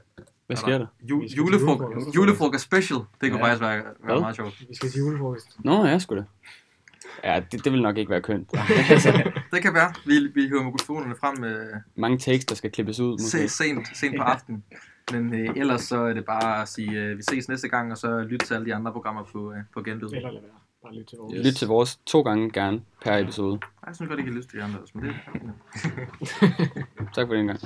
Hvad sker der? ju, Vi skal til julefrok- julefrokost. julefrokost special. Det kunne Ja. faktisk være, være Hvad? meget sjovt. Vi skal til julefrokost. Nå, ja, sgu da. Ja, det, det vil nok ikke være kønt. Det kan være. Vi, vi hiver mikrofonerne frem øh, Mange takes, der skal klippes ud. Måske. se- sent, sent på aftenen. Men øh, ellers så er det bare at sige, øh, vi ses næste gang, og så lyt til alle de andre programmer på, øh, på genlyd. Eller lad være. Bare lidt til vores. Lyt til vores to gange gerne per episode. Jeg synes godt, I kan lytte til de andre også, men det er Tak for den gang.